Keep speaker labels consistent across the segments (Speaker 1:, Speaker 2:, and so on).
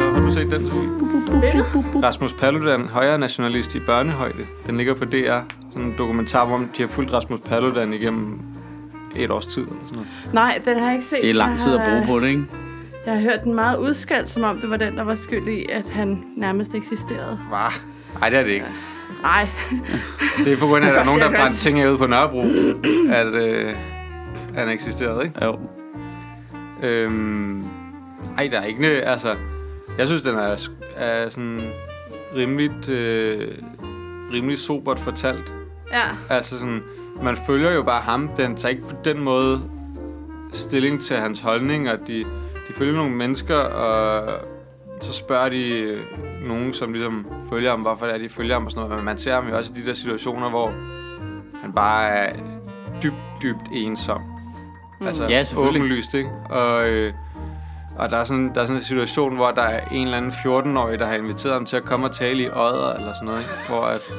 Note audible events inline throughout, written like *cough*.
Speaker 1: Dansk Rasmus Paludan, højre nationalist i børnehøjde. Den ligger på DR. Sådan en dokumentar, hvor de har fulgt Rasmus Paludan igennem et års tid. Eller sådan noget.
Speaker 2: Nej, den har jeg ikke set.
Speaker 3: Det er lang tid
Speaker 2: jeg
Speaker 3: at
Speaker 2: har,
Speaker 3: bruge på det, ikke?
Speaker 2: Jeg har hørt den meget udskældt, som om det var den, der var skyld i, at han nærmest eksisterede.
Speaker 1: Hva? Nej, det er det ikke.
Speaker 2: Nej,
Speaker 1: Det er på grund af, *laughs* at der er nogen, der
Speaker 2: Seriøst?
Speaker 1: brændte ting af ude på Nørrebro, at øh, han eksisterede, ikke?
Speaker 3: Jo.
Speaker 1: Øhm, ej, der er ikke... nø- Altså, jeg synes, den er, sk- er sådan rimeligt, øh, rimeligt sobert fortalt.
Speaker 2: ja.
Speaker 1: Altså sådan, man følger jo bare ham. Den tager ikke på den måde stilling til hans holdning, og de, de følger nogle mennesker, og så spørger de øh, nogen, som ligesom følger ham, hvorfor det er, de følger ham og sådan noget. Men man ser ham jo også i de der situationer, hvor han bare er dybt, dybt ensom. Altså,
Speaker 3: Ja, selvfølgelig.
Speaker 1: åbenlyst, ikke? Og, øh, og der er, sådan, der er sådan en situation, hvor der er en eller anden 14-årig, der har inviteret ham til at komme og tale i øder eller sådan noget, ikke? Hvor at...
Speaker 3: *laughs*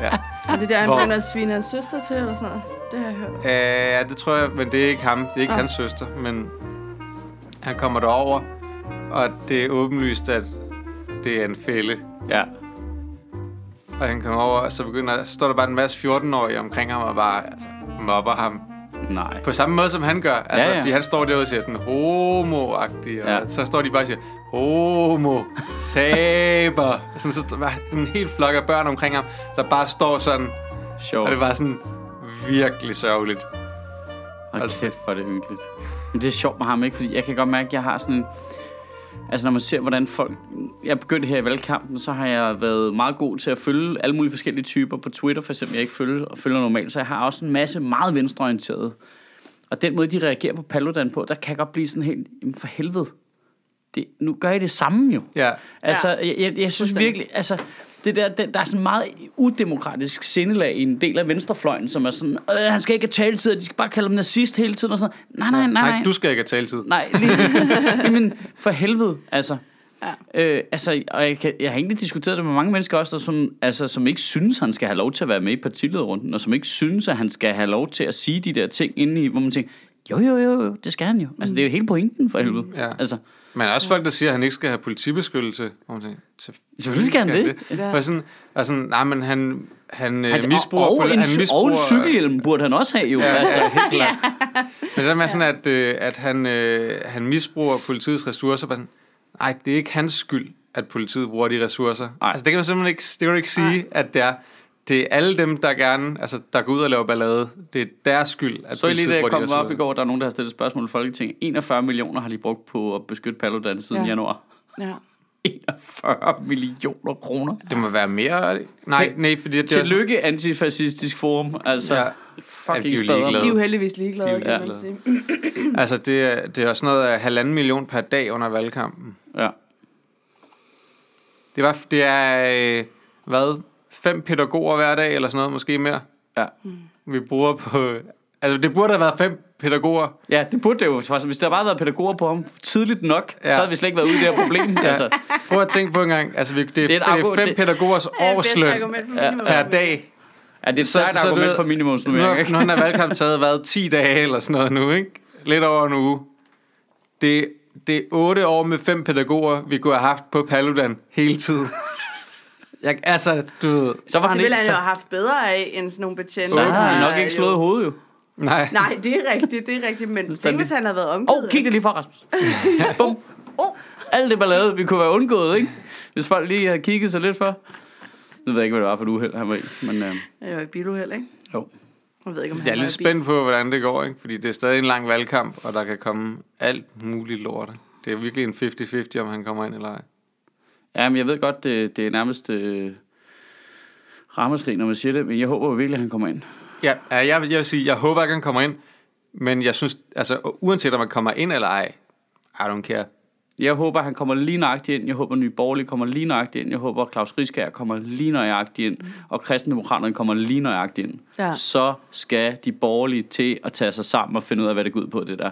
Speaker 1: Ja.
Speaker 2: Og det er der, han
Speaker 1: Hvor-
Speaker 2: begynder at svine hans søster til, eller sådan noget. Det har jeg hørt.
Speaker 1: Øh, Ja, det tror jeg, men det er ikke ham. Det er ikke
Speaker 2: Nå.
Speaker 1: ja. hans søster, men han kommer derover, og det er åbenlyst, at det er en fælde.
Speaker 3: Ja.
Speaker 1: Og han kommer over, og så, begynder, så står der bare en masse 14-årige omkring ham og bare altså, mobber ham.
Speaker 3: Nej.
Speaker 1: På samme måde, som han gør. Altså,
Speaker 3: Ja, ja.
Speaker 1: Fordi han står derude og siger sådan homo og
Speaker 3: Ja.
Speaker 1: ja. så står de bare og siger, homo, taber. sådan, så står der en helt flok af børn omkring ham, der bare står sådan,
Speaker 3: Sjovt.
Speaker 1: og det var sådan virkelig sørgeligt.
Speaker 3: Hold
Speaker 1: Altså-
Speaker 3: kæft, hvor er det hyggeligt. Men det er sjovt med ham, ikke? Fordi jeg kan godt mærke, at jeg har sådan... Altså, når man ser, hvordan folk... Jeg begyndte her i valgkampen, så har jeg været meget god til at følge alle mulige forskellige typer på Twitter, for eksempel, jeg ikke følger, og følger normalt. Så jeg har også en masse meget venstreorienterede. Og den måde, de reagerer på Paludan på, der kan jeg godt blive sådan helt... Jamen, for helvede. Det, nu gør I det samme jo.
Speaker 1: Ja.
Speaker 3: Altså, jeg, jeg, jeg synes
Speaker 2: Fuldstændig.
Speaker 3: virkelig, altså, det der, det, der er sådan meget udemokratisk sindelag i en del af venstrefløjen, som er sådan, øh, han skal ikke have taletid, og de skal bare kalde ham nazist hele tiden, og sådan, nej, nej, nej, nej,
Speaker 1: Nej, du skal ikke have taletid.
Speaker 3: nej
Speaker 1: *laughs*
Speaker 3: lige, jamen, for helvede, altså.
Speaker 2: Ja.
Speaker 3: Øh, altså, og jeg, kan, jeg har egentlig diskuteret det med mange mennesker også, der som, altså, som ikke synes, han skal have lov til at være med i partilederrunden, og som ikke synes, at han skal have lov til at sige de der ting inde i, hvor man tænker, jo, jo, jo, jo, det skal han jo.
Speaker 2: Mm.
Speaker 3: Altså, det er jo hele pointen for helvede.
Speaker 1: Ja.
Speaker 3: Altså,
Speaker 1: Men også folk, der siger, at han ikke skal have politibeskyttelse. Og man tænker,
Speaker 3: Selvfølgelig skal han det.
Speaker 1: Ja.
Speaker 2: Ja.
Speaker 1: Og sådan, og sådan, nej, men han, han øh,
Speaker 3: altså
Speaker 1: misbruger...
Speaker 3: og, og,
Speaker 1: poli-
Speaker 3: en,
Speaker 1: han
Speaker 3: cy- og en cykelhjelm burde han også have, jo.
Speaker 1: *laughs* Ja,
Speaker 3: altså.
Speaker 1: altså, helt klart. Men det der med sådan, at, øh, at han, øh, han misbruger politiets ressourcer, bare sådan, nej, det er ikke hans skyld, at politiet bruger de ressourcer.
Speaker 3: Nej.
Speaker 1: Altså, det kan man simpelthen ikke, det kan du ikke sige, nej. at det er. Det er alle dem, der gerne, altså, der går ud og laver ballade. Det er deres skyld, at
Speaker 3: Så I
Speaker 1: politiet
Speaker 3: lige da jeg
Speaker 1: bruger de
Speaker 3: kom op i
Speaker 1: ressourcer.
Speaker 3: går, der er nogen, der har stillet spørgsmål i Folketinget. 41 millioner har de brugt på at beskytte Paludan siden ja.
Speaker 2: Ja.
Speaker 3: januar. *laughs*
Speaker 2: Ja.
Speaker 3: 41 millioner kroner.
Speaker 1: Det må være mere... er det ikke? Nej, nej, fordi det er...
Speaker 3: Tillykke, antifascistisk forum. Altså, ja.
Speaker 1: Ja. Ja, de er
Speaker 3: fucking
Speaker 1: jo
Speaker 3: spadere.
Speaker 1: ligeglade.
Speaker 2: De er jo
Speaker 1: Glade.
Speaker 2: heldigvis ligeglade,
Speaker 1: De er jo
Speaker 2: kan man sige.
Speaker 1: Altså, det er, det er også noget af halvanden million per dag under valgkampen.
Speaker 3: Ja.
Speaker 1: Det, var, det er, øh, hvad, fem pædagoger hver dag, eller sådan noget, måske mere,
Speaker 3: Ja.
Speaker 1: vi bruger på... Altså, det burde have været fem pædagoger.
Speaker 3: ja, det burde det jo. faktisk. Hvis der bare havde været pædagoger på ham tidligt nok, ja.
Speaker 1: Ja.
Speaker 3: så havde vi slet ikke været ude i det
Speaker 1: *laughs*
Speaker 3: her problem. ja. altså,
Speaker 1: Prøv at tænke på en gang. Altså, vi, det, det,
Speaker 3: er
Speaker 1: er,
Speaker 3: et
Speaker 1: det er fem
Speaker 3: argu- det-
Speaker 1: årsløn
Speaker 2: argument for
Speaker 1: per dag.
Speaker 3: ja, det er et stærkt
Speaker 1: du
Speaker 3: argument
Speaker 1: ved,
Speaker 3: for
Speaker 1: Nu har,
Speaker 3: minimumsnummering.
Speaker 1: nu
Speaker 3: ikke?
Speaker 1: har den her valgkamp taget, hvad, 10 dage eller sådan noget nu, ikke? Lidt over en uge. Det, det er 8 år med fem pædagoger, vi kunne have haft på Paludan hele tiden. Jeg, altså, du ved...
Speaker 3: Så var han
Speaker 2: Det ville
Speaker 3: ikke...
Speaker 2: han jo
Speaker 3: Så,
Speaker 2: have haft bedre af, end sådan nogle betjente.
Speaker 3: så
Speaker 1: Åbenlyst.
Speaker 3: har han nok
Speaker 2: der
Speaker 3: ikke
Speaker 2: jo-
Speaker 3: slået hovedet, jo.
Speaker 1: Nej.
Speaker 2: Nej, det er rigtigt, det er rigtigt. Men tænk, hvis han havde været omgivet.
Speaker 3: Åh, oh, kig det lige fra,
Speaker 2: *laughs*
Speaker 3: Rasmus. Bum. Oh, alt det ballade, vi kunne være undgået, ikke? Hvis folk lige havde kigget sig lidt for. Nu ved jeg ikke, hvad det var for et uheld, han var i. Men, øh,
Speaker 2: Jeg var i biluheld, ikke?
Speaker 3: jo.
Speaker 2: Jeg ved ikke, om han
Speaker 1: Jeg er
Speaker 2: var
Speaker 1: lidt
Speaker 2: i bil.
Speaker 1: spændt på, hvordan det går, ikke? fordi det er stadig en lang valgkamp, og der kan komme alt muligt lort. Det er virkelig en 50-50, om han kommer ind eller ej.
Speaker 3: Ja, men jeg ved godt, det, det er nærmest øh, rammeskrig, når man siger det, men jeg håber jo virkelig, at han kommer ind.
Speaker 1: Ja, ja, jeg, vil- jeg vil sige, jeg håber ikke, han kommer ind, men jeg synes, altså uanset om han kommer ind eller ej, I don't care.
Speaker 3: Jeg håber, han kommer lige nøjagtigt ind. Jeg håber, Nye Borgerlige kommer lige nøjagtigt ind. Jeg håber, Claus Riskær kommer lige nøjagtigt ind. Og Kristendemokraterne kommer lige nøjagtigt ind.
Speaker 2: Mm. Ja.
Speaker 3: Så skal de borgerlige til at tage sig sammen og finde ud af, hvad det går ud på, det der.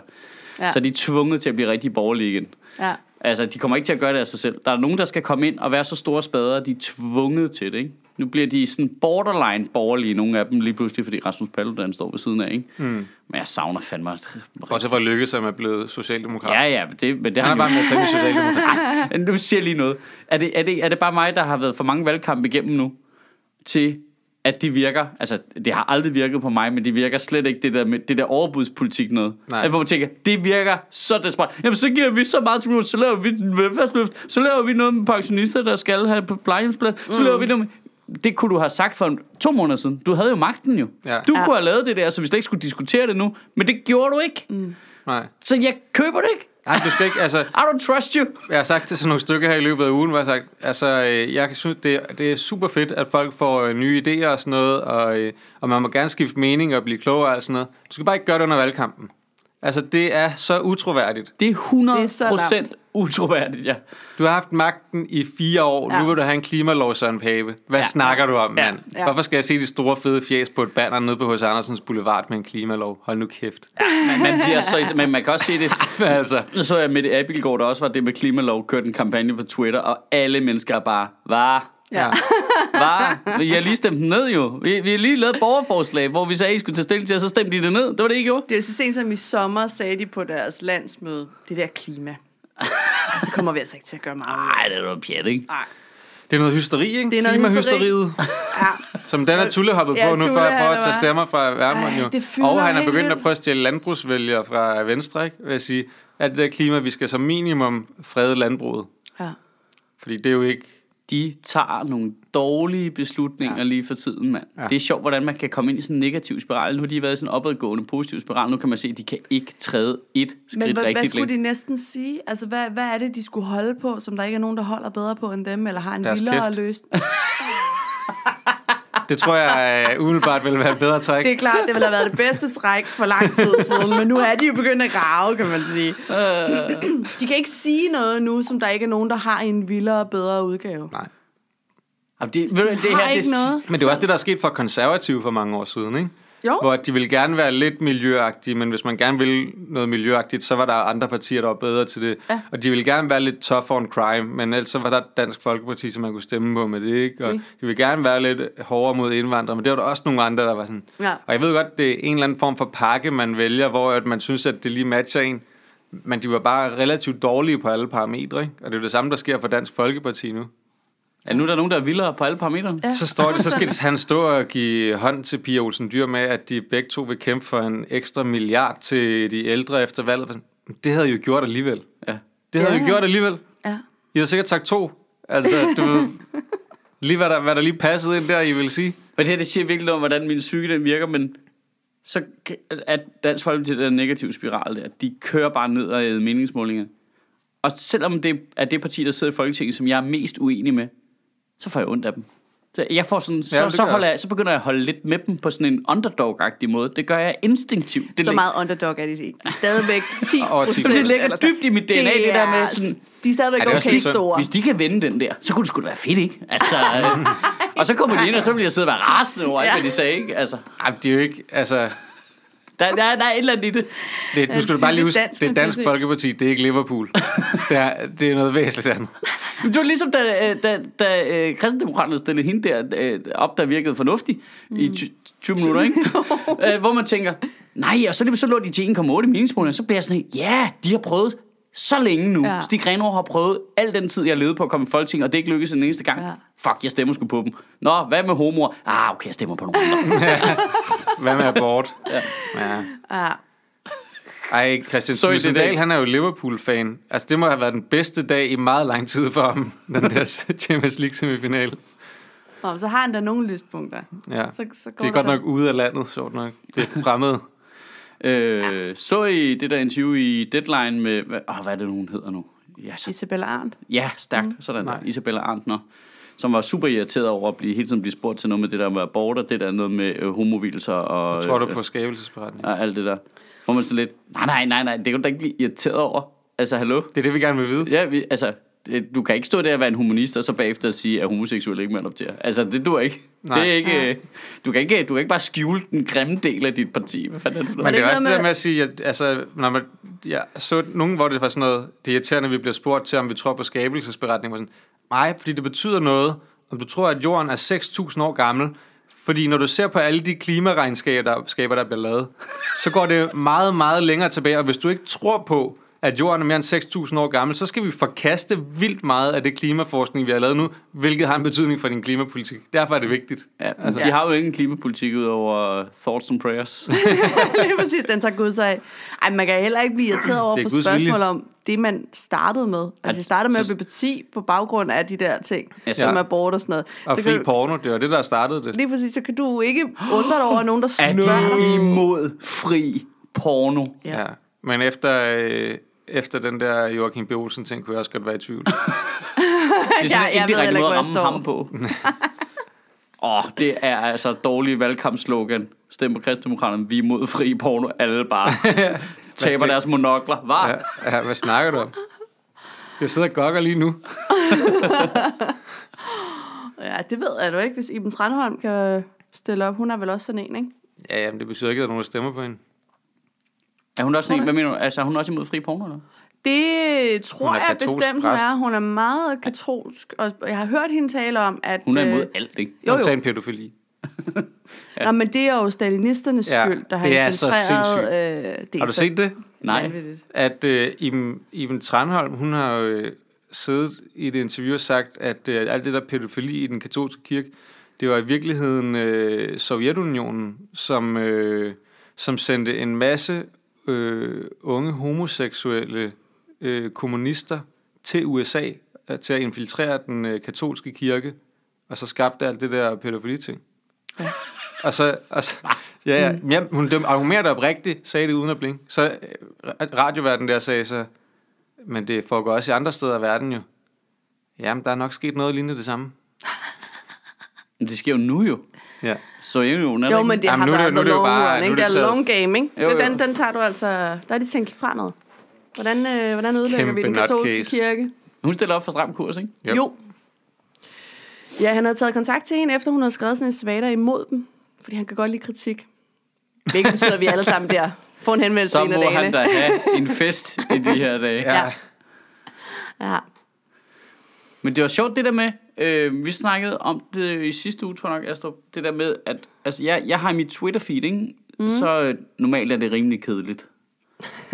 Speaker 2: Ja.
Speaker 3: Så er de tvunget til at blive rigtig borgerlige igen.
Speaker 2: Ja.
Speaker 3: Altså, de kommer ikke til at gøre det af sig selv. Der er nogen, der skal komme ind og være så store spader, at de er tvunget til det, ikke? nu bliver de sådan borderline borgerlige, nogle af dem lige pludselig, fordi Rasmus Paludan står ved siden af, ikke? Mm. Men jeg savner fandme...
Speaker 1: Bortset fra Lykke, som er blevet socialdemokrat.
Speaker 3: Ja, ja, men det, men det
Speaker 1: Han er
Speaker 3: han
Speaker 1: bare
Speaker 3: jo-
Speaker 1: med at tage med socialdemokrat.
Speaker 3: *laughs* nu siger jeg lige noget. Er det, er, det, er det bare mig, der har været for mange valgkampe igennem nu, til at de virker, altså det har aldrig virket på mig, men det virker slet ikke det der, med, det der overbudspolitik noget.
Speaker 1: Nej.
Speaker 3: Altså, hvor man tænker, det virker så desperat. Jamen så giver vi så meget til kommunen, så laver vi en velfærdsløft, så laver vi noget med pensionister, der skal have på plejehjemsplads,
Speaker 1: Mm.
Speaker 3: så laver vi noget med... Det kunne du have sagt for en- to måneder siden. Du havde jo magten jo.
Speaker 1: Ja.
Speaker 3: Du
Speaker 2: Ja.
Speaker 3: kunne have lavet det der, så vi slet ikke skulle diskutere det nu. Men det gjorde du ikke.
Speaker 1: Nej.
Speaker 3: Så jeg køber det ikke.
Speaker 1: Nej, du skal ikke, altså,
Speaker 3: I don't trust you.
Speaker 1: jeg har sagt det til nogle stykker her i løbet af ugen, hvor jeg har sagt, altså, øh, jeg synes, det, det er super fedt, at folk får øh, nye idéer og sådan noget, og, øh, og man må gerne skifte mening og blive klogere og sådan noget. Du skal bare ikke gøre det under valgkampen. Altså, det er så utroværdigt.
Speaker 3: Det er 100
Speaker 2: Det er så
Speaker 3: procent utroværdigt, ja.
Speaker 1: Du har haft magten i fire år, ja.
Speaker 2: Ja.
Speaker 1: nu vil du have en klimalov, Søren Pape. Hvad ja.
Speaker 3: Ja.
Speaker 1: snakker du om,
Speaker 3: Ja.
Speaker 1: mand? Ja.
Speaker 2: Ja.
Speaker 1: Hvorfor skal jeg se de store fede fjes på et banner nede på H.C. Andersens Boulevard med en klimalov? Hold nu kæft. *laughs*
Speaker 3: Man, man bliver så, men man kan også se det.
Speaker 1: altså,
Speaker 3: Nu så jeg Mette Abildgaard, der også var det med klimalov, kørte en kampagne på Twitter, og alle mennesker er bare, var,
Speaker 2: Ja.
Speaker 1: ja.
Speaker 3: var. I har lige stemt den ned jo. Vi, vi har lige lavet et borgerforslag, hvor vi sagde, at I skulle tage stilling til, og så stemte I det ned. Det var det, I gjorde.
Speaker 2: Det er jo så sent som i sommer, sagde de på deres landsmøde, det der klima. så kommer vi altså ikke til at gøre meget.
Speaker 3: Nej, det er noget pjat, ikke?
Speaker 1: Det er noget hysteri, ikke?
Speaker 2: Det er noget
Speaker 1: Klimahysteriet. Som den er Tulle hoppet
Speaker 2: Ja,
Speaker 1: på nu for
Speaker 2: Tulle,
Speaker 1: at prøve
Speaker 2: han
Speaker 1: at tage
Speaker 2: var-
Speaker 1: stemmer fra Værmund
Speaker 2: Ej,
Speaker 1: jo.
Speaker 2: det fylder
Speaker 1: Og han er
Speaker 2: helt
Speaker 1: begyndt at
Speaker 2: vildt.
Speaker 1: prøve at stjæle landbrugsvælgere fra Venstre, ikke? Vil jeg sige, at det der klima, vi skal som minimum frede landbruget.
Speaker 2: Ja.
Speaker 1: Fordi det er jo ikke...
Speaker 3: De tager nogle dårlige beslutninger
Speaker 1: Ja.
Speaker 3: ja. lige for tiden, mand.
Speaker 1: Ja.
Speaker 3: Ja. Det er sjovt, hvordan man kan komme ind i sådan en negativ spiral. Nu har de været i sådan en opadgående positiv spiral. Nu kan man se, at de kan ikke træde et skridt
Speaker 2: Men hvad, hvad
Speaker 3: rigtigt
Speaker 2: skulle
Speaker 3: længere.
Speaker 2: de næsten sige? Altså, hvad, hvad er det, de skulle holde på, som der ikke er nogen, der holder bedre på end dem, eller har en
Speaker 1: Deres
Speaker 2: vildere
Speaker 1: kæft.
Speaker 2: løs?
Speaker 1: Det tror jeg øh, umiddelbart ville være et bedre træk.
Speaker 2: Det er klart, det ville have været det bedste træk for lang tid siden, men nu er de jo begyndt at grave, kan man sige.
Speaker 1: Øh.
Speaker 2: De kan ikke sige noget nu, som der ikke er nogen, der har i en vildere og bedre udgave.
Speaker 1: Nej.
Speaker 3: Jamen, det, ved du, det
Speaker 2: Det
Speaker 3: her,
Speaker 2: har ikke
Speaker 3: det,
Speaker 2: noget.
Speaker 1: Men det er jo også det, der er sket for konservative for mange år siden, ikke?
Speaker 2: Jo,
Speaker 1: Hvor de ville gerne være lidt miljøagtige, men hvis man gerne ville noget miljøagtigt, så var der andre partier, der var bedre til det.
Speaker 2: Ja.
Speaker 1: Og de ville gerne være lidt tough on crime, men ellers så var der Dansk Folkeparti, som man kunne stemme på med det, ikke? Og
Speaker 2: Mm.
Speaker 1: de ville gerne være lidt hårdere mod indvandrere, men det var der også nogle andre, der var sådan.
Speaker 2: Ja.
Speaker 1: Og jeg ved godt, det er en eller anden form for pakke, man vælger, hvor at man synes, at det lige matcher en. Men de var bare relativt dårlige på alle parametre, ikke? Og det er jo det samme, der sker for Dansk Folkeparti nu.
Speaker 3: Ja, nu er der nogen, der er vildere på alle parametre.
Speaker 2: Ja.
Speaker 1: Så, står det, så
Speaker 2: *laughs*
Speaker 1: skal han stå og give hånd til Pia Olsen Dyr med, at de begge to vil kæmpe for en ekstra milliard til de ældre efter valget. Men Det havde I jo gjort alligevel.
Speaker 3: Ja.
Speaker 1: Det havde ja.
Speaker 2: Ja.
Speaker 1: jo gjort alligevel.
Speaker 2: ja.
Speaker 1: I havde sikkert sagt to. Altså, du ved, lige hvad der, hvad der lige passede ind der, I vil sige.
Speaker 3: Men det her, det siger virkelig noget om, hvordan min psyke den virker, men så kan- at Dansk Folkeparti, den negative spiral der, de kører bare ned og æder meningsmålinger. Og selvom det er det parti, der sidder i Folketinget, som jeg er mest uenig med, så får jeg ondt af dem. Så jeg får sådan, så,
Speaker 1: Ja, det
Speaker 3: så,
Speaker 1: gør
Speaker 3: holder
Speaker 1: jeg.
Speaker 3: jeg, så begynder jeg at holde lidt med dem på sådan en underdog-agtig måde. Det gør jeg instinktivt. Det
Speaker 2: Så
Speaker 3: lig-
Speaker 2: meget underdog er de ikke.
Speaker 1: *laughs*
Speaker 2: stadigvæk 10
Speaker 1: Over 10.
Speaker 2: procent.
Speaker 3: Jamen, det ligger
Speaker 2: eller sådan.
Speaker 3: dybt i mit DNA, det, det der
Speaker 2: er-
Speaker 3: med sådan,
Speaker 2: De er stadigvæk
Speaker 1: Ej, det er også
Speaker 2: okay
Speaker 1: lidt synd.
Speaker 2: store.
Speaker 3: Hvis de kan vinde den der, så kunne det sgu da være fedt, ikke?
Speaker 2: *laughs*
Speaker 3: Altså, øh, og så kommer de ind, og så bliver jeg sidde og være rasende over alt,
Speaker 2: Ja.
Speaker 3: hvad de sagde, ikke? Altså,
Speaker 1: Ej, det er jo ikke, altså...
Speaker 3: der, der, der er et eller andet i det.
Speaker 1: Det, nu skal du
Speaker 2: typisk
Speaker 1: bare lige huske,
Speaker 2: dansk,
Speaker 1: det er
Speaker 2: man
Speaker 1: Dansk
Speaker 2: kan se.
Speaker 1: Folkeparti, det er ikke Liverpool. Det er, det er noget væsentligt andet.
Speaker 3: Men Det var ligesom, da, øh, da, da øh, kristendemokraterne stillede hende der øh, op, der virkede fornuftig mm. i ty- 20 minutter, *laughs* ikke? Øh, Hvor man tænker, nej, og så, lige- så lå de til 1,8 meningsmålinger, så bliver jeg sådan, helt, ja, de har prøvet så længe nu. Ja.
Speaker 2: Ja.
Speaker 3: Stig Grenov har prøvet al den tid, jeg levede på at komme i Folketinget, og det er ikke lykkedes en eneste gang.
Speaker 2: Ja.
Speaker 3: Fuck, jeg stemmer sgu på dem. Nå, hvad med homoer? Ah, okay, jeg stemmer på nogle *laughs* andre.
Speaker 1: Hvad med abort? Ja. ja.
Speaker 2: Ja.
Speaker 1: Ej, Christian
Speaker 3: Så i det
Speaker 1: Thulesen
Speaker 3: dag.
Speaker 1: Dahl, han er jo Liverpool-fan. Altså, det må have været den bedste dag i meget lang tid for
Speaker 3: *laughs*
Speaker 1: ham, den der Champions League-semifinale.
Speaker 2: Nå, så har han da nogle lyspunkter.
Speaker 1: Ja.
Speaker 2: Så, så går
Speaker 1: Det er godt
Speaker 2: der-
Speaker 1: nok ude af landet, sjovt nok. Det er
Speaker 3: *laughs*
Speaker 1: fremmed.
Speaker 3: Øh, så I det der interview i Deadline med... Hvad, åh, hvad er det nu, hun hedder nu? Ja, så,
Speaker 2: Isabella Arndt. *laughs*
Speaker 3: ja stærkt. Mm. Sådan der.
Speaker 1: Nej.
Speaker 3: Isabella Arntner. Som var super irriteret over at blive, hele tiden blive spurgt til noget med det der med abort, og det der noget med øh, homovilser og,
Speaker 1: Tror du
Speaker 3: øh,
Speaker 1: på skabelsesberetning?
Speaker 3: og alt det der. Hvor man så lidt... Nej, nej, nej, nej, det kan du da ikke blive irriteret over. Altså, hallo?
Speaker 1: Det er det, vi gerne vil vide.
Speaker 3: Ja, vi, altså, det- du kan ikke stå der og være en humanist, og så bagefter sige, at homoseksuelle ikke må adoptere. Altså, det du ikke.
Speaker 1: Nej.
Speaker 3: Det er ikke, øh, du, kan ikke, du kan ikke bare skjule den grimme del af dit parti. Hvad fanden er det for noget?
Speaker 1: Men det er
Speaker 2: ikke
Speaker 1: også det
Speaker 2: noget
Speaker 1: der
Speaker 2: med-
Speaker 1: med at sige, at altså, når man, ja, så nogen, hvor det var sådan noget, det er irriterende, at vi bliver spurgt til, om vi tror på skabelsesberetning. var Sådan, Nej, fordi det betyder noget, om du tror, at jorden er 6.000 år gammel, fordi når du ser på alle de klimaregnskaber, der, skaber, der bliver lavet, så går det meget, meget længere tilbage. Og hvis du ikke tror på, at jorden er mere end 6.000 år gammel, så skal vi forkaste vildt meget af det klimaforskning, vi har lavet nu, hvilket har en betydning for din klimapolitik. Derfor er det vigtigt.
Speaker 3: Ja, altså, de har jo ingen klimapolitik ud over thoughts
Speaker 1: *laughs*
Speaker 3: and prayers.
Speaker 2: Lige præcis, den tager Gud sig af. Ej, man kan heller ikke blive irriteret over
Speaker 1: Det er
Speaker 2: for
Speaker 1: Guds
Speaker 2: spørgsmål
Speaker 1: vilje.
Speaker 2: om det, man startede med. Altså, jeg startede med at blive parti på baggrund af de der ting,
Speaker 3: Ja,
Speaker 2: ja,
Speaker 3: så-
Speaker 2: som abort og sådan noget.
Speaker 1: Og
Speaker 2: så
Speaker 1: fri
Speaker 2: kan, du-
Speaker 1: porno, det var det, der startede det.
Speaker 2: lige præcis, så kan du ikke undre dig over
Speaker 1: *gasps*
Speaker 2: at nogen, der
Speaker 3: Er
Speaker 2: spørger
Speaker 3: de
Speaker 2: dig.
Speaker 3: imod fri porno?
Speaker 1: Ja. Men efter, øh, efter den der Joachim B. Olsen ting, kunne jeg også godt være i tvivl.
Speaker 3: Det er
Speaker 2: Jeg-
Speaker 3: sådan en
Speaker 2: jeg ved
Speaker 3: indirekte
Speaker 2: heller
Speaker 3: måde
Speaker 2: ikke,
Speaker 3: at
Speaker 2: hvor
Speaker 3: ramme
Speaker 2: jeg
Speaker 3: ham på. *laughs* Åh, oh, det er altså dårlig valgkampslogan. Stem på kristdemokraterne, vi er imod fri porno, alle
Speaker 2: *laughs*
Speaker 3: bare taber deres monokler. Var? Ja.
Speaker 1: Ja, ja, hvad snakker du om? Jeg sidder og gokker lige
Speaker 2: *laughs*
Speaker 1: nu.
Speaker 2: Ja, det ved jeg jo ikke, hvis Iben Tranholm kan stille op. Hun er vel også sådan en, ikke?
Speaker 1: Ja, jamen, det betyder ikke, at der er nogen, der stemmer på hende.
Speaker 3: Er hun også en, hvad mener du? Altså, er hun også imod fri porno, eller?
Speaker 2: Det tror
Speaker 1: Hun er
Speaker 2: jeg
Speaker 1: katolsk
Speaker 2: bestemt, hun
Speaker 1: præst.
Speaker 2: er. Hun er meget katolsk, og jeg har hørt hende tale om, at...
Speaker 3: Hun er imod
Speaker 2: øh,
Speaker 3: alt, ikke?
Speaker 2: Jo,
Speaker 1: Undtagen
Speaker 2: jo.
Speaker 1: pædofili.
Speaker 2: Ja. Nå, men det er jo stalinisternes
Speaker 1: Ja,
Speaker 2: ja, skyld, der har
Speaker 1: det er så
Speaker 2: infiltreret...
Speaker 1: sindssygt.
Speaker 2: øh, det er
Speaker 1: Har du
Speaker 2: så
Speaker 1: set det?
Speaker 3: Nej.
Speaker 2: vanvittigt.
Speaker 1: At øh, Iben, Iben Tranholm, hun har jo øh, siddet i et interview og sagt, at øh, alt det der pædofili i den katolske kirke, det var i virkeligheden øh, Sovjetunionen, som, øh, som sendte en masse øh, unge homoseksuelle øh, kommunister til USA øh, til at infiltrere den øh, katolske kirke, og så skabte alt det der pædofili-ting. Og så, og så ja, ja, mm. ja, hun døm, argumenterede oprigtigt, sagde det uden at blinke. Så øh, radioverden der sagde så, men det foregår også i andre steder af verden jo. Jamen, der er nok sket noget lignende det samme.
Speaker 3: Men det sker jo nu jo.
Speaker 1: Ja.
Speaker 3: Så er jo,
Speaker 2: Jo, men det
Speaker 1: Jamen,
Speaker 2: har
Speaker 1: nu er det-
Speaker 2: været
Speaker 1: nu er
Speaker 2: the
Speaker 1: det jo
Speaker 2: long
Speaker 1: bare-
Speaker 2: run,
Speaker 1: nu
Speaker 2: ikke?
Speaker 1: er
Speaker 2: Det
Speaker 1: det
Speaker 2: er
Speaker 1: taget-
Speaker 2: long game, ikke?
Speaker 3: Jo,
Speaker 2: Jo, jo.
Speaker 3: jo.
Speaker 2: Den, den tager du altså... Der er de tænkt fra noget. Hvordan, øh, hvordan ødelægger
Speaker 1: Kæmpe
Speaker 2: vi den
Speaker 1: nutcase.
Speaker 2: katolske kirke?
Speaker 3: Hun stiller op for stram kurs, ikke?
Speaker 1: Yep.
Speaker 2: Jo. Ja, han havde taget kontakt til hende, efter hun havde skrevet sådan en svater imod dem. Fordi han kan godt lide kritik. Hvilket betyder, at vi alle sammen der får en henvendelse
Speaker 3: Så
Speaker 2: en af
Speaker 3: må
Speaker 2: dagene.
Speaker 3: han da
Speaker 2: *laughs*
Speaker 3: have en fest i de her dage.
Speaker 1: Ja.
Speaker 2: Ja. Ja.
Speaker 3: Men det var sjovt det der med, øh, vi snakkede om det i sidste uge, tror jeg nok, Astrup, det der med, at altså, jeg, jeg har i mit Twitter-feed, ikke? Mm. så øh, normalt er det rimelig kedeligt.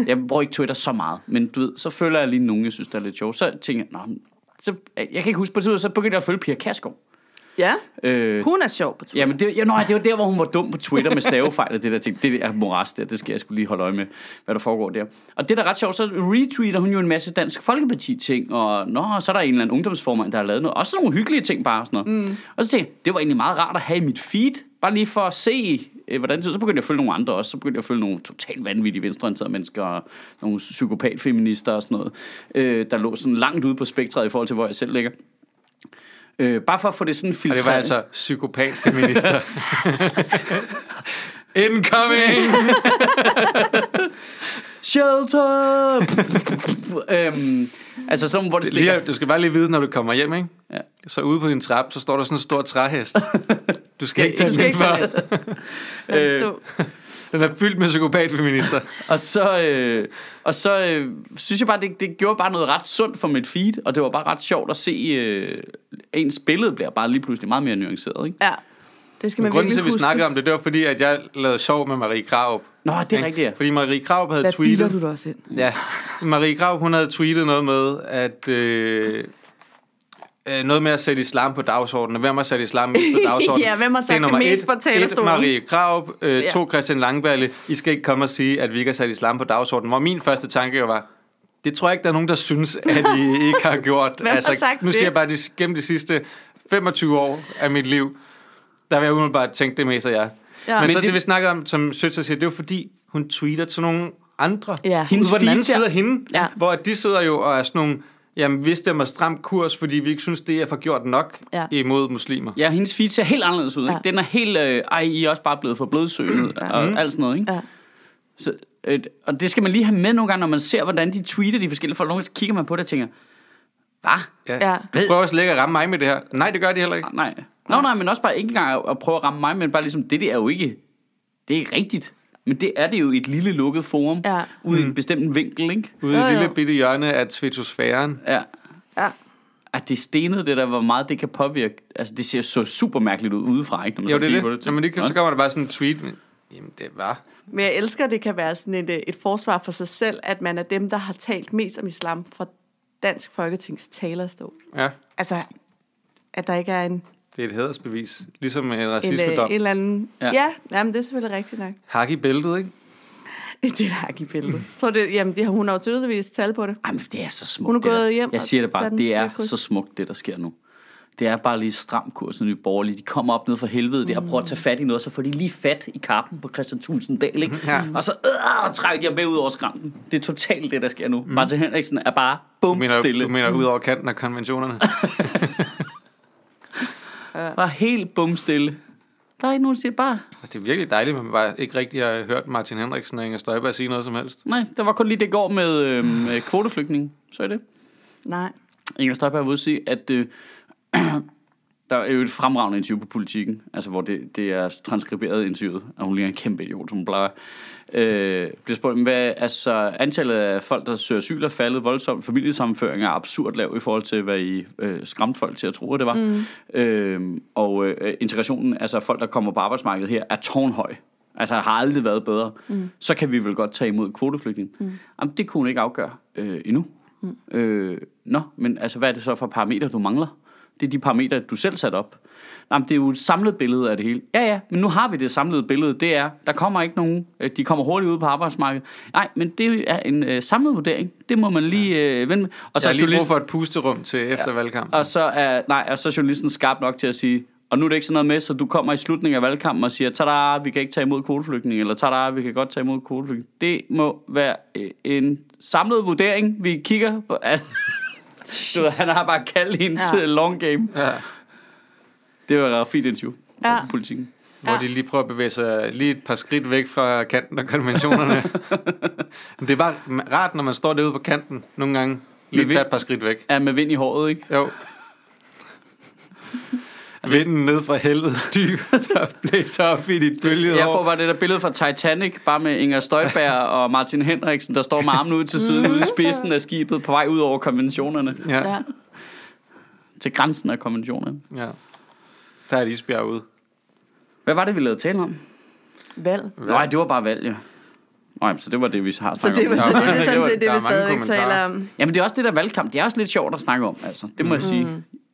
Speaker 3: Jeg bruger ikke Twitter så meget, men du ved, så følger jeg lige nogen, jeg synes, der er lidt sjovt. Så tænker jeg, Nå, men- så, jeg kan ikke huske på det, så begyndte jeg at følge Pia Kærsgaard.
Speaker 2: ja.
Speaker 3: Øh,
Speaker 2: Hun er sjov på Twitter.
Speaker 3: Jamen, det, ja, nej, det var der, hvor hun var dum på Twitter med stavefejl og det der ting. Det der moras der, det skal jeg skulle lige holde øje med, hvad der foregår der. Og det der er ret sjovt, så retweeter hun jo en masse Dansk Folkeparti-ting, og nå, så er der en eller anden ungdomsformand, der har lavet noget. Også sådan nogle hyggelige ting bare og sådan noget. Mm. Og så tænkte jeg, det var egentlig meget rart at have i mit feed, bare lige for at se, øh, hvordan det så, så begyndte jeg at følge nogle andre også. Så begyndte jeg at følge nogle totalt vanvittige venstreorienterede mennesker, og nogle psykopatfeminister og sådan noget, øh, der lå sådan langt ude på spektret i forhold til, hvor jeg selv ligger. Øh, bare for at få det sådan
Speaker 1: Og
Speaker 3: filtreret.
Speaker 1: det var altså *laughs* psykopat-feminister. Incoming!
Speaker 3: Shelter! *laughs* øhm, altså sådan, hvor det stikker.
Speaker 1: Lige, du skal bare lige vide, når du kommer hjem, ikke?
Speaker 3: Ja.
Speaker 1: Så ude på din trappe, så står der sådan en stor *laughs* træhest. Du skal ikke
Speaker 2: Du
Speaker 1: tage den
Speaker 2: skal ikke
Speaker 1: indenfor.
Speaker 2: tage *laughs* den. Den
Speaker 3: Øh,
Speaker 2: stod.
Speaker 1: Den er fyldt med psykopat-feminister.
Speaker 3: Og så, øh, og så øh, synes jeg bare, det, det gjorde bare noget ret sundt for mit feed, og det var bare ret sjovt at se, øh, ens billede bliver bare lige pludselig meget mere nuanceret, ikke?
Speaker 2: Ja. Det skal man
Speaker 1: Grunden til,
Speaker 2: virkelig
Speaker 1: at vi
Speaker 2: huske.
Speaker 1: snakkede om det, det var fordi, at jeg lavede sjov med Marie Kraup.
Speaker 3: Nå, det er rigtigt, ja.
Speaker 1: Fordi Marie Kraup havde
Speaker 2: Hvad
Speaker 1: tweetet...
Speaker 2: bilder du da også ind?
Speaker 1: Ja, Marie Grav, hun havde tweetet noget med, at... Øh, øh, noget med at sætte islam på dagsordenen. Og hvem har sat islam mest
Speaker 2: *laughs*
Speaker 1: på dagsordenen?
Speaker 2: Ja, hvem har sagt
Speaker 1: er
Speaker 2: det
Speaker 1: nummer
Speaker 2: mest
Speaker 1: et,
Speaker 2: fra talerstolen?
Speaker 1: Et, Marie Grav, øh,
Speaker 2: Ja.
Speaker 1: to Christian Langballe. I skal ikke komme og sige, at vi ikke har sat islam på dagsordenen. Hvor min første tanke jo var, det tror jeg ikke, der er nogen, der synes, at
Speaker 2: *laughs*
Speaker 1: I ikke har gjort. Altså,
Speaker 2: Hvem har sagt
Speaker 1: nu siger
Speaker 2: det?
Speaker 1: jeg bare, at gennem de sidste 25 år af mit liv, der vil jeg umiddelbart tænke det mest af jer.
Speaker 2: Ja.
Speaker 1: Ja, men,
Speaker 2: Men
Speaker 1: men så det,
Speaker 3: det-
Speaker 1: det, vi snakkede om, som Søtter siger, det er jo fordi, hun tweeter til nogle andre.
Speaker 2: Ja.
Speaker 1: Hendes på den anden
Speaker 3: feed
Speaker 1: side af hende, ja.
Speaker 2: Ja.
Speaker 1: hvor de sidder jo og er sådan nogle, jamen vi stemmer stram kurs, fordi vi ikke synes, det er for gjort nok ja.
Speaker 2: Ja.
Speaker 1: imod muslimer.
Speaker 3: Ja, hendes feed ser helt anderledes ud, ikke?
Speaker 2: Ja.
Speaker 3: Den er helt, øh, ej, I er også bare blevet for blødsøgnet, ja. og alt sådan noget,
Speaker 2: *clears throat*
Speaker 3: ikke?
Speaker 2: Ja.
Speaker 3: Så, øh, og det skal man lige have med nogle gange, når man ser, hvordan de tweeter de forskellige folk. Nogle gange kigger man på det og tænker, hvad?
Speaker 1: Ja.
Speaker 2: Ja.
Speaker 1: Du prøver slet ikke at ramme mig med det her. Nej, det gør de heller ikke.
Speaker 3: Ah, Nej. Nå, nej, men også bare ikke engang at, at prøve at ramme mig, men bare ligesom, det der er jo ikke, det er rigtigt. Men det er det jo i et lille lukket forum,
Speaker 2: Ja.
Speaker 1: Mm.
Speaker 3: ude i en bestemt vinkel, ikke?
Speaker 1: Ude i
Speaker 2: Jo,
Speaker 1: et
Speaker 2: jo.
Speaker 1: lille bitte hjørne af tvetosfæren.
Speaker 3: Ja.
Speaker 2: Ja.
Speaker 3: at det er stenet, det der, hvor meget det kan påvirke. Altså, det ser så super mærkeligt ud udefra, ikke? Når man
Speaker 1: Jo,
Speaker 3: så
Speaker 1: det
Speaker 3: kigger
Speaker 1: er
Speaker 3: på
Speaker 1: det.
Speaker 3: tænker
Speaker 1: Jamen, det kan,
Speaker 3: man,
Speaker 1: så kommer der bare sådan en tweet. Men, jamen, det var...
Speaker 2: Men jeg elsker, at det kan være sådan et, øh, et forsvar for sig selv, at man er dem, der har talt mest om islam fra Dansk Folketings talerstol.
Speaker 1: Ja,
Speaker 2: Altså, at der ikke er en,
Speaker 1: det er et hædersbevis. Ligesom med en
Speaker 2: en, øh,
Speaker 1: racismedom.
Speaker 2: en eller anden...
Speaker 3: Ja.
Speaker 2: Ja, ja jamen, det er selvfølgelig rigtigt nok. *laughs*
Speaker 1: Hak i bæltet, ikke?
Speaker 2: Det er et hak i billedet. Tror det, jamen, de har, hun har jo tydeligvis tal på det.
Speaker 3: Ej, men det er så smukt.
Speaker 2: Hun er
Speaker 3: det der.
Speaker 2: gået hjem
Speaker 3: Jeg
Speaker 2: og
Speaker 3: siger det bare,
Speaker 2: sat den
Speaker 3: det
Speaker 2: på
Speaker 3: er
Speaker 2: et kryds.
Speaker 3: så smukt, det der sker nu. Det er bare lige stram kurs, når nye borgerlige, de kommer op ned for helvede der og prøver at tage fat i noget, så får de lige fat i kappen på Christian Tulsendal, ikke?
Speaker 1: Ja.
Speaker 3: Og så øh, trækker de ham med ud over skranken. Det er totalt det, der sker nu. Mm. Martin Henriksen er bare
Speaker 1: Mhm. Du
Speaker 3: bum
Speaker 1: mener,
Speaker 3: stille.
Speaker 1: du mener ud over kanten af konventionerne.
Speaker 3: Bare helt bum stille. Der er ikke nogen, der siger bare,
Speaker 1: Og det er virkelig dejligt, at man bare ikke rigtig har hørt Martin Henriksen og Inger Støjberg sige noget som helst.
Speaker 3: nej, der var kun lige det i går med, øh,
Speaker 2: Ah.
Speaker 3: med kvoteflygtninge. Så er det.
Speaker 2: Nej.
Speaker 3: Inger Støjberg vil sige, at øh, der er jo et fremragende interview på politikken, altså hvor det, det er transkriberet i interviewet, og hun ligner en kæmpe idiot, som hun plejer. Øh, bliver spurgt, hvad, altså antallet af folk, der søger asyl er faldet voldsomt, familiesammenføring er absurd lav i forhold til, hvad I øh, skræmte folk til at tro, at det var. Mm. Øh, og øh, integrationen, altså folk, der kommer på arbejdsmarkedet her, er tårnhøj. Altså har aldrig været bedre. Mm. Så kan vi vel godt tage imod kvoteflygtninge. Mm. Jamen, det kunne hun ikke afgøre øh, endnu. Mm. Øh, nå, men altså, hvad er det så for parametre, du mangler? Det er de parametre, du selv satte op. Nej, men det er jo et samlet billede af det hele. Ja, ja, men nu har vi det samlede billede. Det er, der kommer ikke nogen. øh, De kommer hurtigt ud på arbejdsmarkedet. Nej, men det er en øh, samlet vurdering. Det må man lige øh, vende med. Og
Speaker 1: Så jeg har lige brug
Speaker 3: journalisten-
Speaker 1: for et pusterum til efter ja. valgkampen.
Speaker 3: og så er, nej, og så er journalisten skarp nok til at sige, og nu er det ikke sådan noget med, så du kommer i slutningen af valgkampen og siger, tada, vi kan ikke tage imod kvoteflygtninge, eller tada, vi kan godt tage imod kvoteflygtninge. Det må være øh, en samlet vurdering, vi kigger på. *laughs* Altså, du ved, han har bare kaldt hendes
Speaker 2: Ja.
Speaker 3: ja. long game.
Speaker 1: Ja.
Speaker 3: Det var et fint interview ja.
Speaker 2: Ja.
Speaker 3: politikken.
Speaker 1: Hvor
Speaker 2: Ja.
Speaker 1: de lige prøver at bevæge sig lige et par skridt væk fra kanten af *laughs* konventionerne. Men det er bare rart, når man står derude på kanten nogle gange. Lige
Speaker 3: Vi
Speaker 1: tage
Speaker 3: ved-
Speaker 1: et par skridt væk.
Speaker 3: Er med vind i håret, ikke?
Speaker 1: *laughs* Jo. Vinden ned fra helvedes dyb, *laughs* der blæser op i dit bølgede
Speaker 3: Jeg får
Speaker 1: hår.
Speaker 3: bare det der billede fra Titanic, bare med Inger Støjberg
Speaker 2: *laughs*
Speaker 3: og Martin Henriksen, der står med armen ud til siden ude i spidsen af skibet, på vej ud over konventionerne.
Speaker 1: Ja.
Speaker 2: Mm. Ja.
Speaker 3: Til grænsen af konventionerne.
Speaker 1: ja. Der er et isbjerg ude.
Speaker 3: Hvad var det, vi lavede tale om?
Speaker 2: Valg.
Speaker 3: Nej, det var bare valg, ja. Nå, jamen, så det var det, vi har
Speaker 2: Så
Speaker 3: snakket
Speaker 2: det, var,
Speaker 3: om.
Speaker 1: Der
Speaker 2: så
Speaker 1: er
Speaker 2: *laughs* det, det
Speaker 1: mange-
Speaker 2: er sådan set det,
Speaker 1: der er
Speaker 2: vi
Speaker 1: mange
Speaker 2: stadig
Speaker 1: kommentarer.
Speaker 2: taler om.
Speaker 3: Jamen, det er også det der valgkamp. Det er også lidt sjovt at snakke om, altså. Det må
Speaker 2: Mm.
Speaker 3: jeg sige.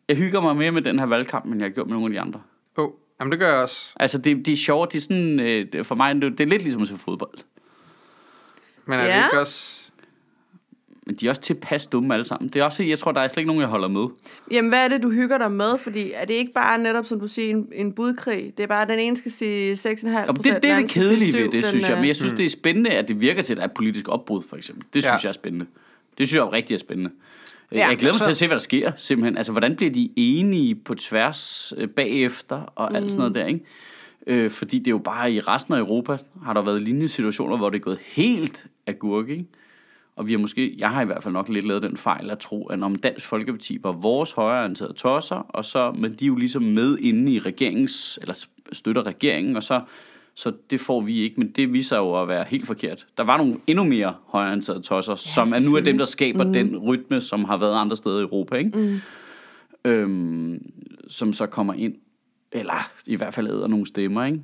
Speaker 3: Jeg hygger mig mere med den her valgkamp, end jeg har gjort med nogle af de andre.
Speaker 1: Åh, oh, jamen det gør jeg også.
Speaker 3: Altså, det, det er sjovt. Det er sådan, øh, det- for mig, det, det er lidt ligesom at se fodbold.
Speaker 1: Men er det
Speaker 2: Ja.
Speaker 1: ikke også...
Speaker 3: Men de er også tilpas dumme alle sammen. Det er også, jeg tror, der er slet ikke nogen, jeg holder med.
Speaker 2: Jamen, hvad er det, du hygger dig med? Fordi er det ikke bare netop, som du siger, en, en budkrig? Det er bare, at den ene skal sige 6,5
Speaker 3: Og
Speaker 2: procent.
Speaker 3: det, det er
Speaker 2: den
Speaker 3: det
Speaker 2: anden skal sige
Speaker 3: kedelige ved
Speaker 2: syv,
Speaker 3: det,
Speaker 2: den,
Speaker 3: synes jeg.
Speaker 2: øh,
Speaker 3: Men jeg synes, det er spændende, at det virker til, at der er et politisk opbrud, for eksempel. Det synes
Speaker 1: Ja.
Speaker 3: jeg er spændende. Det synes jeg er rigtig er spændende. Ja,
Speaker 2: Ja,
Speaker 3: jeg glæder mig
Speaker 1: så-
Speaker 3: til at se, hvad der sker, simpelthen. Altså, hvordan bliver de enige på tværs øh, bagefter og alt sådan noget der, ikke? Øh, fordi det er jo bare i resten af Europa, har der været lignende situationer, hvor det er gået helt af gurke, ikke? Og vi har måske, jeg har i hvert fald nok lidt lavet den fejl at tro, at om Dansk Folkeparti var vores højreorienterede tosser, og så, men de er jo ligesom med inde i regeringens, eller støtter regeringen, og så, så det får vi ikke, men det viser jo at være helt forkert. Der var nogle endnu mere højreorienterede tosser, ja, som er nu er dem, der skaber mm. den rytme, som har været andre steder i Europa, ikke? Mm øhm, som så kommer ind, eller i hvert fald æder nogle stemmer, ikke?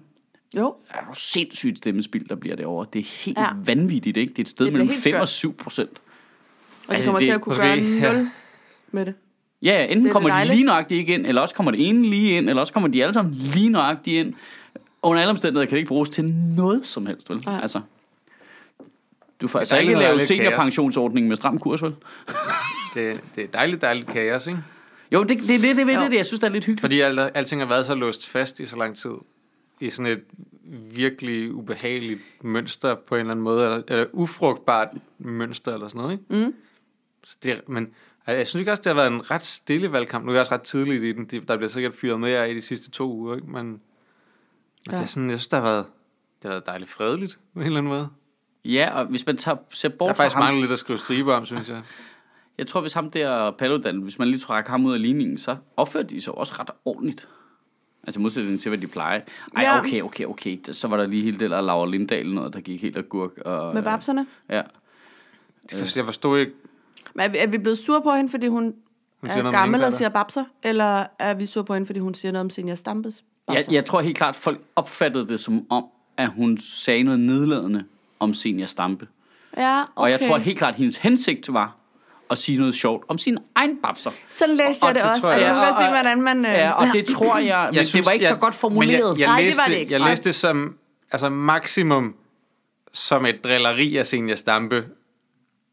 Speaker 2: Jo,
Speaker 3: Er jo sindssygt stemmespild, der bliver derovre. Det er helt ja.
Speaker 2: Ja.
Speaker 3: vanvittigt, ikke? Det er et sted
Speaker 2: Det bliver
Speaker 3: mellem
Speaker 2: helt
Speaker 3: 5
Speaker 2: skørt.
Speaker 3: og 7 procent.
Speaker 2: og
Speaker 3: Altså,
Speaker 2: de kommer
Speaker 3: det-
Speaker 2: til at kunne
Speaker 1: måske-
Speaker 2: gøre
Speaker 1: ja.
Speaker 2: nul med det.
Speaker 3: Ja, ja, enten
Speaker 2: Det er
Speaker 3: kommer de
Speaker 2: dejligt.
Speaker 3: lige nøjagtigt ikke ind, eller også kommer det ene lige ind, eller også kommer de alle sammen lige nøjagtigt ind. Under alle omstændigheder kan det ikke bruges til noget som helst, vel?
Speaker 2: Nej.
Speaker 3: Altså, du får
Speaker 1: er
Speaker 3: altså
Speaker 1: dejligt,
Speaker 3: ikke
Speaker 1: når der er
Speaker 3: lavet
Speaker 1: lidt kaos.
Speaker 3: seniorpensionsordningen med stram kurs, vel?
Speaker 1: Det, det er dejligt, dejligt kaos, ikke?
Speaker 3: Jo, det, det, det, det, det,
Speaker 2: Jo.
Speaker 3: det, det, jeg synes, det er lidt hyggeligt.
Speaker 1: Fordi alt, alting har været så låst fast i så lang tid. I sådan et virkelig ubehageligt mønster på en eller anden måde. Eller, eller ufrugtbart mønster eller sådan noget, ikke?
Speaker 2: Mm.
Speaker 1: Så det, er- men altså, jeg synes ikke også, det har været en ret stille valgkamp. Nu er jeg også ret tidligt i den. Det- Der bliver sikkert fyret mere i de sidste to uger, ikke? Men, men ja. det er
Speaker 2: Ja.
Speaker 1: sådan, jeg synes, det har været, det har været dejligt fredeligt på en eller anden måde.
Speaker 3: Ja, og hvis man tager, ser
Speaker 1: Jeg
Speaker 3: bort
Speaker 1: har
Speaker 3: fra
Speaker 1: faktisk
Speaker 3: ham...
Speaker 1: manglet lidt at skrive striber om, synes jeg.
Speaker 3: Jeg tror, hvis ham der Paludan, hvis man lige trækker ham ud af ligningen, så opfører de sig også ret ordentligt. Altså i modsætning til, hvad de plejer. Ej,
Speaker 2: Ja.
Speaker 3: okay, okay, okay. Så var der lige hele det der Laura Lindahl noget, der gik helt agurk. Og,
Speaker 2: Med babserne.
Speaker 3: Ja.
Speaker 1: Det forstår- Jeg forstod ikke,
Speaker 2: Men er vi, er vi blevet sure på hende, fordi hun
Speaker 1: Hun
Speaker 2: Er
Speaker 1: noget om
Speaker 2: gammel og
Speaker 1: Englander.
Speaker 2: siger babser? Eller er vi sur på hende, fordi hun siger noget om senior stampes?
Speaker 3: Jeg, jeg tror helt klart, folk opfattede det som om, at hun sagde noget nedladende om senior Stampe.
Speaker 2: Ja, okay.
Speaker 3: Og jeg tror helt klart, at hendes hensigt var at sige noget sjovt om sin egen babser.
Speaker 2: Så læste
Speaker 1: Og
Speaker 2: jeg det,
Speaker 1: det
Speaker 2: også,
Speaker 1: tror
Speaker 2: og
Speaker 1: jeg
Speaker 2: jeg kan
Speaker 3: også.
Speaker 2: godt se,
Speaker 3: Og-
Speaker 2: hvordan man... øh,
Speaker 3: Ja, og det tror jeg, men jeg synes, det var ikke jeg, så godt formuleret.
Speaker 1: Men jeg,
Speaker 2: Nej,
Speaker 1: jeg,
Speaker 2: det
Speaker 1: læste,
Speaker 2: var det ikke.
Speaker 1: jeg
Speaker 2: Nej.
Speaker 1: læste det som altså maksimum som et drilleri af Senior Stampe,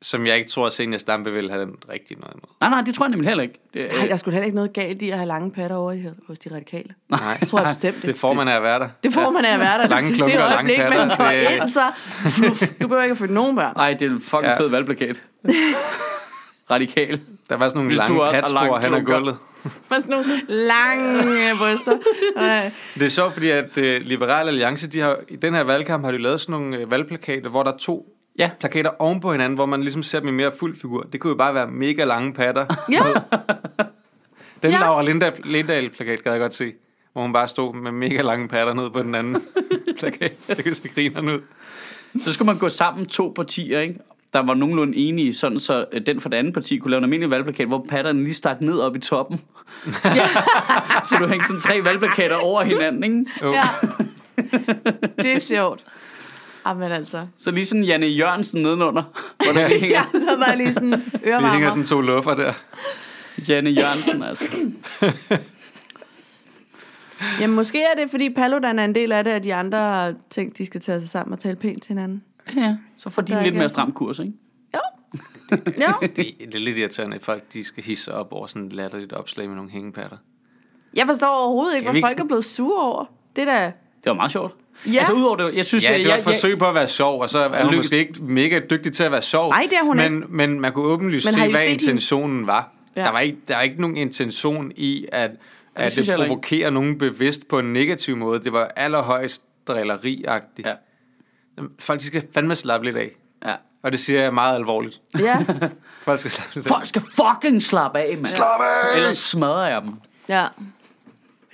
Speaker 1: som jeg ikke tror, at Senior Stampe ville have den rigtige noget med.
Speaker 3: Nej, nej, det tror jeg nemlig heller ikke. Det,
Speaker 2: Ej, der skulle heller ikke noget galt i at have lange patter over i, hos de radikale.
Speaker 1: Nej,
Speaker 2: Jeg tror jeg bestemt
Speaker 1: det
Speaker 2: det.
Speaker 1: får man af at være der.
Speaker 2: Det får man af at være der.
Speaker 1: Lange
Speaker 2: det,
Speaker 1: klunker og
Speaker 2: det
Speaker 1: lange
Speaker 2: øjeblik,
Speaker 1: patter,
Speaker 2: man går
Speaker 1: det-
Speaker 2: ind, så... Fluff. Du behøver ikke at flytte nogen børn.
Speaker 3: nej, det er en fucking
Speaker 1: Ja.
Speaker 3: fed valgplakat. Radikal.
Speaker 1: Der var sådan nogle
Speaker 3: Hvis du
Speaker 1: lange
Speaker 3: også har
Speaker 1: patspor
Speaker 3: lange
Speaker 1: hen ad
Speaker 3: klunker.
Speaker 1: gulvet.
Speaker 2: Med sådan nogle lange øh, bryster. Nej.
Speaker 1: Det er sjovt, fordi at øh, Liberale Alliance, de har, i den her valgkamp har de lavet sådan nogle øh, valgplakater, hvor der er to
Speaker 3: Ja.
Speaker 1: plakater oven på hinanden, hvor man ligesom ser dem i mere fuld figur. Det kunne jo bare være mega lange patter.
Speaker 2: Ja,
Speaker 1: Den
Speaker 2: Ja.
Speaker 1: ja. Laura Linda- Lindahl-plakat gad jeg godt se, hvor hun bare stod med mega lange patter ned på den
Speaker 2: *laughs*
Speaker 1: anden plakat. Det kan se grineren ud.
Speaker 3: Så skulle man gå sammen to partier, ikke? der var nogenlunde enige, sådan så øh, den fra det andet parti kunne lave en almindelig valgplakat, hvor patterne lige stak ned op i toppen. *laughs* så du hængte sådan tre valgplakater over hinanden, ikke?
Speaker 1: Jo.
Speaker 2: ja. Det er sjovt. Jamen altså.
Speaker 3: Så lige sådan Janne Jørgensen nedenunder. Hvor der lige hænger
Speaker 2: Ja, så var *laughs* jeg lige sådan
Speaker 1: Vi hænger
Speaker 2: ørevarmer.
Speaker 1: sådan to luffer der.
Speaker 3: Janne Jørgensen, altså.
Speaker 2: Jamen måske er det, fordi Paludan er en del af det, at de andre ting, de skal tage sig sammen og tale pænt til hinanden.
Speaker 3: Ja, så får
Speaker 2: der
Speaker 3: de
Speaker 2: er
Speaker 3: en lidt
Speaker 2: ikke
Speaker 3: mere
Speaker 2: er-
Speaker 3: stram kurs, ikke?
Speaker 1: *laughs*
Speaker 2: Jo. Jo.
Speaker 1: Det, det er lidt irriterende, at folk de skal hisse op over sådan et latterligt opslag med nogle hængepatter.
Speaker 2: Jeg forstår overhovedet ikke,
Speaker 1: Kan vi
Speaker 2: hvad
Speaker 1: ikke
Speaker 2: folk er blevet sure over. Det der...
Speaker 3: Det var meget sjovt.
Speaker 2: Ja.
Speaker 3: Altså udover det, jeg synes...
Speaker 1: Ja, det var
Speaker 3: jeg,
Speaker 1: et forsøg på at være sjov, og så er hun
Speaker 3: Lykke-
Speaker 1: måske ikke mega dygtig til at være sjov.
Speaker 2: Nej, det er hun
Speaker 1: men, ikke. Men man kunne åbenlyst
Speaker 2: Men
Speaker 1: se,
Speaker 2: har I
Speaker 1: hvad
Speaker 2: set hende?
Speaker 1: intentionen var.
Speaker 2: Ja.
Speaker 1: Ja. Der var ikke, der er ikke nogen intention i, at, at
Speaker 3: synes
Speaker 1: det,
Speaker 3: jeg heller ikke.
Speaker 1: provokerer nogen bevidst på en negativ måde. Det var allerhøjst drilleriagtigt.
Speaker 3: Ja.
Speaker 1: Jamen, Folk de skal fandme slappe lidt af.
Speaker 3: jeg, ja.
Speaker 1: Og det siger jeg meget alvorligt.
Speaker 2: Ja.
Speaker 1: Folk skal slappe lidt af.
Speaker 3: Folk skal fucking slappe af, mand. Slap af! Ellers smadrer jeg dem.
Speaker 2: Ja.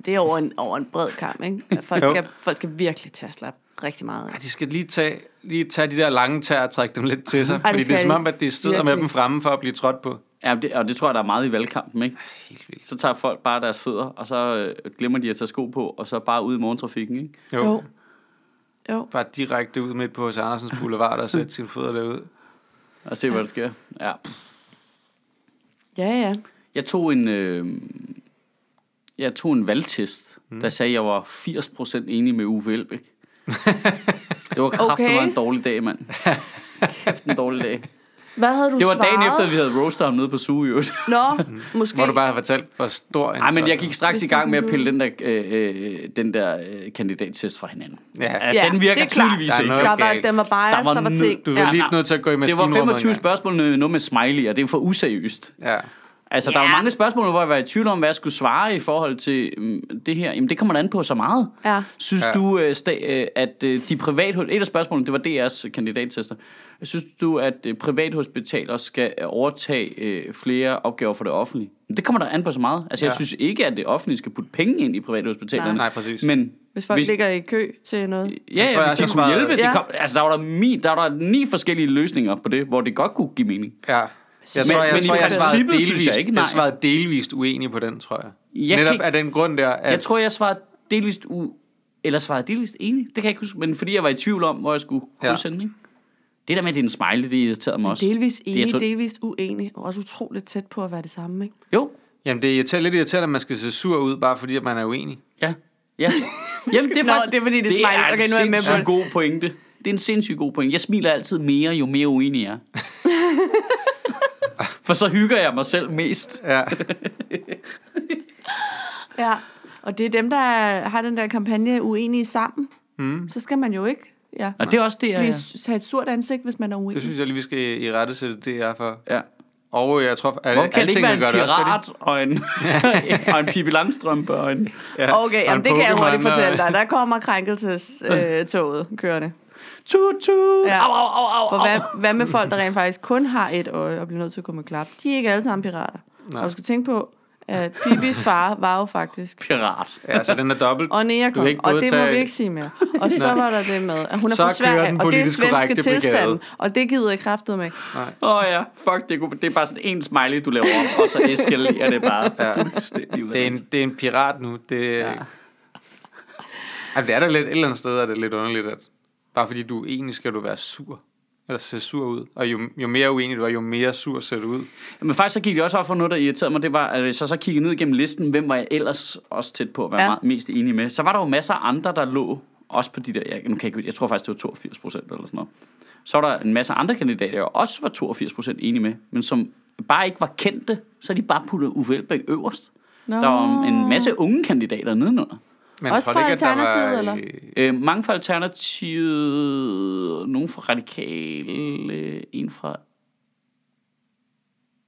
Speaker 2: Det er over en, over en bred kamp, *laughs* ikke? At Folk
Speaker 1: Jo.
Speaker 2: skal, folk skal virkelig tage slap rigtig meget. af.
Speaker 1: Ja, de skal lige tage, lige tage de der lange tæer og trække dem lidt til sig. fordi det
Speaker 2: skal
Speaker 1: er som
Speaker 2: de.
Speaker 1: om, at de sidder med
Speaker 2: Virkelig.
Speaker 1: dem fremme for at blive trådt på.
Speaker 3: Ja, det, og det tror jeg, der er meget i valgkampen, ikke? Helt vildt. Så tager folk bare deres fødder, og så øh, glemmer de at tage sko på, og så bare ud i morgentrafikken, ikke?
Speaker 1: Jo.
Speaker 2: Jo.
Speaker 1: jo.
Speaker 2: Jo.
Speaker 1: Bare direkte ud midt på hos Andersens Boulevard og sætte sine fødder derud.
Speaker 3: Og se, hvad der sker. Ja.
Speaker 2: Ja, ja.
Speaker 3: Jeg tog en, øh, jeg tog en valgtest, mm. der sagde, at jeg var 80% enig med Uffe *laughs* Elbæk. det var kraftigt, okay. var
Speaker 2: Okay.
Speaker 3: en dårlig dag, mand. Kæft, en dårlig dag.
Speaker 2: Hvad havde du
Speaker 3: Det var
Speaker 2: svaret?
Speaker 3: dagen Mm. efter, at vi havde roastet ham nede på suge, i øvrigt.
Speaker 2: Nå, måske.
Speaker 1: Hvor du bare har fortalt, hvor stor en
Speaker 3: Ej, men
Speaker 1: så-
Speaker 3: jeg gik straks i
Speaker 2: Hvis
Speaker 3: gang med
Speaker 2: det
Speaker 3: at pille den der, øh, øh, den der øh, kandidattest fra hinanden.
Speaker 1: Ja.
Speaker 3: Ja, den virker
Speaker 2: det er klart.
Speaker 3: tydeligvis
Speaker 1: Der er
Speaker 3: ikke.
Speaker 1: noget-
Speaker 2: Der var,
Speaker 1: galt.
Speaker 2: den var bias, der
Speaker 3: var
Speaker 2: var, der var
Speaker 3: nød-
Speaker 2: ting.
Speaker 1: Du var
Speaker 2: ja.
Speaker 1: lige nødt til at gå i
Speaker 3: Det var
Speaker 1: maskinrummet
Speaker 3: 25
Speaker 1: engang.
Speaker 3: spørgsmål, øh, noget med smiley, og det er for useriøst.
Speaker 1: Ja.
Speaker 3: Altså, der
Speaker 2: Ja.
Speaker 3: var mange spørgsmål, hvor jeg var i tvivl om, hvad jeg skulle svare i forhold til mm, det her. Jamen, det kommer da an på så meget.
Speaker 2: Ja.
Speaker 3: Synes
Speaker 1: Ja.
Speaker 3: du, øh, sta- øh, at øh, de privathospitaler... Et af spørgsmålene, det var DR's kandidattester. Synes du, at øh, privathospitaler skal overtage øh, flere opgaver for det offentlige? Men Det kommer der an på så meget. Altså, jeg
Speaker 1: Ja.
Speaker 3: synes ikke, at det offentlige skal putte penge ind i privathospitalerne.
Speaker 1: Nej, præcis.
Speaker 3: Men
Speaker 2: Hvis folk hvis... ligger i kø til noget.
Speaker 1: Jeg
Speaker 3: Ja,
Speaker 1: tror,
Speaker 3: ja,
Speaker 1: jeg
Speaker 3: hvis
Speaker 1: også
Speaker 3: de
Speaker 1: har
Speaker 3: kunne
Speaker 1: svaret-
Speaker 3: hjælpe. Ja.
Speaker 2: Ja.
Speaker 3: Det kom, altså, der var der, mi, der var der ni forskellige løsninger på det, hvor det godt kunne give mening.
Speaker 1: Ja. Jeg
Speaker 3: Men-
Speaker 1: tror, jeg,
Speaker 3: men i
Speaker 1: tror, jeg, svarede
Speaker 3: princippet synes jeg
Speaker 1: delvist, jeg,
Speaker 3: ikke,
Speaker 1: ikke,
Speaker 3: nej.
Speaker 1: jeg svarede delvist uenig på den, tror jeg.
Speaker 3: Jeg
Speaker 1: jeg Netop
Speaker 3: kan-
Speaker 1: af den grund der, at
Speaker 3: Jeg tror, jeg svarede delvist u... Eller svarede delvist enig. Det kan jeg ikke huske. Men fordi jeg var i tvivl om, hvor jeg skulle
Speaker 1: Ja.
Speaker 3: krydse ja. ikke? Det der med, at det er en smiley, det irriterede mig også.
Speaker 2: Delvis
Speaker 3: Det, jeg
Speaker 2: enig,
Speaker 3: tror-
Speaker 2: delvis uenig. Og også utroligt tæt på at være det samme, ikke?
Speaker 3: Jo.
Speaker 1: jamen, det er irriterende, lidt irriterende, at man skal se sur ud, bare fordi at man er uenig.
Speaker 3: Ja.
Speaker 2: *laughs*
Speaker 3: Ja. Jamen, det er
Speaker 2: Nå,
Speaker 3: faktisk...
Speaker 2: det er fordi, det er smiley. Okay, nu er jeg med på
Speaker 3: sindssygt
Speaker 2: det.
Speaker 3: god pointe. Det er en sindssygt god pointe. Jeg smiler altid mere, jo mere
Speaker 2: *laughs*
Speaker 3: uenig jeg er. For så hygger jeg mig selv mest.
Speaker 1: Ja.
Speaker 2: Ja. Og det er dem, der har den der kampagne uenige sammen. Mm. Så skal man jo ikke ja,
Speaker 3: Og det er også det, jeg...
Speaker 2: blive, have et surt ansigt, hvis man er uenig.
Speaker 1: Det synes jeg lige, vi skal i, i rette sætte det er for.
Speaker 3: Ja.
Speaker 1: Og jeg tror, at
Speaker 3: Hvorfor kan det
Speaker 1: alting
Speaker 3: ikke være en
Speaker 1: gør det også, fordi-
Speaker 3: pirat og
Speaker 1: *laughs*
Speaker 3: en, og en Pippi Langstrømpe og en...
Speaker 1: Ja. og
Speaker 2: Okay,
Speaker 1: en
Speaker 2: jamen, det kan jeg
Speaker 1: Pokémon
Speaker 2: hurtigt
Speaker 1: og-
Speaker 2: fortælle dig. Der kommer krænkelsestoget øh,
Speaker 1: *laughs*
Speaker 2: toget kørende.
Speaker 3: Tut, tut.
Speaker 2: Ja.
Speaker 3: Ja. Au, au, au, au,
Speaker 2: For
Speaker 3: au.
Speaker 2: hvad, hvad med folk, der rent faktisk kun har et øje og bliver nødt til at gå med klap? De er ikke alle sammen pirater. Nej. Og du skal tænke på, at Bibis far var jo faktisk
Speaker 3: Pirat.
Speaker 1: Ja, så den er
Speaker 3: *laughs*
Speaker 1: dobbelt. Du
Speaker 2: Oneakon,
Speaker 1: kan ikke
Speaker 2: og
Speaker 1: både
Speaker 2: det må
Speaker 1: tage-
Speaker 2: vi ikke sige mere. Og så
Speaker 1: *laughs* Nej.
Speaker 2: var der det med, at hun er
Speaker 1: Så
Speaker 2: fra
Speaker 1: kører den
Speaker 2: Sverige, og det er
Speaker 1: politisk
Speaker 2: svenske
Speaker 1: korrekte brigade.
Speaker 2: tilstanden, og det gider jeg kraftet med.
Speaker 1: Nej.
Speaker 3: Åh oh, ja, fuck, det er, god- det er bare sådan en smiley, du laver op, og så eskalerer det bare
Speaker 1: Ja.
Speaker 3: fuldstændig ud af
Speaker 1: Det er, en, det er en pirat nu. Det, ja. altså, det er da lidt, et eller andet sted er det lidt underligt, at bare fordi du er uenig, skal du være sur. Eller se sur ud. Og jo, jo mere uenig du er, jo mere sur ser du ud.
Speaker 3: Men faktisk så gik det også op for noget, der irriterede mig. Det var, at hvis jeg så kiggede ned gennem listen, hvem var jeg ellers også tæt på at være
Speaker 2: Ja.
Speaker 3: ja. mest enig med. Så var der jo masser af andre, der lå også på de der, jeg, nu kan jeg, ikke, huske, jeg tror faktisk, det var 82 procent eller sådan noget. Så var der en masse andre kandidater, jeg også var 82 procent enig med, men som bare ikke var kendte, så de bare puttede Uffe Elbæk øverst.
Speaker 2: Nå.
Speaker 3: Der var en masse unge kandidater nedenunder.
Speaker 1: Men
Speaker 2: Også
Speaker 1: tror du
Speaker 2: fra
Speaker 1: at der
Speaker 2: Alternativet,
Speaker 1: øh,
Speaker 2: eller?
Speaker 3: Øh, mange fra Alternativet, nogen fra Radikale, en fra...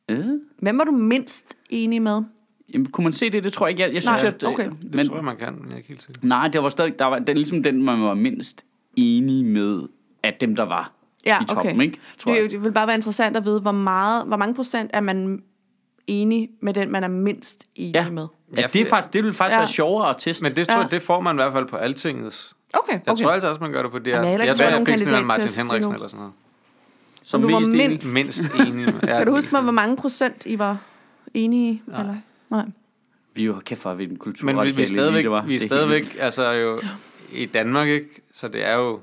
Speaker 3: Øh?
Speaker 2: Hvem var du mindst enig med?
Speaker 3: Jamen, kunne man se det? Det tror jeg ikke. Jeg, jeg synes,
Speaker 2: Nej,
Speaker 3: at... øh,
Speaker 2: okay.
Speaker 1: Det
Speaker 3: Men,
Speaker 1: tror jeg, man kan, men jeg er ikke helt sikker.
Speaker 3: nej, det var stadig... Der var, det er ligesom den, man var mindst enig med af dem, der var
Speaker 2: Ja,
Speaker 3: i toppen,
Speaker 2: okay.
Speaker 3: ikke? Tror
Speaker 2: Det,
Speaker 3: jeg.
Speaker 2: er jo- det vil bare være interessant at vide, hvor, meget, hvor mange procent er man enig med den, man er mindst enig
Speaker 3: Ja.
Speaker 2: med.
Speaker 3: ja, det, er faktisk, det ville faktisk
Speaker 2: Ja.
Speaker 3: ja. være sjovere at teste.
Speaker 1: Men det, tror,
Speaker 2: Ja.
Speaker 1: jeg, det får man i hvert fald på altingets.
Speaker 2: Okay,
Speaker 1: Jeg
Speaker 2: okay.
Speaker 1: tror altså også, man gør det på det her.
Speaker 2: Jamen, jeg har heller ikke
Speaker 1: tror,
Speaker 2: taget
Speaker 1: jeg
Speaker 2: nogen
Speaker 1: fik sådan en eller anden
Speaker 2: kandidattest
Speaker 1: Martin
Speaker 2: til
Speaker 1: Henriksen
Speaker 2: nu.
Speaker 1: eller sådan noget.
Speaker 3: som
Speaker 2: du var
Speaker 3: mest enig.
Speaker 1: Mindst
Speaker 2: mindst. *laughs*
Speaker 1: enig. med- Ja,
Speaker 2: Kan du huske mig,
Speaker 1: mindst
Speaker 2: hvor mange procent I var enige i? Eller? Nej.
Speaker 3: Vi er jo kæft for, at vi er den kultur.
Speaker 1: Men vi, vi er stadigvæk, vi er stadigvæk altså jo i Danmark, ikke? Så det er jo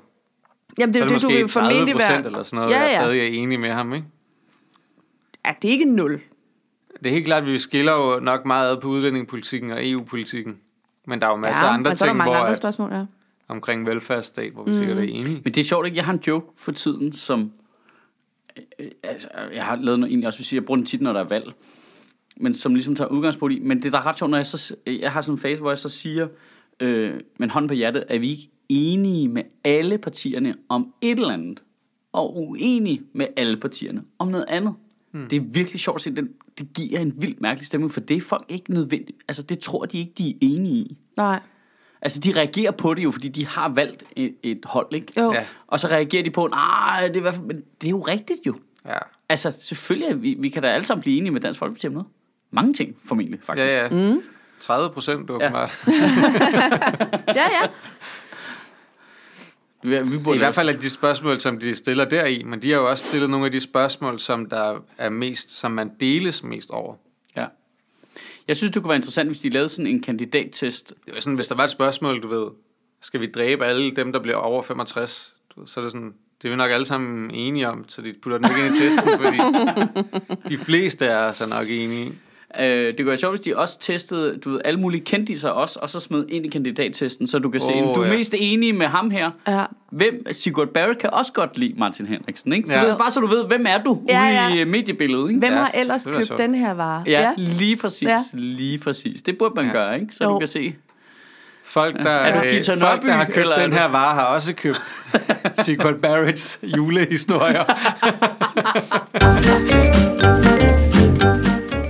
Speaker 2: Jamen, det,
Speaker 1: så er
Speaker 2: er jo
Speaker 1: det,
Speaker 2: det, du
Speaker 1: måske
Speaker 2: vil
Speaker 1: 30
Speaker 2: formentlig
Speaker 1: procent
Speaker 2: være...
Speaker 1: eller sådan noget,
Speaker 2: Ja,
Speaker 1: ja, ja. jeg
Speaker 2: ja.
Speaker 1: er stadig er enig med ham, ikke?
Speaker 2: Ja, det er ikke nul.
Speaker 1: Det er helt klart, at vi skiller jo nok meget ad på udlændingepolitikken og EU-politikken. Men der er jo masser af Altså,
Speaker 2: ja,
Speaker 1: andre
Speaker 2: men så er der
Speaker 1: ting,
Speaker 2: mange
Speaker 1: hvor
Speaker 2: andre Mm.
Speaker 1: at,
Speaker 2: spørgsmål, ja.
Speaker 1: omkring velfærdsstat, hvor vi sikkert er enige.
Speaker 3: Men det er sjovt, ikke? Jeg har en joke for tiden, som... øh, Altså, jeg har lavet noget egentlig også, vil sige, jeg bruger den tit, når der er valg. Men som ligesom tager udgangspunkt i. Men det der er ret sjovt, når jeg så... Jeg har sådan en fase, hvor jeg så siger, øh, men hånd på hjertet, er vi ikke enige med alle partierne om et eller andet? Og uenige med alle partierne om noget andet? Hmm. Det er virkelig sjovt at se, den, det giver en vildt mærkelig stemning, for det er folk ikke nødvendigt. Altså, det tror de ikke, de er enige i.
Speaker 2: Nej.
Speaker 3: Altså, de reagerer på det jo, fordi de har valgt et, et hold, ikke?
Speaker 2: Jo.
Speaker 1: Ja.
Speaker 3: Og så reagerer de på, nej, det er, i hvert fald, men det er jo rigtigt jo.
Speaker 1: Ja,
Speaker 3: Altså, selvfølgelig, er vi, vi kan da alle sammen blive enige med Dansk Folkeparti om noget. Mange ting, formentlig, faktisk.
Speaker 1: ja. ja. Mm. 30 procent, åbenbart. Ja.
Speaker 2: Ja, ja.
Speaker 3: ja. Vi, vi burde
Speaker 1: I hvert fald er de spørgsmål, som de stiller deri, men de har jo også stillet nogle af de spørgsmål, som der er mest, som man deles mest over.
Speaker 3: Ja. Jeg synes, det kunne være interessant, hvis de lavede sådan en kandidattest.
Speaker 1: Det var sådan, hvis der var et spørgsmål, du ved, skal vi dræbe alle dem, der bliver over 65? Du ved, Så er det sådan, det er vi nok alle sammen enige om, så de putter den ikke ind i testen, fordi de fleste er altså nok enige. i.
Speaker 3: Øh, det kunne være sjovt, hvis de også testede, du ved, alle mulige kendiser også, og så smed ind i kandidattesten, så du kan se,
Speaker 1: Åh,
Speaker 3: du er
Speaker 1: ja.
Speaker 3: mest enig med ham her.
Speaker 2: Ja.
Speaker 3: Hvem, Sigurd Barrett kan også godt lide Martin Henriksen, ikke? Så
Speaker 1: Ja.
Speaker 3: det er bare så du ved, hvem er du
Speaker 2: Ja,
Speaker 3: ja, ude
Speaker 2: ja.
Speaker 3: i øh, mediebilledet, ikke?
Speaker 2: Hvem
Speaker 1: Ja,
Speaker 2: ja, har ellers
Speaker 1: det var
Speaker 2: købt
Speaker 1: sjovt.
Speaker 2: den her vare?
Speaker 3: Ja, ja. lige præcis,
Speaker 2: Ja.
Speaker 3: ja. lige præcis. Det burde man
Speaker 1: Ja.
Speaker 3: ja. gøre, ikke? Så
Speaker 2: Jo.
Speaker 3: du kan se.
Speaker 1: Folk, der,
Speaker 3: Er du
Speaker 1: øh,
Speaker 3: Gita
Speaker 1: folk, der har
Speaker 3: Nørby,
Speaker 1: købt
Speaker 3: eller er
Speaker 1: den
Speaker 3: du-
Speaker 1: her vare, har også
Speaker 3: *laughs*
Speaker 1: købt Sigurd Barretts julehistorier.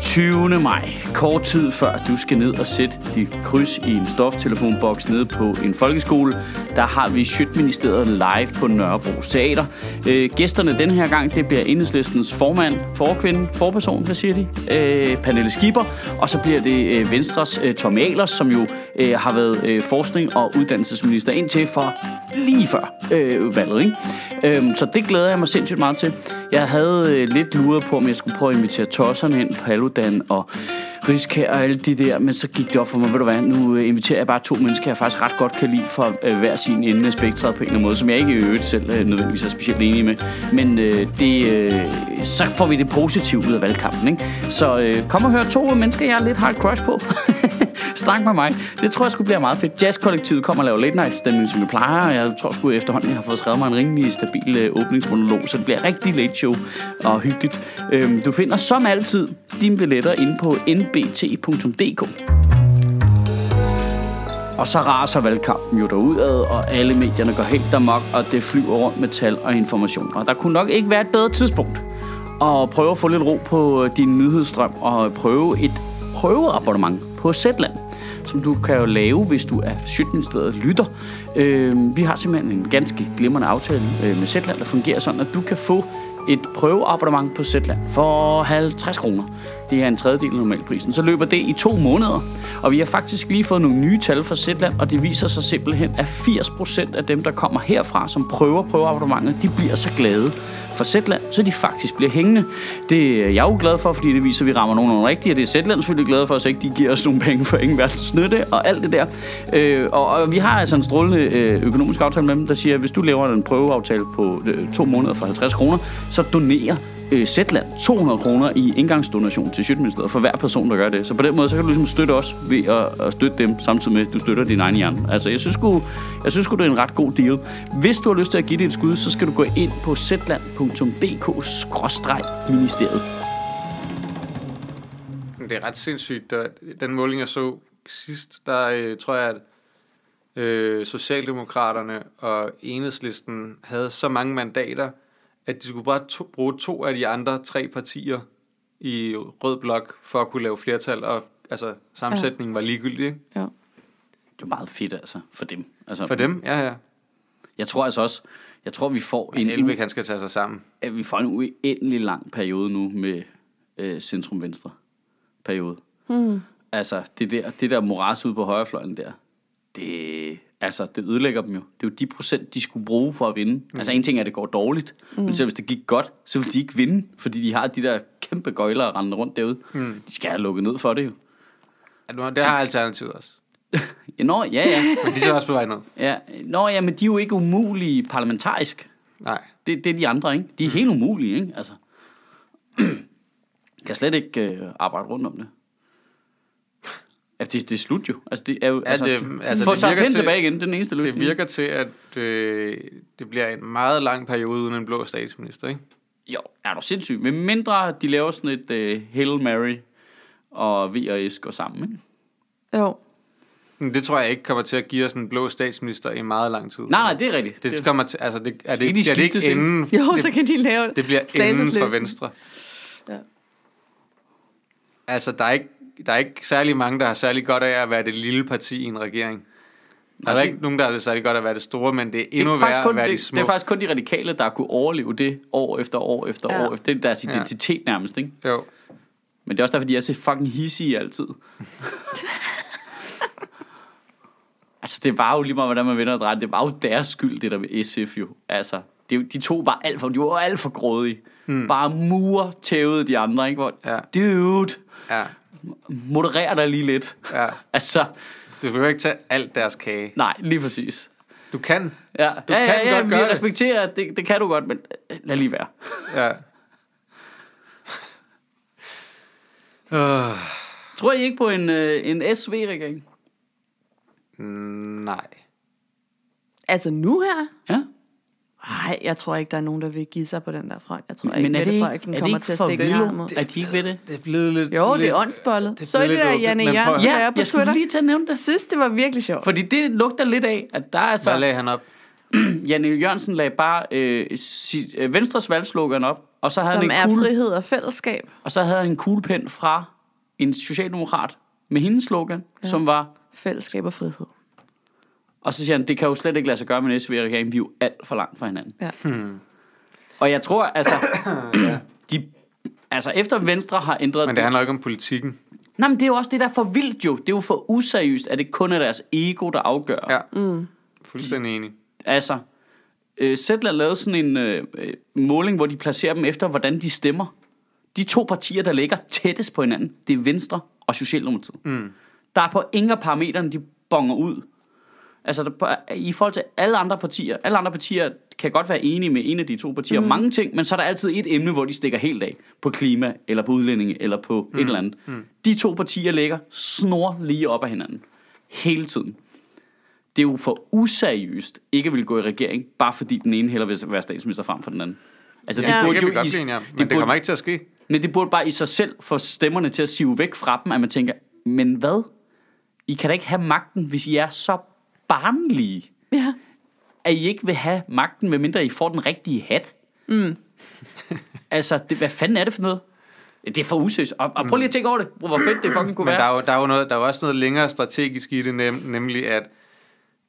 Speaker 3: 20. maj, kort tid før du skal ned og sætte dit kryds i en stoftelefonboks nede på en folkeskole, der har vi Sjøtministeriet live på Nørrebro Teater. Øh, gæsterne denne her gang, det bliver enhedslistens formand, forkvinde, forperson, hvad siger de? Øh, Pernille Skipper, og så bliver det øh, Venstres øh, Tom Ahlers, som jo øh, har været øh, forskning- og uddannelsesminister indtil for lige før øh, valget. Ikke? Øhm, så det glæder jeg mig sindssygt meget til. Jeg havde øh, lidt luret på, om jeg skulle prøve at invitere tosserne ind, Paludan og Riskær og alle de der, men så gik det op for mig, ved du hvad, nu øh, inviterer jeg bare to mennesker, jeg faktisk ret godt kan lide fra øh, hver sin ende af spektret på en eller anden måde, som jeg ikke i øvrigt selv øh, nødvendigvis er specielt enig med. Men øh, det, øh, så får vi det positive ud af valgkampen, ikke? Så øh, kom og hør to mennesker, jeg er lidt hard crush på. *laughs* Snak med mig. Det tror jeg skulle blive meget fedt. Jazzkollektivet kommer og laver late night stemning, som vi plejer, og jeg tror sgu efterhånden, jeg har fået skrevet mig en rimelig stabil øh, åbningsmonolog, så det bliver rigtig late show og hyggeligt. Øhm, du finder som altid dine billetter inde på nbt.dk. Og så raser valgkampen jo derudad, og alle medierne går helt amok, og det flyver rundt med tal og information. Og der kunne nok ikke være et bedre tidspunkt at prøve at få lidt ro på øh, din nyhedsstrøm og prøve et prøveabonnement på Zetland som du kan jo lave, hvis du er Sjøtministeriet lytter. Øh, vi har simpelthen en ganske glimrende aftale øh, med Zetland, der fungerer sådan, at du kan få et prøveabonnement på Zetland for 50 kroner. Det er en tredjedel af normalprisen. Så løber det i to måneder. Og vi har faktisk lige fået nogle nye tal fra Zetland, og det viser sig simpelthen, at 80% af dem, der kommer herfra, som prøver prøveabonnementet, de bliver så glade for Zetland, så de faktisk bliver hængende. Det er jeg jo glad for, fordi det viser, at vi rammer nogen rigtigt, og det er Zetland selvfølgelig glad for, så ikke de giver os nogle penge for ingen verdens nytte og alt det der. Øh, og, og vi har altså en strålende øh, økonomisk aftale med dem, der siger, at hvis du laver en prøveaftale på øh, to måneder for 50 kroner, så donerer øh, Zetland 200 kroner i indgangsdonation til Sjøtministeriet for hver person, der gør det. Så på den måde, så kan du ligesom støtte os ved at, at støtte dem, samtidig med, at du støtter din egen hjerne. Altså, jeg synes, sgu, jeg synes sgu, det er en ret god deal. Hvis du har lyst til at give det et skud, så skal du gå ind på zetland.dk-ministeriet.
Speaker 1: Det er ret sindssygt. Der, den måling, jeg så sidst, der øh, tror jeg, at øh, Socialdemokraterne og Enhedslisten havde så mange mandater, at de skulle bare to, bruge to af de andre tre partier i rød blok for at kunne lave flertal, og altså, sammensætningen var ligegyldig ikke?
Speaker 2: Ja.
Speaker 3: Det er meget fedt, altså, for dem. Altså,
Speaker 1: for dem. Ja, ja.
Speaker 3: Jeg tror altså også, jeg tror, vi får
Speaker 1: Men
Speaker 3: en,
Speaker 1: Elbæk, han skal tage sig sammen.
Speaker 3: at vi får en uendelig lang periode nu med øh, centrum-venstre periode.
Speaker 2: Mm.
Speaker 3: Altså, det der, det der moras ude på højrefløjen der, det, altså, det ødelægger dem jo. Det er jo de procent, de skulle bruge for at vinde. Mm. Altså, en ting er, at det går dårligt, mm. men selv hvis det gik godt, så vil de ikke vinde, fordi de har de der kæmpe gøjler at rende rundt derude. Mm. De skal have lukket ned for det jo.
Speaker 1: Ja, nu- det har Alternativet også.
Speaker 3: Ja, nå, ja, *laughs* ja.
Speaker 1: Men de er så også på vej ned.
Speaker 3: ja. Nå, ja, men de er jo ikke umulige parlamentarisk.
Speaker 1: Nej.
Speaker 3: Det, det er de andre, ikke?
Speaker 1: Mm.
Speaker 3: De er helt umulige, ikke? Altså. kan slet ikke øh, arbejde rundt om det. Ja, det, det er slut jo. Altså, det er jo, altså,
Speaker 1: det-
Speaker 3: du-
Speaker 1: altså,
Speaker 3: få
Speaker 1: det
Speaker 3: Søren
Speaker 1: virker
Speaker 3: Pind
Speaker 1: til-
Speaker 3: tilbage igen, det er den eneste løsning.
Speaker 1: Det virker til, at øh, det bliver en meget lang periode uden en blå statsminister, ikke?
Speaker 3: Jo, er du sindssyg. Med mindre de laver sådan et uh, Hail Mary, og V og S går sammen, ikke?
Speaker 2: Jo.
Speaker 1: Men det tror jeg ikke kommer til at give os en blå statsminister i meget lang tid.
Speaker 3: Nej, nej, det er rigtigt.
Speaker 1: Det kommer til, altså det, er det,
Speaker 3: de
Speaker 1: bliver det
Speaker 3: skiftes
Speaker 1: ikke
Speaker 3: ind?
Speaker 1: inden,
Speaker 2: Jo,
Speaker 1: det,
Speaker 2: så kan de lave
Speaker 1: det bliver inden for
Speaker 2: statusløsning.
Speaker 1: Venstre.
Speaker 2: Ja.
Speaker 1: Altså, der er, ikke, der er ikke særlig mange, der har særlig godt af at være det lille parti i en regering. Der er
Speaker 3: Nej,
Speaker 1: ikke nogen, der har det særlig godt af at være det store, men det er endnu
Speaker 3: det
Speaker 1: værre
Speaker 3: er, faktisk
Speaker 1: at
Speaker 3: kun,
Speaker 1: være de
Speaker 3: det,
Speaker 1: små.
Speaker 3: det er faktisk kun de radikale, der har kunne overleve det år efter år efter
Speaker 2: Ja.
Speaker 3: år. Efter. Det er deres
Speaker 1: Ja.
Speaker 3: identitet ja. nærmest, ikke?
Speaker 1: Jo.
Speaker 3: Men det er også derfor, de er så fucking hissige altid. altså, det var jo lige meget, hvordan man vender og drejer. Det var jo deres skyld, det der med SF jo. Altså, det, er jo- de to var alt for, de var alt for grådige. Mm. Bare mur tævede de andre, ikke? Hvor,
Speaker 1: Hmm. Ja.
Speaker 3: Dude,
Speaker 1: Ja,
Speaker 3: moderer dig lige lidt.
Speaker 1: ja.
Speaker 3: *laughs* Altså,
Speaker 1: Du behøver ikke tage alt deres kage.
Speaker 3: nej, lige præcis.
Speaker 1: Du kan.
Speaker 3: Ja, du ja,
Speaker 1: kan
Speaker 3: ja, ja,
Speaker 1: godt
Speaker 3: vi
Speaker 1: gøre det.
Speaker 3: respekterer, at det, det kan du godt, men øh, lad lige være.
Speaker 1: Ja. Uh,
Speaker 3: Tror I ikke på en, øh, en SV-regering?
Speaker 1: nej.
Speaker 2: Altså nu her?
Speaker 3: Ja.
Speaker 2: Nej, jeg tror ikke, der er nogen, der vil give sig på den der front. Jeg tror
Speaker 3: Men
Speaker 2: ikke,
Speaker 3: er det
Speaker 2: Mette
Speaker 3: ikke-
Speaker 2: Frederiksen
Speaker 3: er det
Speaker 2: kommer
Speaker 3: ikke
Speaker 2: til at
Speaker 3: for
Speaker 2: stikke en
Speaker 3: velo?
Speaker 2: arm ud.
Speaker 3: Er de ikke ved det?
Speaker 1: Det er blevet lidt...
Speaker 2: Jo, det
Speaker 1: lidt-
Speaker 2: er åndsbollet.
Speaker 1: det
Speaker 2: Så I
Speaker 1: blev
Speaker 2: det
Speaker 1: lidt
Speaker 2: der
Speaker 1: åbent,
Speaker 2: Janne
Speaker 1: men prøv at-
Speaker 2: Jørgensen, der
Speaker 3: Ja,
Speaker 2: er på
Speaker 3: jeg skulle
Speaker 2: Twitter?
Speaker 3: lige til at nævne det.
Speaker 2: Synes, det var virkelig sjovt.
Speaker 3: Fordi det lugter lidt af, at der er
Speaker 1: Hvad
Speaker 3: altså...
Speaker 1: lagde han op?
Speaker 3: Janne Jørgensen lagde bare øh, sit, øh, Venstres valgslogan op, og så, havde
Speaker 2: Som er
Speaker 3: han en kugle,
Speaker 2: frihed og fællesskab.
Speaker 3: og så havde han en kuglepen fra en socialdemokrat med hendes slogan, ja. som var...
Speaker 2: Fællesskab og frihed.
Speaker 3: Og så siger han, det kan jo slet ikke lade sig gøre med en SV-regering, vi er jo alt for langt fra hinanden.
Speaker 2: Ja.
Speaker 1: Hmm.
Speaker 3: Og jeg
Speaker 1: *coughs*
Speaker 3: tror, altså... de, altså, efter Venstre har ændret...
Speaker 1: Men det handler ikke om politikken.
Speaker 3: Nej, men det er jo også det, der er for vildt jo. Det er jo for useriøst, at det kun er deres ego, der afgør.
Speaker 1: Ja. Mm. Fuldstændig enig.
Speaker 3: Altså, øh, Zetland lavede sådan en øh, øh, måling, hvor de placerer dem efter, hvordan de stemmer. De to partier, der ligger tættest på hinanden, det er Venstre og Socialdemokratiet. Mm. Der er på ingen af parametrene, de bonger ud. Altså, der, på, i forhold til alle andre partier, alle andre partier kan godt være enige med en af de to partier om mm. mange ting, men så er der altid et emne, hvor de stikker helt af. På klima, eller på udlændinge, eller på mm. et eller andet. Mm. De to partier ligger snor lige op ad hinanden. Hele tiden det er jo for useriøst ikke vil gå i regering, bare fordi den ene hellere vil være statsminister frem for den anden. Altså,
Speaker 2: Ja.
Speaker 1: Det
Speaker 2: burde
Speaker 1: kan vi godt
Speaker 3: i-
Speaker 1: blive enige om, men
Speaker 3: det,
Speaker 1: det
Speaker 3: burde,
Speaker 1: kommer ikke til at ske.
Speaker 3: men det burde bare i sig selv få stemmerne til at sive væk fra dem, at man tænker, men hvad? I kan da ikke have magten, hvis I er så barnlige,
Speaker 2: Ja.
Speaker 3: at I ikke vil have magten, medmindre I får den rigtige hat. Mm. *laughs* altså, det, hvad fanden er det for noget? Det er for useriøst. Og, og prøv lige at tænke over det. Hvor fedt det fucking kunne
Speaker 1: Men
Speaker 3: være.
Speaker 1: der er, jo, der, er jo noget, der er jo også noget længere strategisk i det, nem, nemlig at,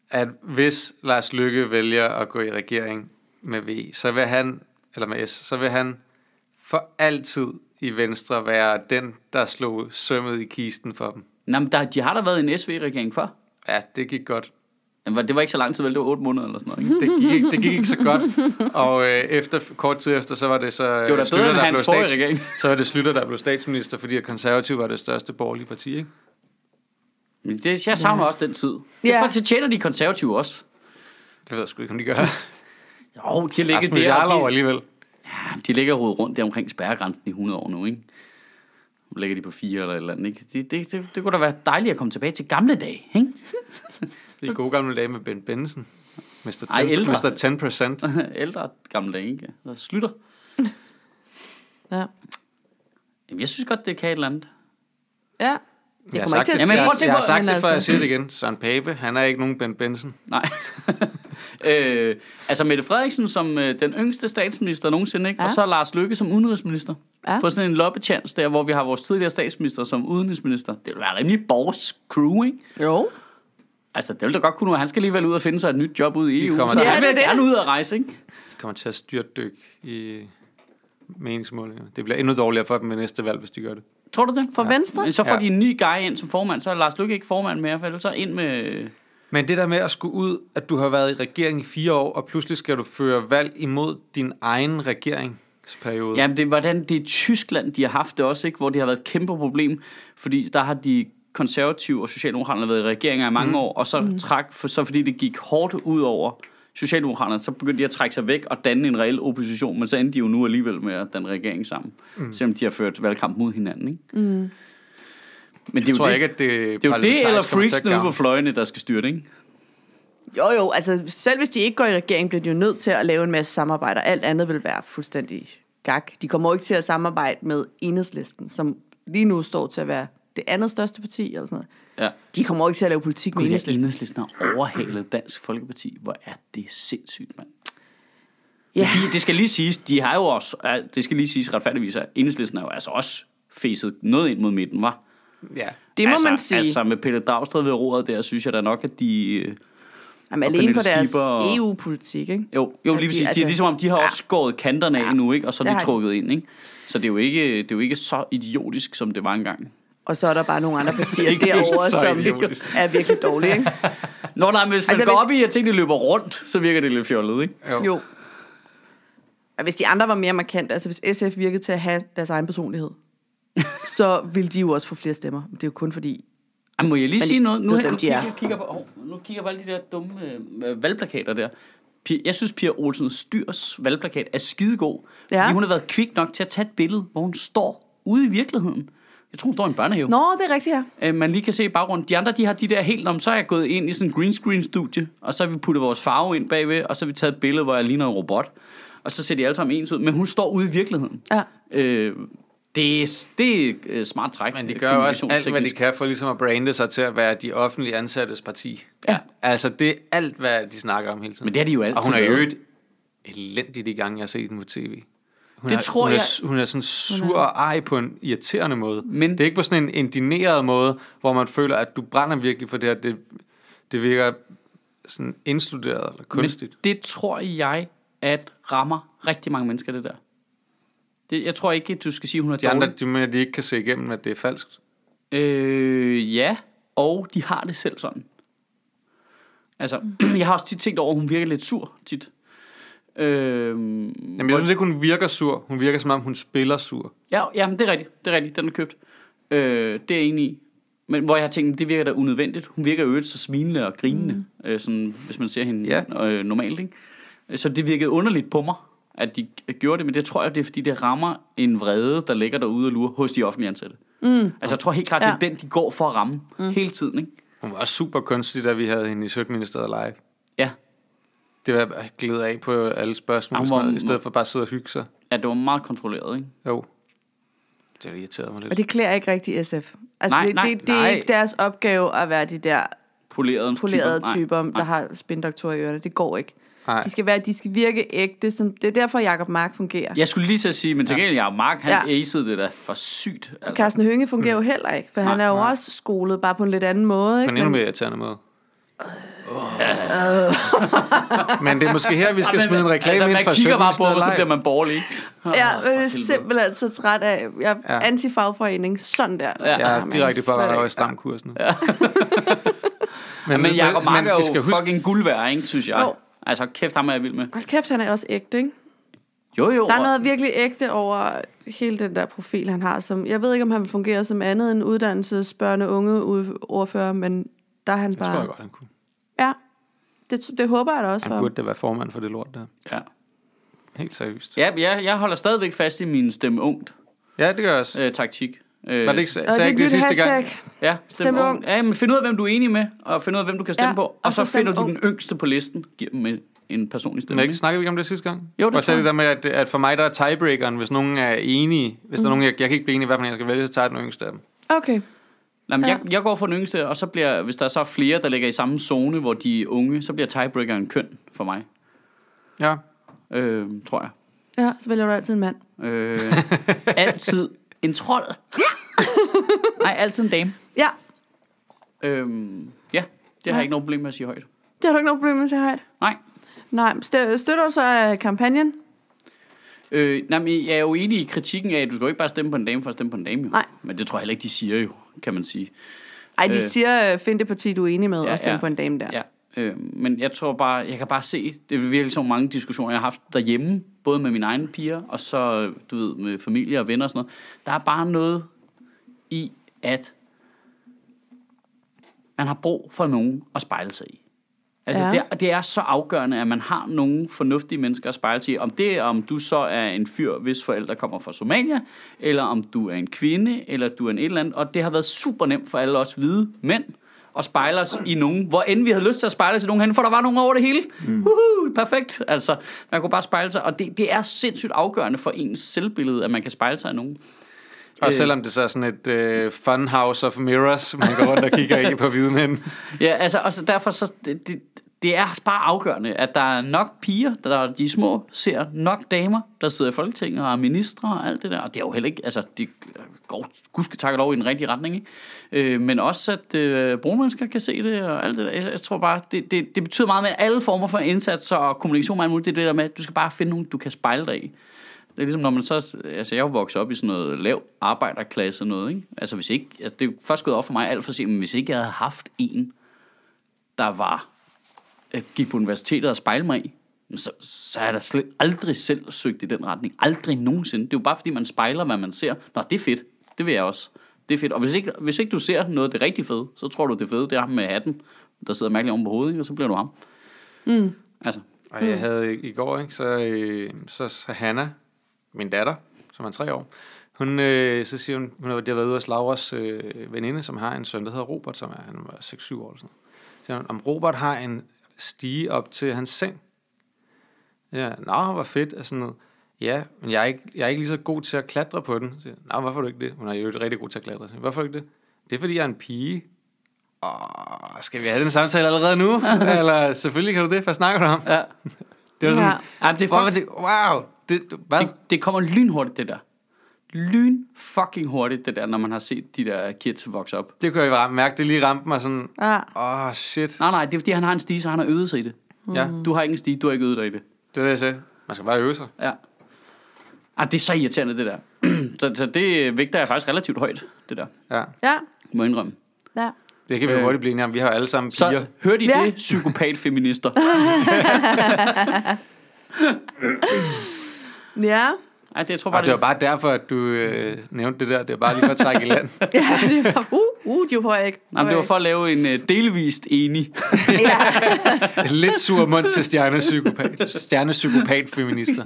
Speaker 1: at hvis Lars Lykke vælger at gå i regering med V, så vil han, eller med S, så vil han for altid i Venstre være den, der slog sømmet i kisten for dem.
Speaker 3: Nå, men der, de har der været en SV-regering før.
Speaker 1: Ja, det gik godt.
Speaker 3: Men var- Det var ikke så lang tid, vel? Det var 8 måneder eller sådan noget, ikke?
Speaker 1: Det gik, ikke- det gik ikke så godt. Og øh, efter, kort tid efter, så var det så... øh,
Speaker 3: Det var da bedre end hans forrige regering.
Speaker 1: så var det Slytter, der blev statsminister, fordi at konservativ var det største borgerlige parti, ikke?
Speaker 3: Men det, jeg savner også den tid. Derfor så tjener de konservative også.
Speaker 1: Det ved jeg sgu ikke, om de gør.
Speaker 3: Jo, de har ligget
Speaker 1: Rasmus
Speaker 3: der,
Speaker 1: Jarlov
Speaker 3: og de,
Speaker 1: alligevel.
Speaker 3: ja, de ligger rodet rundt der omkring spærregrænsen i 100 år nu, ikke? Nu ligger de på fire eller et eller andet, ikke? Det, det, det, det kunne da være dejligt at komme tilbage til gamle dage, ikke? *laughs*
Speaker 1: De gode gamle dage med Ben Benson. Mr. 10,
Speaker 3: Ej, ældre.
Speaker 1: Mr. 10 procent.
Speaker 3: Ældre gamle dage, ikke? Så slutter.
Speaker 2: Ja.
Speaker 3: Jamen, jeg synes godt, det kan et eller andet.
Speaker 2: ja. Det
Speaker 1: Jeg har
Speaker 2: kommer
Speaker 1: sagt
Speaker 2: ikke til
Speaker 1: det,
Speaker 2: at
Speaker 1: jeg,
Speaker 3: Jamen, prøv at
Speaker 1: jeg,
Speaker 3: tænke
Speaker 1: jeg har
Speaker 3: på-
Speaker 1: sagt
Speaker 2: men
Speaker 1: det, før
Speaker 2: altså-
Speaker 1: jeg siger det igen. Søren Pape, han er ikke nogen Ben Benson.
Speaker 3: Nej. *laughs* øh, altså Mette Frederiksen som øh, den yngste statsminister nogensinde, ikke? Ja.
Speaker 2: Ja.
Speaker 3: og så Lars Løkke som udenrigsminister. Ja.
Speaker 2: Ja.
Speaker 3: På sådan en loppechance der, hvor vi har vores tidligere statsminister som udenrigsminister. Det ville være rimelig borgs crew, ikke?
Speaker 2: Jo.
Speaker 3: Altså, det ville da godt kunne nu. Han skal alligevel ud og finde sig et nyt job ude i
Speaker 1: De
Speaker 3: EU,
Speaker 1: kommer
Speaker 3: så
Speaker 1: til-
Speaker 3: han
Speaker 2: Ja,
Speaker 3: vil
Speaker 2: det er det.
Speaker 3: gerne ud og rejse, ikke?
Speaker 1: De kommer til at styrtdykke i meningsmålinger. Det bliver endnu dårligere for dem ved næste valg, hvis de gør det.
Speaker 3: Tror du det?
Speaker 2: For Venstre?
Speaker 3: Men så får
Speaker 1: Ja.
Speaker 3: de en ny guy ind som formand, så er Lars Løkke ikke formand mere, for ellers så ind med...
Speaker 1: Men det der med at skulle ud, at du har været i regering i fire år, og pludselig skal du føre valg imod din egen regeringsperiode.
Speaker 3: Jamen, det er, hvordan, det er Tyskland, de har haft det også, ikke? hvor det har været et kæmpe problem, fordi der har de konservative og socialdemokraterne været i regeringer i mange mm. år, og så, mm. trak, for, så fordi det gik hårdt ud over socialdemokraterne, så begyndte de at trække sig væk og danne en reel opposition, men så endte de jo nu alligevel med at danne regering sammen, mm. selvom de har ført valgkamp mod hinanden. Ikke? Mm. Men det er
Speaker 1: jeg
Speaker 3: jo
Speaker 1: tror
Speaker 3: det,
Speaker 1: ikke, at det
Speaker 3: det, er jo det eller
Speaker 1: kommer til at
Speaker 3: freaks nede
Speaker 1: gavne.
Speaker 3: på fløjene, der skal styre det, ikke?
Speaker 2: Jo, jo, altså selv hvis de ikke går i regering, bliver de jo nødt til at lave en masse samarbejder. Alt andet vil være fuldstændig gak. De kommer jo ikke til at samarbejde med Enhedslisten, som lige nu står til at være det andet største parti eller sådan noget.
Speaker 3: Ja.
Speaker 2: De kommer jo ikke til at lave politik med
Speaker 3: Gud, ja,
Speaker 2: Enhedslisten.
Speaker 3: enhedslisten har overhalet Dansk Folkeparti. Hvor er det sindssygt, mand.
Speaker 2: Ja,
Speaker 3: De, det skal lige siges, de har jo også, ja, det skal lige siges retfærdigvis, at enhedslisten er jo altså også fæset noget ind mod midten, var.
Speaker 1: Ja.
Speaker 2: det må
Speaker 3: altså,
Speaker 2: man sige.
Speaker 3: Altså med Pelle Dragsted ved roret der, synes jeg da nok, at de... øh,
Speaker 2: Jamen,
Speaker 3: og
Speaker 2: alene på
Speaker 3: Pernille
Speaker 2: deres
Speaker 3: Skipper og-
Speaker 2: EU-politik, ikke?
Speaker 3: Jo, jo
Speaker 2: Ja,
Speaker 3: lige
Speaker 2: de-
Speaker 3: præcis. De,
Speaker 2: altså-
Speaker 3: er ligesom om, de har også skåret kanterne af nu, ikke? Og så
Speaker 2: det
Speaker 3: er
Speaker 2: har
Speaker 3: de
Speaker 2: de.
Speaker 3: trukket ind, ikke? Så det er, jo ikke, det er jo ikke så idiotisk, som det var engang.
Speaker 2: Og så er der bare
Speaker 1: *laughs*
Speaker 2: nogle andre partier
Speaker 3: Ikke
Speaker 2: derovre,
Speaker 1: så
Speaker 2: som
Speaker 1: idiotisk.
Speaker 2: er virkelig dårlige, ikke?
Speaker 3: Nå nej, men hvis man
Speaker 2: Altså, hvis-
Speaker 3: går op i, at tingene løber rundt, så virker det lidt fjollet, ikke?
Speaker 1: Jo.
Speaker 2: Jo. Men hvis de andre var mere markante, altså hvis SF virkede til at have deres egen *laughs* personlighed, så ville de jo også få flere stemmer. Men Det er jo kun fordi...
Speaker 3: Jamen, må jeg lige
Speaker 2: Men
Speaker 3: sige noget? Nu,
Speaker 2: ved,
Speaker 3: her-
Speaker 2: hvem
Speaker 3: nu,
Speaker 2: de
Speaker 3: kigger,
Speaker 2: er.
Speaker 3: jeg kigger på, oh, nu kigger jeg på alle de der dumme øh, valgplakater der. Pia, jeg synes, Pia Olsen Styrs valgplakat er skidegod, ja.
Speaker 2: Ja.
Speaker 3: fordi hun har været kvik nok til at tage et billede, hvor hun står ude i virkeligheden. Jeg tror, hun står i en børnehave.
Speaker 2: Nå, det er rigtigt her.
Speaker 3: Øh, man lige kan se i baggrunden. De andre, de har de der helt om, så er jeg gået ind i sådan en green screen studie, og så har vi puttet vores farve ind bagved, og så har vi taget et billede, hvor jeg ligner en robot. Og så ser de alle sammen ens ud, men hun står ude i virkeligheden.
Speaker 2: Ja.
Speaker 3: Øh, det er, det er øh, smart træk.
Speaker 1: Men de
Speaker 3: øh,
Speaker 1: gør jo også alt, hvad de
Speaker 3: kommunikationsteknisk.
Speaker 1: kan for ligesom at brande sig til at være de offentlige ansattes parti.
Speaker 3: Ja.
Speaker 1: Altså, det er alt, hvad de snakker om hele tiden.
Speaker 3: Men det er de jo altid.
Speaker 1: Og hun er jo
Speaker 3: været.
Speaker 1: øvrigt elendigt i gang, jeg har set den på tv. Hun
Speaker 3: Det
Speaker 1: er,
Speaker 3: tror
Speaker 1: hun
Speaker 3: jeg-
Speaker 1: Er, hun er sådan sur og ej på en irriterende måde.
Speaker 3: Men-
Speaker 1: Men... Det er ikke på sådan en indineret måde, hvor man føler, at du brænder virkelig for det her. Det, det virker sådan indstuderet eller kunstigt.
Speaker 3: Men det tror jeg, at rammer rigtig mange mennesker, det der. Det, jeg tror ikke, at du skal sige, at hun er
Speaker 1: De andre,
Speaker 3: dårlig.
Speaker 1: de mener, de ikke kan se igennem, at det er falsk.
Speaker 3: Øh, ja, og de har det selv sådan. Altså, *clears throat* jeg har også tit tænkt over, at hun virker lidt sur tit. Øh,
Speaker 1: Jamen, jeg synes ikke, hun virker sur. Hun virker, som om hun spiller sur.
Speaker 3: ja, jamen, det er rigtigt. Det er rigtigt. Den er købt. Øh, det er jeg enig i. Men hvor jeg har tænkt, det virker da unødvendigt. Hun virker jo så smilende og grinende, mm. øh, sådan, hvis man ser hende
Speaker 1: Ja.
Speaker 3: øh, normalt. Ikke? Så det virkede underligt på mig, at de gjorde det, men det tror jeg, det er fordi, det rammer en vrede, der ligger derude og lurer hos de offentlige ansatte. Mm. Altså jeg tror helt klart, ja. det er den, de går for at ramme mm. hele tiden. Ikke?
Speaker 1: Hun var også super kunstig, da vi havde hende i Sødministeriet live.
Speaker 3: Ja.
Speaker 1: Det var jeg bare glæde af på alle spørgsmål,
Speaker 3: Jamen,
Speaker 1: og sådan
Speaker 3: hvor-
Speaker 1: noget, i stedet for bare at sidde og hygge sig.
Speaker 3: ja, det var meget kontrolleret. Ikke?
Speaker 1: Jo. Det irriterede mig lidt.
Speaker 2: Og det klæder ikke rigtig SF. Altså, nej,
Speaker 3: Nej,
Speaker 2: det,
Speaker 3: nej,
Speaker 2: det, det er
Speaker 1: nej.
Speaker 2: ikke deres opgave at være de der
Speaker 3: Polerede,
Speaker 2: polerede typer, typer
Speaker 3: Nej,
Speaker 2: der har spindoktorer i ørerne. Det går ikke.
Speaker 1: Nej.
Speaker 2: De skal, være, de skal virke ægte. Som, det er derfor, Jacob Mark fungerer. Ja.
Speaker 3: Jeg skulle lige til at sige, men til gengæld, ja. Mark, han ja.
Speaker 2: Ja.
Speaker 3: acede det der for sygt. Altså.
Speaker 2: Carsten Hønge fungerer jo heller ikke, for han er jo også skolet bare på en lidt anden måde. Ikke?
Speaker 3: Øh.
Speaker 1: Men endnu mere irriterende måde. Men det er måske her, vi skal smide en reklame
Speaker 3: altså,
Speaker 1: ind
Speaker 3: man
Speaker 1: for
Speaker 3: kigger bare på,
Speaker 1: Sønderstedet
Speaker 3: og så
Speaker 1: Live.
Speaker 3: bliver man borgerlig. ikke? Åh, for
Speaker 2: Jeg er
Speaker 3: helvede.
Speaker 2: øh, simpelthen så træt af, jeg er
Speaker 1: Ja.
Speaker 2: ja. antifagforening, sådan der.
Speaker 3: Ja,
Speaker 2: Altså,
Speaker 1: Jeg er
Speaker 2: man
Speaker 1: direkte på
Speaker 2: slet
Speaker 1: ret
Speaker 2: ikke-
Speaker 1: over i stamkursen. *laughs*
Speaker 3: Men, men Jacob Mark er
Speaker 1: vi
Speaker 3: jo
Speaker 1: skal huske-
Speaker 3: fucking guld værd, ikke, synes jeg.
Speaker 2: Jo.
Speaker 3: Altså, kæft, ham er jeg vild med.
Speaker 2: Hold kæft, han er også ægte, ikke?
Speaker 3: Jo, jo.
Speaker 2: Der er
Speaker 3: og-
Speaker 2: noget virkelig ægte over hele den der profil, han har. Som, jeg ved ikke, om han fungerer som andet end uddannelsesbørne unge ordfører, men der er han
Speaker 1: Det tror
Speaker 2: bare...
Speaker 1: jeg godt, han kunne.
Speaker 2: Ja, det, det håber jeg da også for
Speaker 1: Han
Speaker 2: ham.
Speaker 1: burde da være formand for det lort der.
Speaker 3: Ja.
Speaker 1: Helt seriøst.
Speaker 3: Ja, jeg, jeg holder stadigvæk fast i min stemme ungt
Speaker 1: Ja, det gør jeg også.
Speaker 3: øh, taktik. Øh,
Speaker 1: Var det ikke, sagde
Speaker 2: Og det
Speaker 1: jeg
Speaker 2: er et
Speaker 1: ikke det
Speaker 2: nyt
Speaker 1: sidste
Speaker 2: hashtag.
Speaker 1: gang?
Speaker 2: Gang.
Speaker 3: Ja, stemme,
Speaker 2: Stemme
Speaker 3: ungt. Ja, men find ud af, hvem du er enig med, og find ud af, hvem du kan stemme
Speaker 2: Ja,
Speaker 3: på, og,
Speaker 2: og
Speaker 3: så,
Speaker 2: så
Speaker 3: finder
Speaker 2: stemme
Speaker 3: du den
Speaker 2: ungt.
Speaker 3: yngste på listen, giver dem en, en personlig
Speaker 1: Men
Speaker 3: stemme.
Speaker 1: ikke
Speaker 3: Ikke?
Speaker 1: snakkede vi ikke om det sidste gang?
Speaker 3: Jo, det
Speaker 1: Og så
Speaker 3: tror
Speaker 1: det der med, at, at for mig der er tiebreakeren, hvis nogen er enige. Hvis
Speaker 3: Mm.
Speaker 1: der er nogen, jeg, jeg kan ikke blive enig i, hvad for en jeg skal vælge, så tager jeg den yngste af dem.
Speaker 2: Okay,
Speaker 3: Nej, men
Speaker 2: Ja.
Speaker 3: jeg, jeg går for den yngste, og så bliver, hvis der så er flere, der ligger i samme zone, hvor de er unge, så bliver tiebreakeren køn for mig,
Speaker 1: Ja.
Speaker 3: øh, tror jeg.
Speaker 2: ja, så vælger du altid en mand.
Speaker 3: Øh, altid en trold. *laughs* Nej, altid en dame.
Speaker 2: Ja,
Speaker 3: Øhm, ja, det har jeg ikke noget problem med at sige højt.
Speaker 2: det har du ikke nogen problem med, så højt.
Speaker 3: Nej.
Speaker 2: Nej, stø- støtter du så øh, kampagnen?
Speaker 3: Øh, nej, men jeg er jo enig i kritikken af, at du skal jo ikke bare stemme på en dame for at stemme på en dame. Jo.
Speaker 2: Nej.
Speaker 3: Men det tror jeg heller ikke, de siger jo, kan man sige.
Speaker 2: Ej, de
Speaker 3: Øh.
Speaker 2: øh. siger, øh, find det parti, du er enig med, ja, og stemme ja. på en dame der.
Speaker 3: Ja. Øh, men jeg tror bare, jeg kan bare se, det er virkelig så mange diskussioner, jeg har haft derhjemme, både med mine egne piger, og så, du ved, med familie og venner og sådan noget. Der er bare noget i, at man har brug for nogen at spejle sig i. Altså, ja.
Speaker 2: Ja.
Speaker 3: det, er- det er så afgørende, at man har nogle fornuftige mennesker at spejle sig i. Om det er, om du så er en fyr, hvis forældre kommer fra Somalia, eller om du er en kvinde, eller du er en et eller andet. Og det har været super nemt for alle os hvide mænd at spejle os i nogen, hvor end vi havde lyst til at spejle os i nogen hen, for der var nogen over det hele. Mm. Uhuh, perfekt. Altså, man kunne bare spejle sig. Og det, det er sindssygt afgørende for ens selvbillede, at man kan spejle sig i nogen.
Speaker 1: Og
Speaker 3: Øh.
Speaker 1: selvom det så er sådan et øh, funhouse of mirrors, man går rundt og kigger i på hvide mænd.
Speaker 3: Ja, altså, og så derfor så, det, det, det er bare afgørende, at der er nok piger, der er de små, ser nok damer, der sidder i Folketinget og er ministre og alt det der. Og det er jo heller ikke, altså, det går gudske takket over i den rigtige retning, ikke? Øh, men også, at øh, brugmennesker kan se det og alt det der. Jeg, jeg tror bare, det, det, det betyder meget med alle former for indsatser og kommunikation med alt muligt. Det er det der med, at du skal bare finde nogen, du kan spejle dig i. Det er ligesom, når man så... Altså, jeg er jo vokset op i sådan noget lav arbejderklasse noget, ikke? Altså, hvis ikke... Altså, det er jo først gået op for mig alt for sent, men hvis ikke jeg havde haft en, der var... Jeg gik på universitetet og spejlede mig i, så, så er der slet aldrig selv søgt i den retning. Aldrig nogensinde. Det er jo bare, fordi man spejler, hvad man ser. Nå, det er fedt. Det vil jeg også. Det er fedt. Og hvis ikke, hvis ikke du ser noget af det rigtig fede, så tror du, det fede, det er ham med hatten, der sidder mærkeligt oven på hovedet, ikke? og så bliver du ham. Mm. Altså,
Speaker 1: Og jeg havde i, i går, ikke, så, øh, så, så Hanna, min datter, som er tre år, hun, øh, så siger hun, hun har, de har været ude hos Lauras øh, veninde, som har en søn, der hedder Robert, som er, han var 6-7 år eller sådan noget. Så siger hun, om Robert har en stige op til hans seng. Ja, nå, hvor fedt, og sådan noget. Ja, men jeg er, ikke, jeg er ikke lige så god til at klatre på den. Så siger, jeg, nå, hvorfor er du ikke det? Hun er jo rigtig god til at klatre. Så siger jeg, Hvorfor er du ikke det? Det er, fordi jeg er en pige. Åh, skal vi have den samtale allerede nu? *laughs* Eller selvfølgelig kan du det, hvad snakker du om?
Speaker 3: ja.
Speaker 1: Det var sådan,
Speaker 2: Ja.
Speaker 3: Jamen, det er
Speaker 1: hvor
Speaker 3: fucking-
Speaker 1: man tænker, wow, det, hvad?
Speaker 3: Det, det kommer lynhurtigt, det der. Lyn fucking hurtigt, det der, når man har set de der kids vokse op.
Speaker 1: Det kunne jeg bare mærke, det lige ramte mig sådan,
Speaker 2: Ja.
Speaker 1: åh oh, shit.
Speaker 3: Nej, nej, det er fordi, han har en stige, så han har øvet sig i det.
Speaker 1: Ja,
Speaker 3: Du har ikke en stige, du har ikke øvet dig i det.
Speaker 1: det var det, jeg sagde. Man skal bare øve sig.
Speaker 3: Ja. Ah, det er så irriterende, det der. *clears throat* så, så det vægter jeg faktisk relativt højt, det der.
Speaker 1: Ja,
Speaker 2: Ja,
Speaker 3: Må jeg indrømme.
Speaker 2: ja.
Speaker 1: det kan vi
Speaker 3: Øh.
Speaker 1: hurtigt blive enige om. Vi har jo alle sammen
Speaker 3: Så
Speaker 1: piger.
Speaker 3: hørte I
Speaker 2: Ja.
Speaker 3: det,
Speaker 2: *laughs*
Speaker 3: psykopat-feminister?
Speaker 2: Ja,
Speaker 3: Ej, det, jeg tror bare,
Speaker 1: Og Ah, det var bare derfor, at du øh, nævnte det der. Det var bare lige for at trække i land.
Speaker 2: ja *laughs* det var, uh, uh, de var på ikke.
Speaker 3: Nej, men det var for at lave en uh, delvist enig.
Speaker 2: Ja.
Speaker 1: Lidt sur mund til stjernepsykopat, stjernepsykopat-feminister.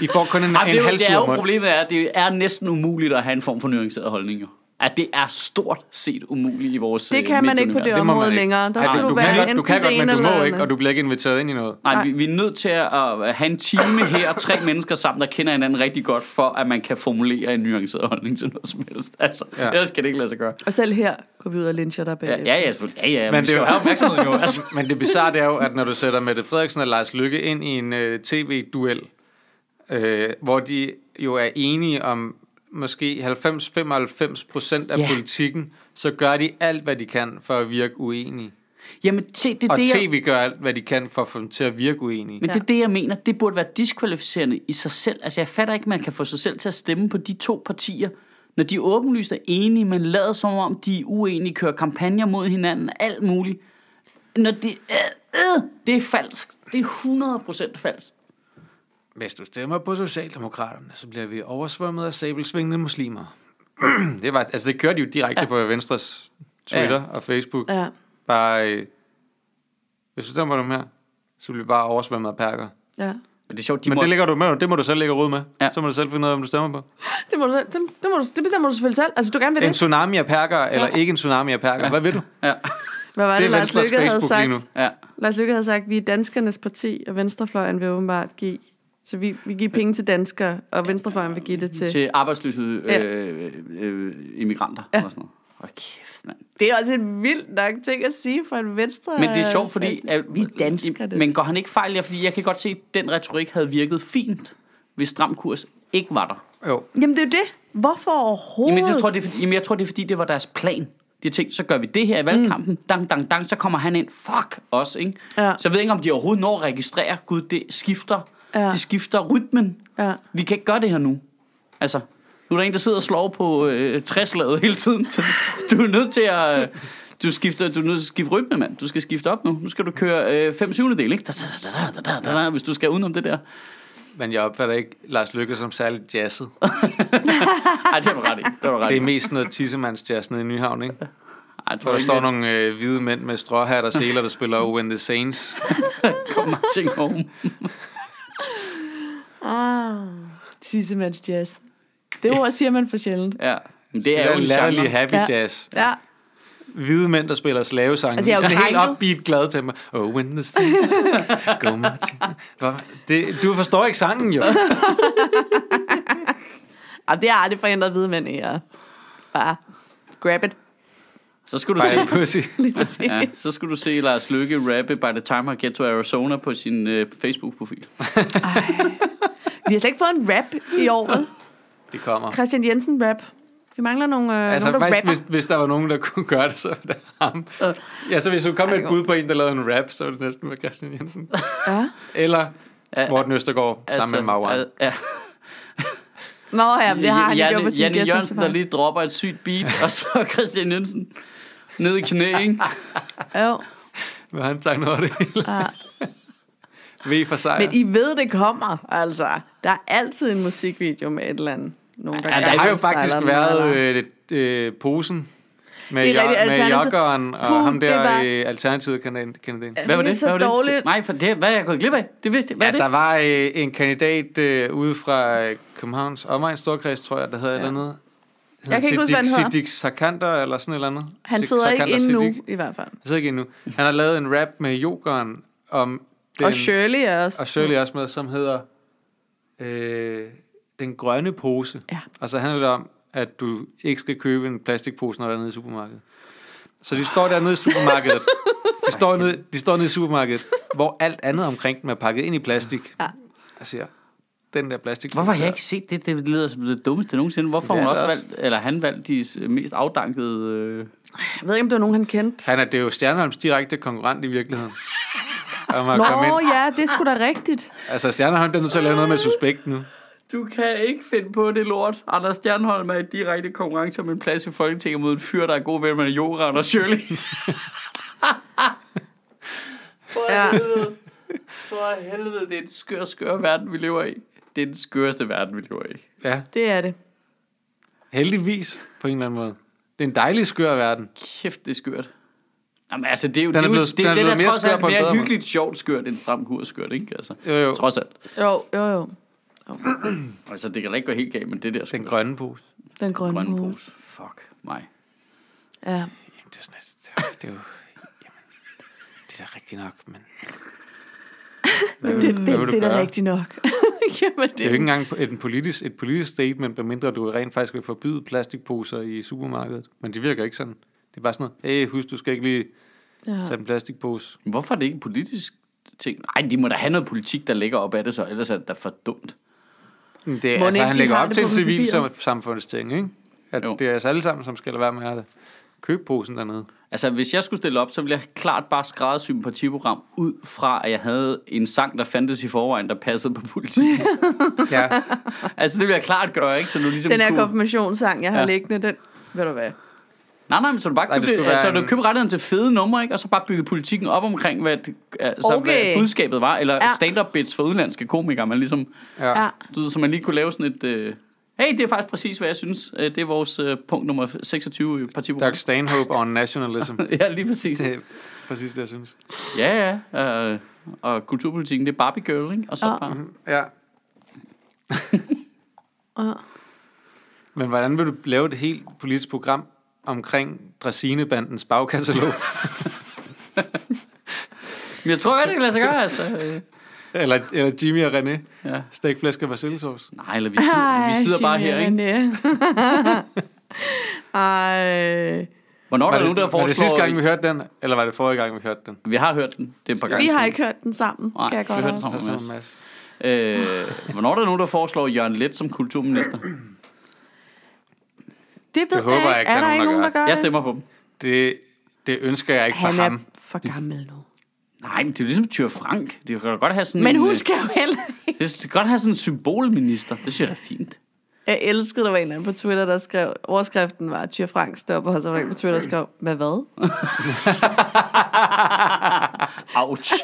Speaker 1: I får kun en,
Speaker 3: Ej, Ah, det,
Speaker 1: en
Speaker 3: er jo- det er
Speaker 1: halvsur
Speaker 3: jo
Speaker 1: mund.
Speaker 3: problemet, er, at det er næsten umuligt at have en form for nuanceret holdning, jo. At det er stort set umuligt i vores øh,
Speaker 2: Det kan man ikke på
Speaker 3: medieunivers.
Speaker 2: det område længere. Der
Speaker 1: Ej,
Speaker 2: skal
Speaker 1: du,
Speaker 2: du,
Speaker 1: du,
Speaker 2: være
Speaker 1: kan godt, du
Speaker 2: enten
Speaker 1: kan
Speaker 2: det
Speaker 1: godt,
Speaker 2: ene
Speaker 1: men du
Speaker 2: eller
Speaker 1: må
Speaker 2: det
Speaker 1: ikke,
Speaker 2: andet.
Speaker 1: og du bliver ikke inviteret ind i noget.
Speaker 3: Nej,
Speaker 2: Nej.
Speaker 3: vi, vi er nødt til at øh, have en time her, tre *laughs* mennesker sammen, der kender hinanden rigtig godt, for at man kan formulere en nuanceret holdning til noget som helst. Altså,
Speaker 1: Ja.
Speaker 3: ja. ellers kan det ikke lade sig gøre.
Speaker 2: Og selv her går vi ud og lyncher dig bag.
Speaker 3: Ja, ja, ja selvfølgelig. Ja, ja, men,
Speaker 1: det
Speaker 3: det
Speaker 1: er
Speaker 3: er jo
Speaker 1: jo-
Speaker 3: have opmærksomhed jo. Øh, *laughs* Altså.
Speaker 1: Men det bizarre det er jo, at når du sætter Mette Frederiksen og Lars Lykke ind i en øh, tv-duel, øh, hvor de jo er enige om måske 90-95 procent af
Speaker 3: Ja.
Speaker 1: politikken, så gør de alt, hvad de kan for at virke uenige.
Speaker 3: Jamen, se, det er
Speaker 1: Og
Speaker 3: det, jeg...
Speaker 1: tv gør alt, hvad de kan for at få dem til at virke uenige.
Speaker 3: Men
Speaker 1: Men...
Speaker 3: ja. det er det, jeg mener. Det burde være diskvalificerende i sig selv. Altså, jeg fatter ikke, man kan få sig selv til at stemme på de to partier, når de åbenlyst er enige, men lader som om, de er uenige, kører kampagner mod hinanden, alt muligt. Når det, øh, øh, det er falsk. Det er 100% falsk.
Speaker 1: Hvis du stemmer på Socialdemokraterne, så bliver vi oversvømmet af sabelsvingende muslimer. *clears throat* det, var, altså, det kørte de jo direkte ja. på Venstres Twitter ja. og Facebook.
Speaker 2: Ja.
Speaker 1: Bare, øh, hvis du stemmer på dem her, så bliver vi bare oversvømmet af perker.
Speaker 2: Ja.
Speaker 3: Men det er sjovt, de
Speaker 1: Men
Speaker 3: må
Speaker 1: det
Speaker 3: også-
Speaker 1: ligger du med, det må du selv ligge og rode med.
Speaker 3: Ja.
Speaker 1: Ja. Så må du selv finde ud af, om du stemmer på.
Speaker 2: Det, må du, selv- det, det, må du, det bestemmer du selvfølgelig selv. Altså, du gerne vil
Speaker 1: En
Speaker 2: det.
Speaker 1: tsunami af perker, eller ikke en tsunami af perker. Hvad vil du?
Speaker 3: Ja,
Speaker 2: Hvad var det,
Speaker 1: Det er
Speaker 2: Lars
Speaker 1: Venstres
Speaker 2: Lykke havde
Speaker 1: Facebook lige
Speaker 2: sagt?
Speaker 1: nu.
Speaker 3: ja.
Speaker 2: Lars Lykke havde sagt, vi er danskernes parti, og Venstrefløjen vil åbenbart give. Så vi, vi giver penge til danskere, og Venstrefløjen vil give det til...
Speaker 3: Til arbejdsløse
Speaker 2: Ja.
Speaker 3: øh, øh, immigranter. Ja. Eller sådan noget. Hold kæft, mand.
Speaker 2: Det er også en vild nok ting at sige for en venstre...
Speaker 3: Men det er sjovt, fordi... At,
Speaker 2: Øh, altså, Vi er danskere, det.
Speaker 3: Men går han ikke fejl? Ja, fordi jeg kan godt se, at den retorik havde virket fint, hvis stram kurs ikke var der.
Speaker 1: Jo.
Speaker 2: Jamen, det er jo det. Hvorfor overhovedet?
Speaker 3: Jamen, jeg tror, det er, fordi, jamen, jeg tror, det er fordi, det var deres plan. De tænkte, så gør vi det her i valgkampen. Mm. Dang, dang, dang, så kommer han ind. Fuck os, ikke?
Speaker 2: Ja.
Speaker 3: Så jeg ved ikke, om de overhovedet når at registrere. Gud, det skifter.
Speaker 2: Ja.
Speaker 3: Det skifter rytmen.
Speaker 2: Ja.
Speaker 3: Vi kan ikke gøre det her nu. Altså, nu er der en, der sidder og slår på øh, træslaget hele tiden. Så du er nødt til at... Øh, du skifter, du er nødt til at skifte rytme, mand. Du skal skifte op nu. Nu skal du køre øh, fem syvende del, ikke? Da, da, da, da, da, da, da, hvis du skal udenom det der.
Speaker 1: Men jeg opfatter ikke Lars Lykke som særlig jazzet.
Speaker 3: Ej, det har du ret i. Det har du ret i.
Speaker 1: Det er mest noget tissemandsjazz nede i Nyhavn, ikke?
Speaker 3: Ej, jeg tror
Speaker 1: Hvor der
Speaker 3: ikke,
Speaker 1: står
Speaker 3: det-
Speaker 1: nogle øh, hvide mænd med stråhat og seler, der spiller When the Saints.
Speaker 3: Kom, Martin, home.
Speaker 2: Ah, tissemands jazz. Det ord siger man for sjældent.
Speaker 3: Ja. Men det
Speaker 1: Det
Speaker 3: er
Speaker 1: er
Speaker 3: jo en
Speaker 1: latterlig
Speaker 3: genre.
Speaker 1: happy
Speaker 2: Ja.
Speaker 1: jazz.
Speaker 2: Ja.
Speaker 1: Hvide mænd, der spiller slavesange.
Speaker 2: Altså, jeg er jo
Speaker 1: Sådan helt
Speaker 2: krænket.
Speaker 1: upbeat glad til mig. Oh, when the *laughs* Saints go marching. Hvor- Det, du forstår ikke sangen, jo.
Speaker 2: Og det har aldrig forhindret hvide mænd i at bare grab it.
Speaker 3: Så
Speaker 2: *laughs*
Speaker 3: skulle du
Speaker 1: Bare
Speaker 3: se,
Speaker 1: pussy.
Speaker 2: Lige præcis.
Speaker 3: *laughs* ja, så skulle du se Lars Lykke rappe By the time I get to Arizona på sin øh, Facebook-profil.
Speaker 2: Vi har slet ikke fået en rap i år. vel?
Speaker 1: Det kommer.
Speaker 2: Christian Jensen rap. Vi mangler nogle, øh, altså,
Speaker 1: Altså,
Speaker 2: nogle der
Speaker 1: faktisk, hvis,
Speaker 2: rapper.
Speaker 1: hvis der var nogen, der kunne gøre det, så var det ham. Ja, så hvis du kom med et bud på en, der lavede en rap, så var det næsten med Christian
Speaker 2: *laughs*
Speaker 1: Jensen.
Speaker 2: Ja.
Speaker 1: Eller Morten Østergaard
Speaker 2: Altså,
Speaker 1: sammen med Marwan.
Speaker 3: al- Ja,
Speaker 2: Nå ja, men det har han lige gjort på
Speaker 3: Janne,
Speaker 2: sin
Speaker 3: Janne
Speaker 2: ghetto
Speaker 3: Jørgensen, der
Speaker 2: Safari.
Speaker 3: lige dropper et sygt beat, og så *laughs* Christian Jensen ned i
Speaker 2: *laughs*
Speaker 3: knæ, ikke?
Speaker 2: Jo.
Speaker 1: Men han tager noget af det hele.
Speaker 2: Ja.
Speaker 1: V for sejr.
Speaker 2: Men I ved, det kommer, altså. Der er altid en musikvideo med et eller andet. Nogen, der
Speaker 1: Ja,
Speaker 2: gør
Speaker 1: der har jo
Speaker 2: kunst,
Speaker 1: faktisk
Speaker 2: eller
Speaker 1: været
Speaker 2: noget, eller-
Speaker 1: øh, lidt, øh, posen med,
Speaker 2: Det er
Speaker 1: jo,
Speaker 2: rigtigt,
Speaker 1: med
Speaker 2: Alternativet.
Speaker 1: joggeren og
Speaker 2: Puh,
Speaker 1: ham
Speaker 2: det
Speaker 1: der
Speaker 2: var-
Speaker 1: øh, alternativet kandidat. kandidat.
Speaker 2: Ja,
Speaker 3: Hvad var
Speaker 2: Det er
Speaker 3: det?
Speaker 2: så
Speaker 3: Hvad var det?
Speaker 2: dårligt.
Speaker 3: Nej, for det, hvad er jeg gået glip af? Det vidste jeg. Hvad
Speaker 1: Ja,
Speaker 3: er det?
Speaker 1: der var øh, en kandidat øh, ude fra øh, Københavns omegn Storkreds, tror jeg, der hedder ja. et eller andet. Hedder
Speaker 2: Jeg kan ikke huske, hvad han
Speaker 1: Siddiq-
Speaker 2: hedder.
Speaker 1: Siddiq Sarkander eller sådan et eller andet.
Speaker 2: Han
Speaker 1: Sid-
Speaker 2: sidder ikke
Speaker 1: Sarkander
Speaker 2: inde nu,
Speaker 1: Siddiq.
Speaker 2: i hvert fald.
Speaker 1: Han sidder ikke inde nu. Han har lavet en rap med Jokeren om den,
Speaker 2: Og Shirley er også.
Speaker 1: og Shirley er også med, som hedder øh, Den Grønne Pose.
Speaker 2: Ja.
Speaker 1: Og så handler det om, at du ikke skal købe en plastikpose, når du er nede i supermarkedet. Så de står dernede i supermarkedet. De står nede, de står nede i supermarkedet, hvor alt andet omkring dem er pakket ind i plastik.
Speaker 2: Ja.
Speaker 1: Jeg siger, den der plastik.
Speaker 3: Hvorfor har jeg ikke set det? Det lyder som det dummeste nogensinde. Hvorfor har
Speaker 1: Det
Speaker 3: hun
Speaker 1: er
Speaker 3: også
Speaker 1: det også.
Speaker 3: valgt, eller han valgt de øh, mest afdankede... Øh...
Speaker 2: Jeg ved ikke, om det var nogen, han kendte.
Speaker 1: Han er, det er jo Stjernholms direkte konkurrent i virkeligheden. Om at komme
Speaker 2: Nå
Speaker 1: ind.
Speaker 2: ja, det er sgu da rigtigt.
Speaker 1: Altså, Stjernholm er nødt til at lave noget med suspekt nu.
Speaker 3: Du kan ikke finde på det lort. Anders Stjernholm er i direkte konkurrence om en plads i Folketinget mod en fyr, der er god ven med Joran og Shirley. *laughs* For
Speaker 2: Ja.
Speaker 3: helvede. For helvede, det er en skør, skør verden, vi lever i. Det er den skøreste verden, vi lever i.
Speaker 1: Ja,
Speaker 2: Det er det.
Speaker 1: heldigvis på en eller anden måde. Det er en dejlig skør verden.
Speaker 3: Kæft, det er skørt. Jamen, altså, det er jo,
Speaker 1: er
Speaker 3: det, er jo-
Speaker 1: blevet-
Speaker 3: det,
Speaker 1: den er
Speaker 3: det,
Speaker 1: blevet
Speaker 3: der
Speaker 1: mere
Speaker 3: trods
Speaker 1: skør
Speaker 3: alt
Speaker 1: på en
Speaker 3: mere
Speaker 1: bedre måde.
Speaker 3: hyggeligt sjovt skørt, end stram kurs skørt, ikke? Altså,
Speaker 1: Jo, jo.
Speaker 3: Trods alt.
Speaker 2: Jo, jo, jo.
Speaker 3: Altså, det kan da ikke gå helt galt, men det der skørt.
Speaker 1: Den grønne pose.
Speaker 2: Den grønne,
Speaker 3: grønne
Speaker 2: pose.
Speaker 3: pose. Fuck mig.
Speaker 2: Ja.
Speaker 1: Jamen, det er sådan, lidt- det er, det er jo... Jamen, det er da rigtigt nok, men... Hvad vil,
Speaker 2: Det, det,
Speaker 1: hvad vil
Speaker 2: det
Speaker 1: du
Speaker 2: er da
Speaker 1: gøre?
Speaker 2: rigtigt nok. *laughs* Jamen,
Speaker 1: Det er jo ikke engang et politisk, et politisk statement, medmindre du rent faktisk vil forbyde plastikposer i supermarkedet. Men det virker ikke sådan. Det er bare sådan noget, hey, husk, du skal ikke lige
Speaker 2: Ja.
Speaker 1: tage en plastikpose.
Speaker 3: Men Hvorfor er det ikke en politisk ting? Nej, de må da have noget politik, der ligger op af det, så ellers er det da for dumt.
Speaker 1: Men Det er,
Speaker 2: Mon
Speaker 1: altså,
Speaker 2: ikke,
Speaker 1: han
Speaker 2: de
Speaker 1: lægger
Speaker 2: har
Speaker 1: op
Speaker 2: det
Speaker 1: til
Speaker 2: på
Speaker 1: en
Speaker 2: papiret?
Speaker 1: civil samfundsting, ikke? At
Speaker 3: Jo.
Speaker 1: jo. det er os alle sammen, som skal lade være med at have det. købposen
Speaker 2: *laughs*
Speaker 1: dernede.
Speaker 3: Altså, hvis jeg skulle stille op, så ville jeg klart bare skræddersy et partiprogram ud fra, at jeg havde en sang, der fandtes i forvejen, der passede på politik.
Speaker 1: Ja.
Speaker 3: *laughs* altså, det ville jeg klart gøre, ikke? Så nu ligesom
Speaker 2: Den her
Speaker 3: kunne...
Speaker 2: konfirmationssang, jeg har
Speaker 3: Ja.
Speaker 2: liggende, den... Ved du hvad?
Speaker 3: Nej, nej, men så du bare
Speaker 1: Nej, det
Speaker 3: købte,
Speaker 1: skulle være
Speaker 3: altså, du
Speaker 1: en-
Speaker 3: købte rettigheden til fede numre, ikke? Og så bare bygge politikken op omkring, hvad, det- altså,
Speaker 2: Okay.
Speaker 3: hvad budskabet var. Eller
Speaker 2: Ja.
Speaker 3: stand-up bits for udenlandske komikere. Man ligesom,
Speaker 1: ja.
Speaker 2: Ja.
Speaker 3: du ved, så man lige kunne lave sådan et... Øh, hey, det er faktisk præcis, hvad jeg synes. Øh, det er vores øh, punkt nummer 26 i partiprogrammet.
Speaker 1: Doug Stanhope on
Speaker 2: *laughs*
Speaker 1: nationalism.
Speaker 3: *laughs* Ja, lige præcis.
Speaker 2: Øh.
Speaker 1: Det er præcis det, jeg synes.
Speaker 3: Ja, ja. Øh, og kulturpolitikken, det er Barbie Girl, ikke? Og så
Speaker 2: Ja.
Speaker 3: bare...
Speaker 2: *laughs*
Speaker 1: Ja.
Speaker 2: Ja.
Speaker 1: Men hvordan vil du lave et helt politisk program omkring Dressinebandens
Speaker 2: *laughs*
Speaker 1: bagkatalog?
Speaker 3: Men jeg tror godt, det kan lade sig gøre, altså. Øh,
Speaker 1: eller, eller Jimmy og René?
Speaker 3: Ja.
Speaker 1: Stækflæsk og persillesauce?
Speaker 3: Nej, eller vi sidder, vi sidder bare her, ikke?
Speaker 2: *laughs* Ej.
Speaker 3: Hvornår er
Speaker 1: Var
Speaker 3: der nogen, der
Speaker 1: det, var det sidste gang, vi
Speaker 3: foreslår...
Speaker 1: hørte den? Eller var det forrige gang, vi hørte den?
Speaker 3: Vi har hørt den. Det er et par gange
Speaker 2: Vi har
Speaker 3: siden.
Speaker 2: ikke hørt den sammen,
Speaker 3: Nej,
Speaker 2: kan jeg
Speaker 3: vi
Speaker 2: godt
Speaker 3: hørte den
Speaker 2: også.
Speaker 3: sammen.
Speaker 1: Det er
Speaker 3: Mads.
Speaker 1: sådan, Altså, Mads.
Speaker 3: Øh, hvornår er der nogen, der foreslår Jørgen Let som kulturminister?
Speaker 2: Det ved
Speaker 1: Det håber jeg ikke,
Speaker 2: Er
Speaker 1: der
Speaker 2: der
Speaker 1: er
Speaker 2: ikke
Speaker 1: nogen,
Speaker 2: nogen,
Speaker 1: der
Speaker 2: der gør
Speaker 3: Jeg
Speaker 2: det?
Speaker 3: stemmer på dem.
Speaker 1: Det, det ønsker jeg ikke for
Speaker 2: Han er
Speaker 1: ham.
Speaker 2: for gammel nu.
Speaker 3: Nej, men det er jo ligesom Tyre Frank. Det kan da godt have sådan
Speaker 2: Men
Speaker 3: en,
Speaker 2: hun
Speaker 3: øh,
Speaker 2: skal jo heller ikke.
Speaker 3: Det skal godt have sådan en symbolminister. Det synes jeg er fint.
Speaker 2: Jeg elskede, der var en eller anden på Twitter, der skrev, overskriften var, Tyr Frank stopper, og så var der en på Twitter, der skrev, med hvad? *laughs*
Speaker 3: Ouch.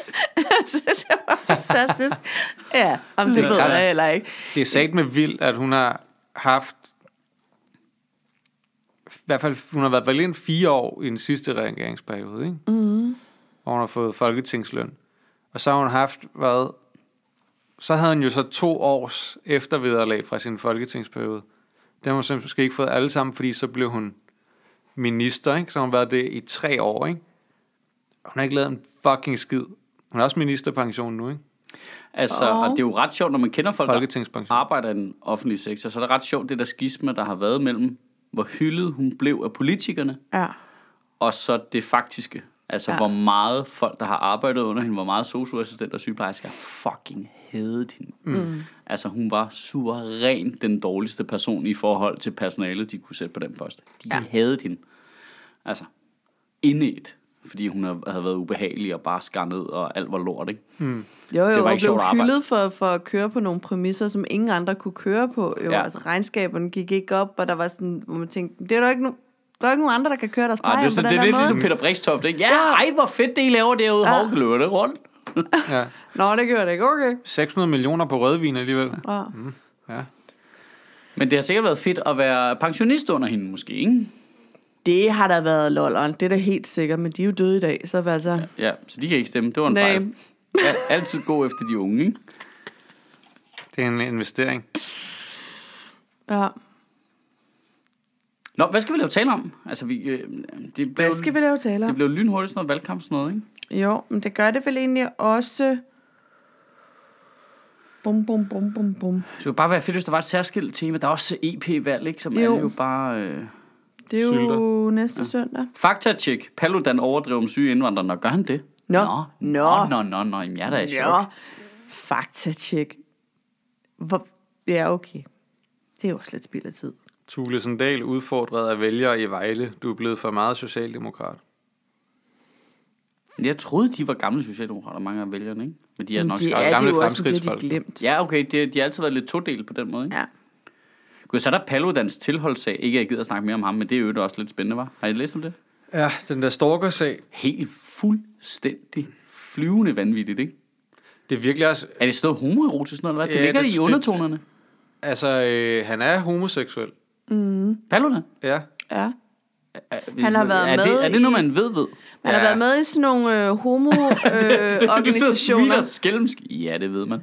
Speaker 2: det var fantastisk. Ja, om det
Speaker 1: er
Speaker 2: ved
Speaker 1: klart.
Speaker 2: jeg heller ikke.
Speaker 1: Det er sagt med vildt, at hun har haft... I hvert fald, hun har været valgt ind fire år i den sidste regeringsperiode, ikke? Mm. Og hun har fået folketingsløn. Og så har hun haft, hvad... Så havde hun jo så to års eftervederlag fra sin folketingsperiode. Det har hun så måske ikke fået alle sammen, fordi så blev hun minister, ikke? Så har hun været det i tre år, ikke? Hun har ikke lavet en fucking skid. Hun har også ministerpension nu, ikke?
Speaker 3: Altså,
Speaker 2: Åh.
Speaker 3: og det er jo ret sjovt, når man kender folk, der
Speaker 1: Folketingspension.
Speaker 3: arbejder i den offentlige sektor, så er det ret sjovt, det der skisma, der har været mellem, hvor hyldet hun blev af politikerne,
Speaker 2: Ja.
Speaker 3: og så det faktiske. Altså,
Speaker 2: Ja.
Speaker 3: ja. hvor meget folk, der har arbejdet under hende, hvor meget socioassistenter og sygeplejersker fucking hadet hende. Mm. Altså, hun var suverænt den dårligste person i forhold til personalet, de kunne sætte på den post. De ja. havde hende. Altså, indet. Fordi hun havde havde været ubehagelig og bare skar ned, og alt var lort, ikke?
Speaker 2: Jo, jo,
Speaker 3: Det var
Speaker 2: og
Speaker 3: ikke sjovt
Speaker 2: blev
Speaker 3: at arbejde.
Speaker 2: hyldet for, for at køre på nogle præmisser, som ingen andre kunne køre på. Jo, ja.
Speaker 3: Ja.
Speaker 2: altså regnskaberne gik ikke op, og der var sådan, hvor man tænkte, det er der ikke nogen, der er ikke nogen andre, der kan køre deres
Speaker 3: Ej,
Speaker 2: plejer
Speaker 3: det, er
Speaker 2: på
Speaker 3: sådan,
Speaker 2: den
Speaker 3: det er
Speaker 2: her
Speaker 3: lidt
Speaker 2: måde.
Speaker 3: ligesom Peter Brikstoft, ikke? Ja, ej, hvor fedt det, I laver derude. Ja. Hov, løber det rundt?
Speaker 1: Ja.
Speaker 3: ligesom-
Speaker 2: Nå, det gjorde det ikke, okay.
Speaker 1: 600 millioner på rødvin alligevel.
Speaker 2: Ja.
Speaker 3: Mm.
Speaker 1: Ja.
Speaker 3: Men det har sikkert været fedt at være pensionist under hende, måske, ikke?
Speaker 2: Det har da været lolleren, det er da helt sikkert, men de er jo døde i dag, så altså... Ja.
Speaker 3: Ja, så de kan ikke stemme. Det var en
Speaker 2: Nej.
Speaker 3: fejl. Ja, altid gå efter de unge, ikke?
Speaker 1: Det er en investering.
Speaker 2: ja.
Speaker 3: Nå, hvad skal vi lave tale om? Altså, vi, øh, det, blev,
Speaker 2: Hvad skal vi lave tale
Speaker 3: det
Speaker 2: om?
Speaker 3: blev lynhurtigt sådan noget valgkamp, sådan noget, ikke?
Speaker 2: Jo, men det gør det vel egentlig også... Bum, bum, bum, bum, bum.
Speaker 3: Det kunne bare være fedt, hvis der var et særskilt tema. Der er også EP-valg, ikke? Som jo.
Speaker 2: Jo.
Speaker 3: alle jo bare... Øh...
Speaker 2: Det er jo
Speaker 1: Sylter.
Speaker 2: næste ja. søndag.
Speaker 3: Faktatjek. Paludan overdrev om syge indvandrere. Nå, gør han det?
Speaker 2: Nå.
Speaker 3: Nå,
Speaker 2: Nå.
Speaker 3: nå, nå, nå. nå. Jamen, jeg er da i chok.
Speaker 2: Ja, faktatjek. Hvor... Ja, okay. Det er jo også lidt spild af tid.
Speaker 1: Tule Sandal udfordret af vælgere i Vejle. Du er blevet for meget socialdemokrat.
Speaker 3: Jeg troede, de var gamle socialdemokrater, mange af vælgerne, ikke? Men de er
Speaker 2: Men
Speaker 3: nok
Speaker 2: de
Speaker 3: skarpe.
Speaker 2: er det
Speaker 1: gamle
Speaker 2: jo også, men det har de
Speaker 1: fremskridtsfolk.
Speaker 2: glemt.
Speaker 3: Ja, okay, det, de har altid været lidt todelt på den måde, ikke?
Speaker 2: Ja.
Speaker 3: Gud, så er der Paludans tilholdssag. Ikke, at jeg gider at snakke mere om ham, men det er jo også lidt spændende, var. Har I læst om det?
Speaker 1: Ja, den der stalker-sag.
Speaker 3: Helt fuldstændig flyvende vanvittigt, ikke?
Speaker 1: Det er virkelig også...
Speaker 3: Er det sådan noget homoerotisk noget, eller hvad? Det
Speaker 1: Ja,
Speaker 3: ligger
Speaker 1: det-
Speaker 3: i
Speaker 1: det-
Speaker 3: undertonerne.
Speaker 1: Altså, øh, han er homoseksuel.
Speaker 3: Paludan?
Speaker 1: Ja.
Speaker 2: ja.
Speaker 3: Han
Speaker 2: har været
Speaker 3: er
Speaker 2: med
Speaker 3: Det, er det noget,
Speaker 2: i-
Speaker 1: *laughs*
Speaker 3: man ved ved?
Speaker 2: Man har
Speaker 1: Ja.
Speaker 2: været med i sådan nogle øh,
Speaker 3: Du sidder og smiler
Speaker 2: homo-organisationer.
Speaker 3: skælmsk. Ja, det ved man.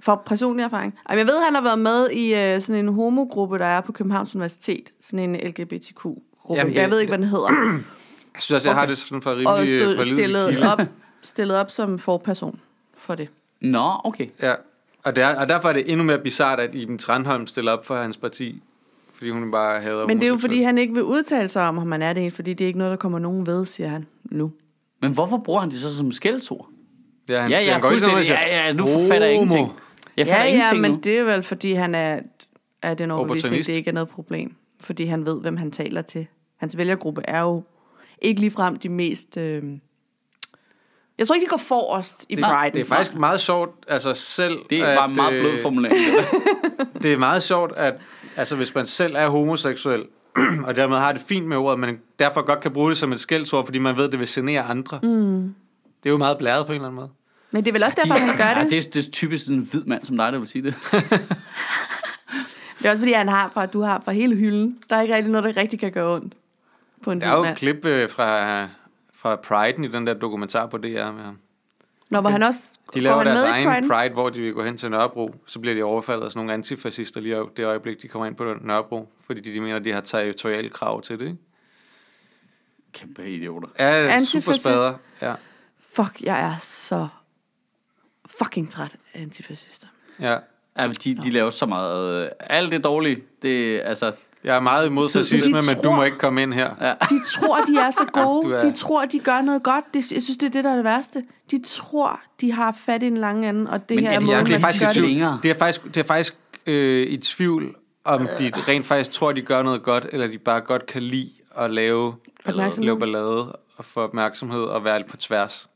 Speaker 2: For personlig erfaring. Jamen, jeg ved, at han har været med i øh, sådan en homogruppe, der er på Københavns Universitet. Sådan en LGBTQ-gruppe.
Speaker 1: Jamen, det-
Speaker 2: jeg ved ikke, hvad den hedder.
Speaker 1: Jeg synes også, jeg har det sådan for rimelig
Speaker 2: Og
Speaker 1: øh,
Speaker 2: stod
Speaker 1: valid
Speaker 2: stillet
Speaker 1: kilde.
Speaker 2: op, stillet op som forperson for det.
Speaker 3: Nå, okay.
Speaker 1: Ja. Og, det er, og derfor er det endnu mere bizart, at Iben Trandholm stiller op for hans parti. Fordi hun bare hader
Speaker 2: Men det er jo,
Speaker 1: homoseksuelle.
Speaker 2: fordi han ikke vil udtale sig om, om han er det en, fordi det er ikke noget, der kommer nogen ved, siger han nu.
Speaker 3: Men hvorfor bruger han det så som skældsord?
Speaker 1: Ja, han,
Speaker 3: Ja, ja,
Speaker 1: han går ikke sådan,
Speaker 3: fuldstændig.
Speaker 1: og siger,
Speaker 3: Ja, ja, nu forfatter jeg
Speaker 1: "Homo."
Speaker 3: ingenting. Jeg fatter
Speaker 2: ja, ja,
Speaker 3: ingenting
Speaker 2: men
Speaker 3: nu.
Speaker 2: det er vel, fordi han er af den overbevisning,
Speaker 1: Opportunist.
Speaker 2: det ikke er noget problem. Fordi han ved, hvem han taler til. hans vælgergruppe er jo ikke ligefrem de mest... Øh, jeg tror ikke, de går forrest i Pride.
Speaker 1: Det er faktisk meget sjovt, altså selv...
Speaker 3: Det er
Speaker 1: at,
Speaker 3: bare en meget
Speaker 1: øh,
Speaker 3: blød formulering.
Speaker 2: *laughs*
Speaker 3: det der.
Speaker 1: Det er meget sjovt, at altså, hvis man selv er homoseksuel, *clears throat* og dermed har det fint med ordet, men derfor godt kan bruge det som et skældsord, fordi man ved, at det vil genere andre. Mm. Det er jo meget blæret på en eller anden måde.
Speaker 2: Men det er vel også derfor, han gør
Speaker 3: Ja,
Speaker 2: det.
Speaker 3: det, er, det er typisk sådan en hvid mand som dig, der vil sige det.
Speaker 2: Det er også fordi, han har fra, du har fra hele hylden. Der er ikke rigtig noget, der rigtig kan gøre ondt på en
Speaker 1: Der er jo
Speaker 2: hvid
Speaker 1: et
Speaker 2: mand.
Speaker 1: klip øh, fra, fra Pride'en i den der dokumentar på DR med ham.
Speaker 2: Nå, var han også
Speaker 1: De laver
Speaker 2: var han
Speaker 1: deres
Speaker 2: med i
Speaker 1: egen
Speaker 2: Pride'en?
Speaker 1: Pride, hvor de går hen til Nørrebro. Så bliver de overfaldet af sådan nogle antifascister lige i det øjeblik, de kommer ind på Nørrebro. Fordi de, de mener, de har territoriale krav til det, ikke?
Speaker 3: Kæmpe idioter.
Speaker 1: Ja, super
Speaker 2: Antifascist.
Speaker 1: spader. Ja.
Speaker 2: Fuck, jeg er så fucking træt af antifascister.
Speaker 1: ja.
Speaker 3: Ja, men de, de laver så meget... øh, Alt det dårlige, det er altså...
Speaker 1: Jeg er meget imod
Speaker 2: Så de
Speaker 1: fascisme, men du
Speaker 2: tror-
Speaker 1: må ikke komme ind her.
Speaker 3: Ja.
Speaker 2: De tror, de
Speaker 1: *laughs*
Speaker 2: er så
Speaker 1: Du
Speaker 2: gode.
Speaker 1: er-
Speaker 2: De tror, de gør noget godt. Det, jeg synes, det er det, der er det værste. De tror, de har fat i en lang ende, og det
Speaker 3: Men
Speaker 2: her
Speaker 3: er
Speaker 2: er
Speaker 3: de-
Speaker 1: Ja,
Speaker 2: måden,
Speaker 1: det er
Speaker 2: man
Speaker 1: faktisk i
Speaker 2: gør
Speaker 3: ikke
Speaker 2: det.
Speaker 1: tvivl.
Speaker 3: længere.
Speaker 1: Det er faktisk, det er faktisk øh, i tvivl, om de rent faktisk tror, de gør noget godt, eller de bare godt kan lide at lave,
Speaker 2: Opmærksomhed.
Speaker 1: lave ballade og få opmærksomhed og være lidt på tværs.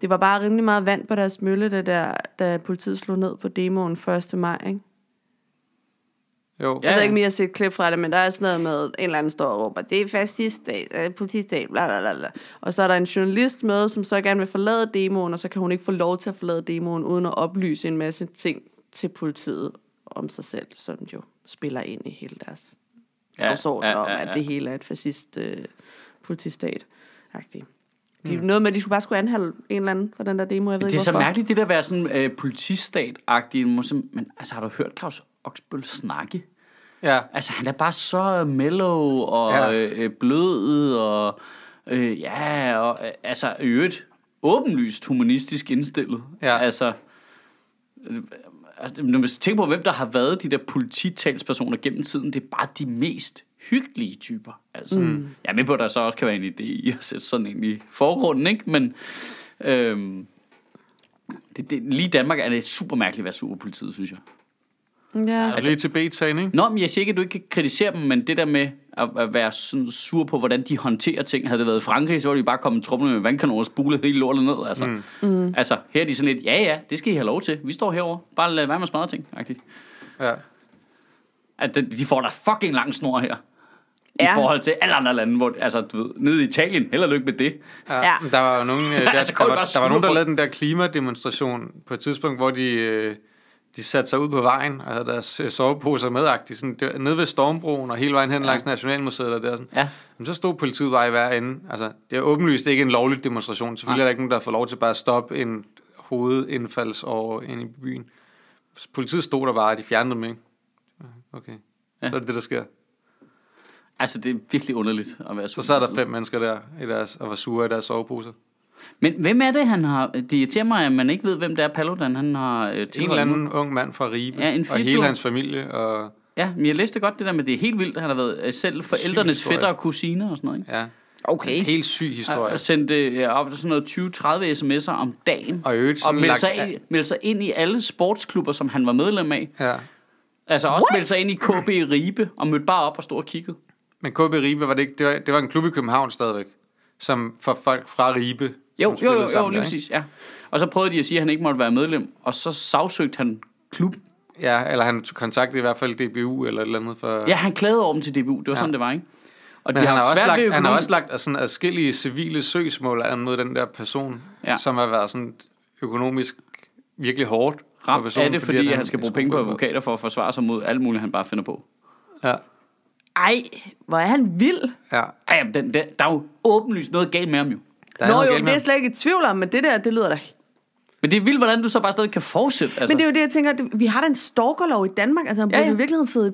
Speaker 2: Det var bare rimelig meget vand på deres mølle, det der, da politiet slog ned på demoen 1. maj. Ikke?
Speaker 1: Jo.
Speaker 3: Ja,
Speaker 2: Jeg ved
Speaker 3: ja.
Speaker 2: ikke, om I har set et klip fra det, men der er sådan noget med, en eller anden står og råber, det er fasciststat, øh, politistat, bla, bla, bla, bla. Og så er der en journalist med, som så gerne vil forlade demoen, og så kan hun ikke få lov til at forlade demoen, uden at oplyse en masse ting til politiet om sig selv, som jo spiller ind i hele deres ja, dagsorden ja, ja, ja. om, at det hele er et fascist øh, politistat. -agtigt. De, mm. Noget med, at de skulle bare skulle anholde en eller anden for den der demo, jeg ved
Speaker 3: Det
Speaker 2: ikke
Speaker 3: er så
Speaker 2: hvorfor.
Speaker 3: mærkeligt, det der at være sådan øh, politistat-agtig. Man må simpelthen- Men altså, har du hørt Claus Oxbøl snakke?
Speaker 1: ja.
Speaker 3: Altså, han er bare så mellow og
Speaker 1: Ja.
Speaker 3: ja. øh, blød og... Øh, ja, og, øh, altså, i øvrigt åbenlyst humanistisk indstillet.
Speaker 1: Ja.
Speaker 3: Altså, øh, altså, når man tænker på, hvem der har været de der polititalspersoner gennem tiden, det er bare de mest hyggelige typer. Altså, mm. Jeg er med på, at der så også kan være en idé i at sætte sådan en i forgrunden, ikke? Men øhm, det, det, lige i Danmark er det super mærkeligt at være sur på politiet, synes jeg.
Speaker 2: Ja.
Speaker 1: Altså, lige til B-tagen, ikke?
Speaker 3: Nå, men jeg siger ikke, at du ikke kan kritisere dem, men det der med at, at være sådan sur på, hvordan de håndterer ting. Havde det været i Frankrig, så ville de bare kommet trumlende med vandkanoner og spulet hele lortet ned. Altså. Mm. Mm. altså, her er de sådan lidt, ja ja, det skal I have lov til. Vi står herover. Bare lad være med at smadre ting. -agtigt.
Speaker 1: Ja.
Speaker 3: At de, de får da fucking lang snor her. Ja.
Speaker 2: Ja.
Speaker 3: I forhold til alle andre lande, hvor, altså, du ved, nede i Italien, held og lykke med det.
Speaker 1: Ja.
Speaker 2: Ja.
Speaker 1: men Der var jo nogen, øh, der,
Speaker 3: Altså,
Speaker 1: der,
Speaker 3: kom
Speaker 1: var,
Speaker 3: bare
Speaker 1: der var nogen, der
Speaker 3: skulderfolk.
Speaker 1: lavede den der klimademonstration på et tidspunkt, hvor de, øh, de satte sig ud på vejen og havde deres øh, soveposer med agtigt, sådan, det, var nede ved Stormbroen og hele vejen hen ja. langs Nationalmuseet og der sådan.
Speaker 3: Ja.
Speaker 1: Men så stod politiet bare i hver ende. Altså, det er åbenlyst ikke en lovlig demonstration. Selvfølgelig er der ikke nogen, der får lov til bare at stoppe en hovedindfalds over ind i byen. Politiet stod der bare, og de fjernede dem, ikke? Okay. Ja.
Speaker 3: Ja.
Speaker 1: Så er det det, der sker.
Speaker 3: Altså, det er virkelig underligt at være sur.
Speaker 1: Så sad der fem mennesker der i deres, og var sure i deres soveposer.
Speaker 3: Men hvem er det, han har... Det irriterer mig, at man ikke ved, hvem det er, Paludan, han har... Øh,
Speaker 1: En eller anden ung mand fra Ribe,
Speaker 3: Ja, en
Speaker 1: og hele
Speaker 3: firetur.
Speaker 1: hans familie, og
Speaker 3: Ja, men jeg læste godt det der med, det er helt vildt, at han har været øh, selv forældrenes
Speaker 1: historie.
Speaker 3: fætter og kusiner og sådan noget, ikke?
Speaker 1: ja,
Speaker 2: Okay.
Speaker 1: en helt syg
Speaker 3: Og
Speaker 1: historie.
Speaker 3: og sendte øh, op til sådan noget 20-30 sms'er om dagen.
Speaker 1: Og i øvrigt
Speaker 3: og
Speaker 1: sådan
Speaker 3: meldte
Speaker 1: lagt-
Speaker 3: sig, ind, meldte sig ind i alle sportsklubber, som han var medlem af.
Speaker 1: Ja.
Speaker 3: Altså også meldte sig ind i KB Ribe og mødte bare op og stod og kiggede.
Speaker 1: Men KB Ribe, var det ikke, det var, det var en klub i København stadigvæk, som for folk fra Ribe,
Speaker 3: Jo,
Speaker 1: som
Speaker 3: jo,
Speaker 1: spillede
Speaker 3: jo, jo
Speaker 1: sammen
Speaker 3: lige
Speaker 1: der, ikke?
Speaker 3: præcis, ja. Og så prøvede de at sige, at han ikke måtte være medlem, og så sagsøgte han klubben.
Speaker 1: Ja, eller han kontaktede i hvert fald DBU eller et eller andet for...
Speaker 3: Ja, han klagede over dem til DBU, det var ja. sådan, det var, ikke? Og
Speaker 1: Men han har, også
Speaker 3: svært ved
Speaker 1: lagt, han har
Speaker 3: økonomi-
Speaker 1: også lagt sådan adskillige civile søgsmål an mod den der person, ja.
Speaker 3: Ja.
Speaker 1: som har været sådan økonomisk virkelig hårdt. for
Speaker 3: ramt
Speaker 1: personen,
Speaker 3: af det, fordi,
Speaker 1: at
Speaker 3: fordi han skal bruge penge på advokater for at forsvare sig mod alt muligt, han bare finder på.
Speaker 1: Ja,
Speaker 2: Ej, hvor er han vild.
Speaker 1: ja.
Speaker 3: Ej, jamen, den, den, der er jo åbenlyst noget galt med ham jo.
Speaker 1: Der er
Speaker 2: Nå
Speaker 1: noget
Speaker 2: jo,
Speaker 1: galt
Speaker 2: det
Speaker 1: med
Speaker 2: er jeg
Speaker 1: ham.
Speaker 2: slet ikke i tvivl om, men det der, det lyder da...
Speaker 3: Men det er vildt, hvordan du så bare stadig kan fortsætte. Altså.
Speaker 2: Men det er jo det, jeg tænker, det- vi har da en stalkerlov i Danmark, altså han
Speaker 3: Ja,
Speaker 2: burde ja,
Speaker 3: ja.
Speaker 2: i virkeligheden sidde i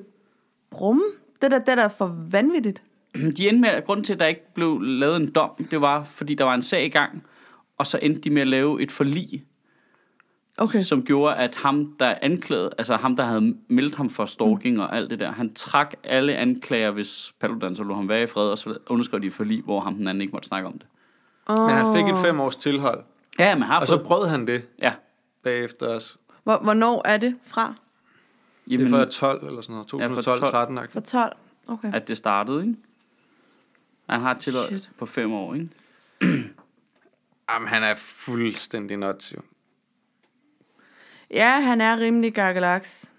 Speaker 2: brumme. Det der, det der er for vanvittigt.
Speaker 3: det... *clears throat* De endte med, at grunden til, at der ikke blev lavet en dom, det var, fordi der var en sag i gang, og så endte de med at lave et forlig,
Speaker 2: Okay.
Speaker 3: som gjorde, at ham, der anklagede, altså ham, der havde meldt ham for stalking og alt det der, han trak alle anklager, hvis Paludan så lå ham være i fred, og så underskrev de et forlig, hvor ham den anden ikke måtte snakke om det.
Speaker 1: Men han fik et fem års tilhold,
Speaker 3: Ja, men har
Speaker 1: og så
Speaker 3: fået...
Speaker 1: brød han det
Speaker 3: Ja.
Speaker 1: bagefter os.
Speaker 2: Hvor, hvornår er det fra?
Speaker 1: Det
Speaker 3: Jamen,
Speaker 1: var 12 eller sådan noget,
Speaker 3: Ja, fra
Speaker 1: 2012 13
Speaker 2: For 12? Okay.
Speaker 3: at det startede, ikke? Han har tilladelse
Speaker 2: Shit.
Speaker 3: på fem år, ikke?
Speaker 1: Jamen, han er fuldstændig nuts, jo.
Speaker 2: Ja, han er rimelig gakkelaks.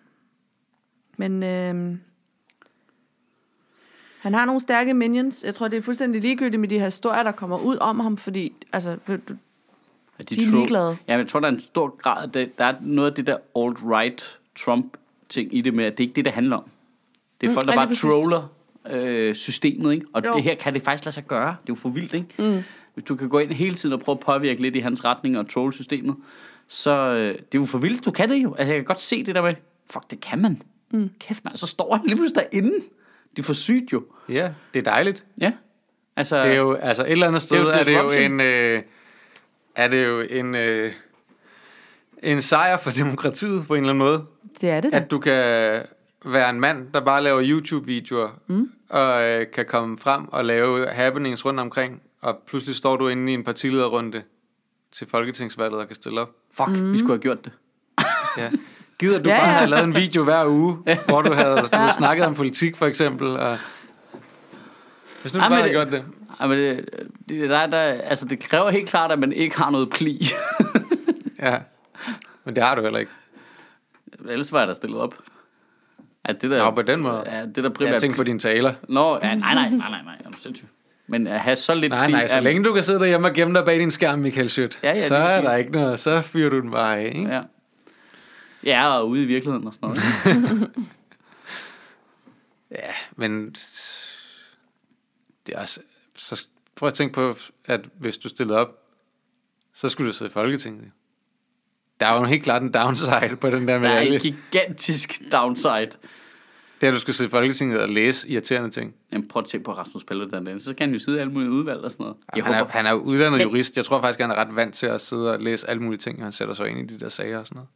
Speaker 2: Men øhm, han har nogle stærke minions. Jeg tror, det er fuldstændig ligegyldigt med de her historier, der kommer ud om ham, fordi altså, ved du-
Speaker 3: At
Speaker 2: De er
Speaker 3: tro-
Speaker 2: ligeglade.
Speaker 3: Ja, men jeg tror, der er en stor grad af det. Der er noget af det der alt-right Trump-ting i det med, at det er ikke det, det handler om. Det er
Speaker 2: Mm,
Speaker 3: folk, der
Speaker 2: ja, lige
Speaker 3: bare
Speaker 2: præcis.
Speaker 3: troller øh, systemet, ikke? Og
Speaker 2: Jo.
Speaker 3: jo. det her kan det faktisk lade sig gøre. Det er jo for vildt, ikke? Mm. Hvis du kan gå ind hele tiden og prøve at påvirke lidt i hans retning og trolle systemet, så øh, det er jo for vildt, du kan det jo. Altså, jeg kan godt se det der med, fuck, det kan man. Mm. Kæft, man. Så står han lige pludselig derinde. Det er for sygt jo.
Speaker 1: Ja, det er dejligt.
Speaker 3: Ja. Altså,
Speaker 1: Det er jo, altså et eller andet sted,
Speaker 3: jo
Speaker 1: det er, er det jo
Speaker 3: disruption.
Speaker 1: en, øh, er det jo en, øh, en sejr for demokratiet på en eller anden måde.
Speaker 2: det er det da.
Speaker 1: At du kan være en mand, der bare laver YouTube-videoer, mm. og øh, kan komme frem og lave happenings rundt omkring, og pludselig står du inde i en partilederrunde til folketingsvalget og kan stille op.
Speaker 3: fuck, mm. vi skulle have gjort det.
Speaker 1: Ja.
Speaker 3: *laughs*
Speaker 1: Gider du
Speaker 2: Ja,
Speaker 1: ja, bare
Speaker 2: ja.
Speaker 1: ja. have lavet en video hver *laughs* uge, hvor du havde, du havde snakket om politik for eksempel, og hvis nu du
Speaker 3: Ej,
Speaker 1: bare
Speaker 3: men
Speaker 1: havde
Speaker 3: det-
Speaker 1: gjort det.
Speaker 3: Ej, men det, det, der, er- der, altså, det kræver helt klart, at man ikke har noget pli. *laughs*
Speaker 1: Ja. Men det har du heller ikke.
Speaker 3: Ellers var jeg da stillet op. At det der,
Speaker 1: Nå, på den måde.
Speaker 3: Ja, det der primært...
Speaker 1: Jeg tænker på dine taler.
Speaker 3: Nå, ja, nej, nej, nej, nej, nej, jeg er sindssyg. Men at have så lidt
Speaker 1: Nej,
Speaker 3: pli...
Speaker 1: nej, så
Speaker 3: er-
Speaker 1: længe du kan sidde derhjemme og gemme dig bag din skærm, Michael Schødt,
Speaker 3: Ja, ja, lige
Speaker 1: så er
Speaker 3: præcis.
Speaker 1: der ikke noget, så fyrer du den bare af, ikke?
Speaker 3: Ja. ja, og ude i virkeligheden og sådan
Speaker 1: *laughs*
Speaker 3: noget.
Speaker 1: Ja, men det er også, så prøv at tænke på, at hvis du stillede op, så skulle du sidde i Folketinget. Der er jo helt klart en downside på den der
Speaker 3: Der
Speaker 1: med,
Speaker 3: er en
Speaker 1: alle,
Speaker 3: gigantisk downside.
Speaker 1: det er, at du skal sidde i Folketinget og læse irriterende ting.
Speaker 3: Jamen, prøv at tænke på Rasmus Paludan. den. Så kan han jo sidde i alle mulige udvalg og sådan noget. Jeg
Speaker 1: han,
Speaker 3: håber,
Speaker 1: er, han er jo uddannet jurist. Jeg tror faktisk, han er ret vant til at sidde og læse alle mulige ting, og han sætter sig ind i de der sager og sådan noget.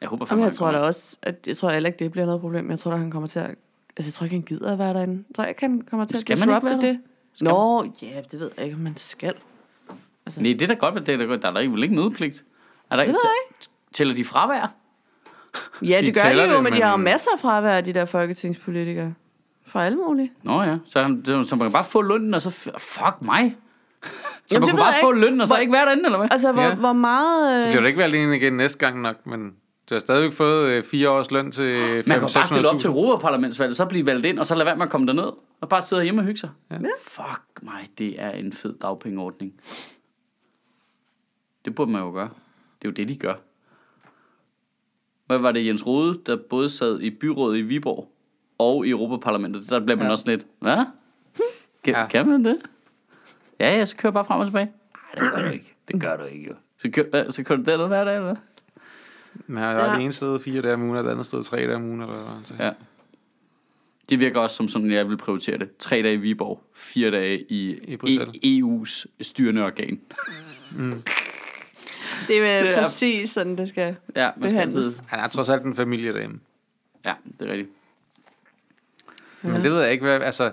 Speaker 3: jeg håber
Speaker 2: Jamen,
Speaker 3: fandme,
Speaker 2: jeg
Speaker 3: han
Speaker 2: tror da
Speaker 3: kommer.
Speaker 2: også, at jeg tror heller ikke, det bliver noget problem. Jeg tror da, han kommer til at... Altså, jeg tror ikke, han gider at være derinde. Jeg tror ikke, han kommer til at
Speaker 3: Skal man ikke
Speaker 2: disrupte
Speaker 3: være der?
Speaker 2: det. Nå, ja, det ved jeg ikke, om man skal.
Speaker 3: Nej, det er da godt, hvad det er da godt. Der er da ikke, vel ikke mødepligt. Er der,
Speaker 2: Det ved jeg
Speaker 3: Tæller de fravær?
Speaker 2: Ja,
Speaker 1: De
Speaker 2: det gør
Speaker 1: tæller
Speaker 2: de jo,
Speaker 1: det,
Speaker 2: men de har jo
Speaker 1: men-
Speaker 2: masser af fravær, de der folketingspolitikere. Fra alle mulige.
Speaker 3: Nå ja, så, han- det- så man kan bare få lønnen, og så... f- Fuck mig! *laughs* Så
Speaker 2: Jamen, det
Speaker 3: Jamen, man
Speaker 2: ved
Speaker 3: kunne bare
Speaker 2: jeg
Speaker 3: få
Speaker 2: ikke.
Speaker 3: lønnen, og så
Speaker 2: Hvor-
Speaker 3: ikke være derinde, eller hvad?
Speaker 2: Altså, hvor, ja.
Speaker 1: Ja.
Speaker 2: hvor meget...
Speaker 1: Så
Speaker 2: Øh...
Speaker 1: bliver du ikke valgt ind igen næste gang nok, men du har stadigvæk fået øh, fire års løn til 5
Speaker 3: Man kan bare stille op til Europaparlamentsvalget, så blive valgt ind, og så lade være med at komme derned, og bare sidde hjemme og hygge sig. Ja. Fuck mig, det er en fed dagpengeordning. Det burde man jo gøre. Det er jo det, de gør. Hvad var det, Jens Rode, der både sad i byrådet i Viborg og i Europaparlamentet? Der blev man ja. også lidt, hvad? Kan, ja.
Speaker 1: Ja.
Speaker 3: kan man det? Ja, ja, så kører jeg bare frem og tilbage. Nej, det gør du ikke. Det gør du ikke, jo. Så kører, hvad, så kører du derned hver dag, eller hvad?
Speaker 1: Man har jo
Speaker 2: Ja.
Speaker 1: ja. det ene sted fire dage om ugen, og det andet sted tre dage om ugen. Eller hvad, så.
Speaker 3: Ja. Det virker også som sådan, jeg vil prioritere det. Tre dage i Viborg, fire dage i,
Speaker 1: I Bruxelles.
Speaker 3: I EU's styrende organ.
Speaker 2: øh, Det er
Speaker 1: *laughs*
Speaker 3: Det er-
Speaker 2: præcis sådan, det skal.
Speaker 3: Ja, man skal
Speaker 2: Behandles.
Speaker 3: altid-
Speaker 1: Han er trods alt en familie derhjemme.
Speaker 3: Ja, det er rigtigt.
Speaker 1: Men det ved jeg ikke, hvad, altså,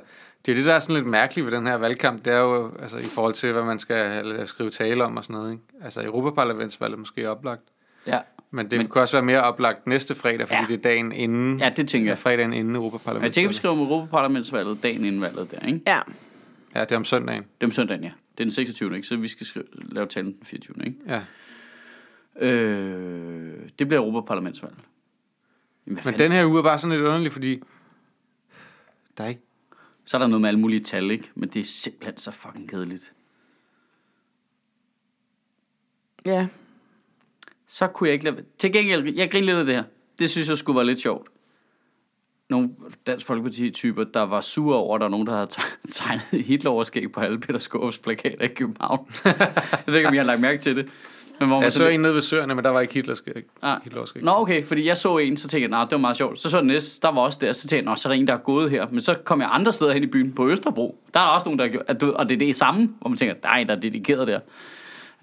Speaker 1: det er jo det, der er sådan lidt mærkeligt ved den her valgkamp, det er jo altså, i forhold til, hvad man skal øh, skrive tale om og sådan noget. Ikke? Altså Europaparlamentsvalget er måske oplagt,
Speaker 3: Ja,
Speaker 1: men det
Speaker 3: Men-
Speaker 1: men... kunne også være mere oplagt næste fredag, fordi
Speaker 3: Ja.
Speaker 1: ja. det er dagen inden,
Speaker 3: ja det tænker
Speaker 1: ja.
Speaker 3: jeg.
Speaker 1: fredagen inden
Speaker 3: Jeg tænker, vi
Speaker 1: Europaparlamentsvalget.
Speaker 3: skriver om Europaparlamentsvalget dagen inden valget der, ikke?
Speaker 2: Ja.
Speaker 1: Ja, det er om søndagen.
Speaker 3: Det er om søndagen, ja. Det er den 26. ikke? Så vi skal skrive, lave talen den 24. ikke?
Speaker 1: Ja.
Speaker 3: Øh, det bliver Europaparlamentsvalget. Jamen, hvad
Speaker 1: Men
Speaker 3: fanden
Speaker 1: den her uge er bare sådan lidt underlig, fordi der er ikke...
Speaker 3: skal- Så er der noget med alle mulige tal, ikke? Men det er simpelthen så fucking kedeligt.
Speaker 2: Ja.
Speaker 3: så kunne jeg ikke lade... Til gengæld, jeg grinede lidt af det her. Det synes jeg skulle være lidt sjovt. Nogle Dansk Folkeparti-typer, der var sure over, at der var nogen, der havde teg- *laughs* tegnet Hitler-overskæg på alle Peter Skovs plakater i København. *laughs* jeg ved ikke, om jeg har lagt mærke til det. Men hvor man
Speaker 1: Jeg så
Speaker 3: sådan
Speaker 1: en nede ved søerne, men der var ikke Hitler.
Speaker 3: Ah.
Speaker 1: Hitler
Speaker 3: Nå, okay, fordi jeg så en, så tænkte jeg, nej, det var meget sjovt. Så så den næste, der var også der, så tænkte jeg, nå, så er der en, der er gået her. Men så kom jeg andre steder hen i byen, på Østerbro. Der er der også nogen, der har gjort, at du- og det er det samme, hvor man tænker, der er en, der er dedikeret der.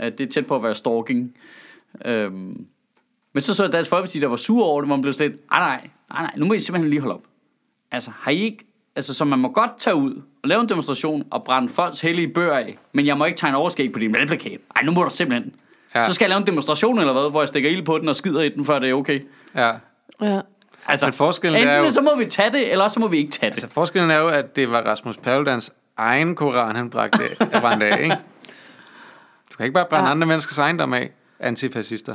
Speaker 3: Øh, Det er tæt på at være stalking. Øhm. Men så så jeg Dansk Folkeparti, der var sur over det, hvor man blev slet, nej, nej, ah, nej, nej, nu må I simpelthen lige holde op. Altså, har I ikke, altså, så man må godt tage ud og lave en demonstration og brænde folks hellige bøger af, men jeg må ikke tegne overskæg på din valgplakat. Ej, nu må du simpelthen. Ja.
Speaker 1: Ja.
Speaker 3: Så skal jeg lave en demonstration eller hvad, hvor jeg stikker ild på den og skider i den, før det er okay.
Speaker 1: Ja.
Speaker 2: Ja.
Speaker 3: Altså,
Speaker 1: Men forskellen
Speaker 3: enten
Speaker 1: er jo-
Speaker 3: så må vi tage det, eller også så må vi ikke tage det.
Speaker 1: Altså, forskellen er jo, at det var Rasmus Paludans egen koran, han bragte af brændt af, ikke? Du kan ikke bare brænde
Speaker 2: Ja.
Speaker 1: andre menneskers ejendom af, antifascister.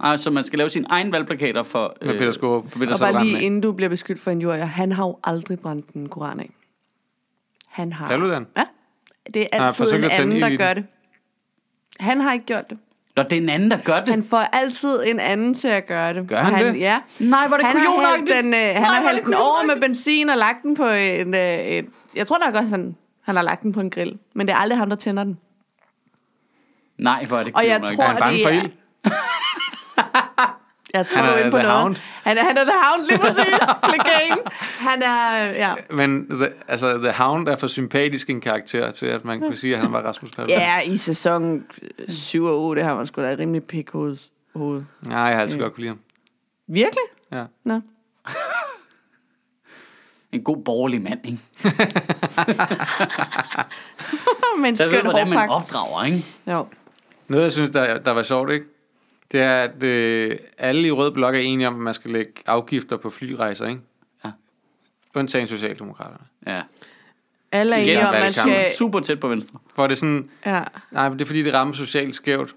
Speaker 3: Ah, så man skal lave sine egne valgplakater for
Speaker 1: Med Peter Skaarup.
Speaker 3: for Peter
Speaker 1: Og
Speaker 2: Og
Speaker 1: så
Speaker 3: Skaarup.
Speaker 1: brænde
Speaker 2: bare lige
Speaker 1: af.
Speaker 2: inden du bliver beskyldt for en jurier, han har jo aldrig brændt en koran af. Han har...
Speaker 1: Paludan?
Speaker 2: Ja. Det er
Speaker 1: har
Speaker 2: altid
Speaker 1: forsøgt
Speaker 2: en
Speaker 1: at tænde
Speaker 2: anden,
Speaker 1: ild
Speaker 2: der
Speaker 1: i
Speaker 2: gør
Speaker 1: den.
Speaker 2: det. Han har ikke gjort det.
Speaker 3: Nå, det er en anden, der gør det.
Speaker 2: Han får altid en anden til at gøre det.
Speaker 1: Gør han
Speaker 2: han
Speaker 1: det?
Speaker 2: Ja.
Speaker 3: Nej, hvor er det
Speaker 2: han har hældt
Speaker 3: kujonagtigt.
Speaker 2: den, øh, han
Speaker 3: Nej, hvor
Speaker 2: har
Speaker 3: er
Speaker 2: hældt
Speaker 3: det
Speaker 2: den over med
Speaker 3: kujonagtigt.
Speaker 2: benzin og lagt den på en... Øh, et, jeg tror nok også, han, han har lagt den på en grill. Men det er aldrig ham, der tænder den.
Speaker 3: Nej, hvor er det
Speaker 2: Og jeg
Speaker 3: kujonagtigt.
Speaker 2: tror-
Speaker 1: Er han bange
Speaker 2: det
Speaker 1: for
Speaker 2: er-
Speaker 1: ild?
Speaker 2: Jeg tror
Speaker 1: Han er
Speaker 2: ind på
Speaker 1: the
Speaker 2: noget.
Speaker 1: hound.
Speaker 2: Han er, han er The Hound, lige *laughs* præcis. Click game. Han er... øh, Ja.
Speaker 1: Men the, altså, The Hound er for sympatisk en karakter til, at man kunne sige, at han var Rasmus Paludan.
Speaker 2: Ja, i sæson 7 og 8 har man sgu da et rimelig pik hoved. hoved.
Speaker 1: Nej, jeg har altid godt kunne lide ham.
Speaker 2: Virkelig?
Speaker 1: Ja.
Speaker 2: Nå. *laughs*
Speaker 3: En god borgerlig mand, ikke?
Speaker 2: Men
Speaker 3: Der ved,
Speaker 2: skøn
Speaker 3: hvordan man
Speaker 2: hårdpakke.
Speaker 3: opdrager, ikke?
Speaker 2: Jo.
Speaker 1: Noget, jeg synes, der, der var sjovt, ikke? Det er, at øh, alle i Rød Blok er enige om, at man skal lægge afgifter på flyrejser, ikke?
Speaker 3: Ja.
Speaker 1: Undtagen Socialdemokraterne.
Speaker 3: Ja.
Speaker 2: Alle er
Speaker 3: Igen,
Speaker 2: enige om, man
Speaker 1: valgkampen.
Speaker 2: skal...
Speaker 3: super, super tæt på venstre.
Speaker 1: Hvor det er sådan,
Speaker 2: Ja.
Speaker 1: Nej, men det er fordi, det rammer socialt skævt.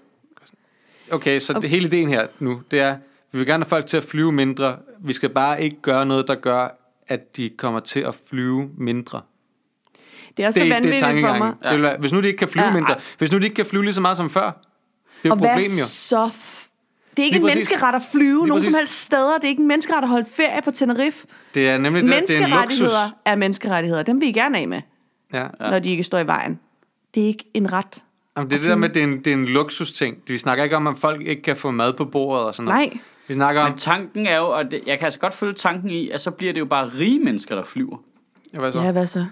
Speaker 1: Okay, så okay. Det, hele ideen her nu, det er, vi vil gerne have folk til at flyve mindre. Vi skal bare ikke gøre noget, der gør, at de kommer til at flyve mindre.
Speaker 2: Det er også
Speaker 1: Det, det, det er
Speaker 2: så vanvittigt for
Speaker 1: tankegangen.
Speaker 2: mig.
Speaker 1: Ja. Det vil være, hvis nu de ikke kan flyve ja.
Speaker 2: Ja.
Speaker 1: mindre, hvis nu de ikke kan flyve lige så meget som før, det er jo
Speaker 2: Og
Speaker 1: et problem
Speaker 2: hvad
Speaker 1: jo.
Speaker 2: så... F- det er ikke
Speaker 1: Lige
Speaker 2: en
Speaker 1: præcis.
Speaker 2: menneskeret at flyve
Speaker 1: Lige
Speaker 2: nogen som
Speaker 1: præcis.
Speaker 2: helst steder. Det er ikke en menneskeret at holde ferie på Tenerife.
Speaker 1: Det er nemlig det, at det er en luksus.
Speaker 2: Menneskerettigheder er menneskerettigheder. Dem vil I gerne af med,
Speaker 1: Ja.
Speaker 2: ja. når de ikke står i vejen. Det er ikke en ret.
Speaker 1: Jamen, det er det der med, at det er en, det er en luksusting. Vi snakker ikke om, at folk ikke kan få mad på bordet og sådan noget.
Speaker 2: Nej.
Speaker 1: Vi snakker om...
Speaker 3: Men tanken er jo, og det, jeg kan altså godt følge tanken i, at så bliver det jo bare rige mennesker, der flyver.
Speaker 1: Ja, hvad så?
Speaker 2: Ja, hvad så?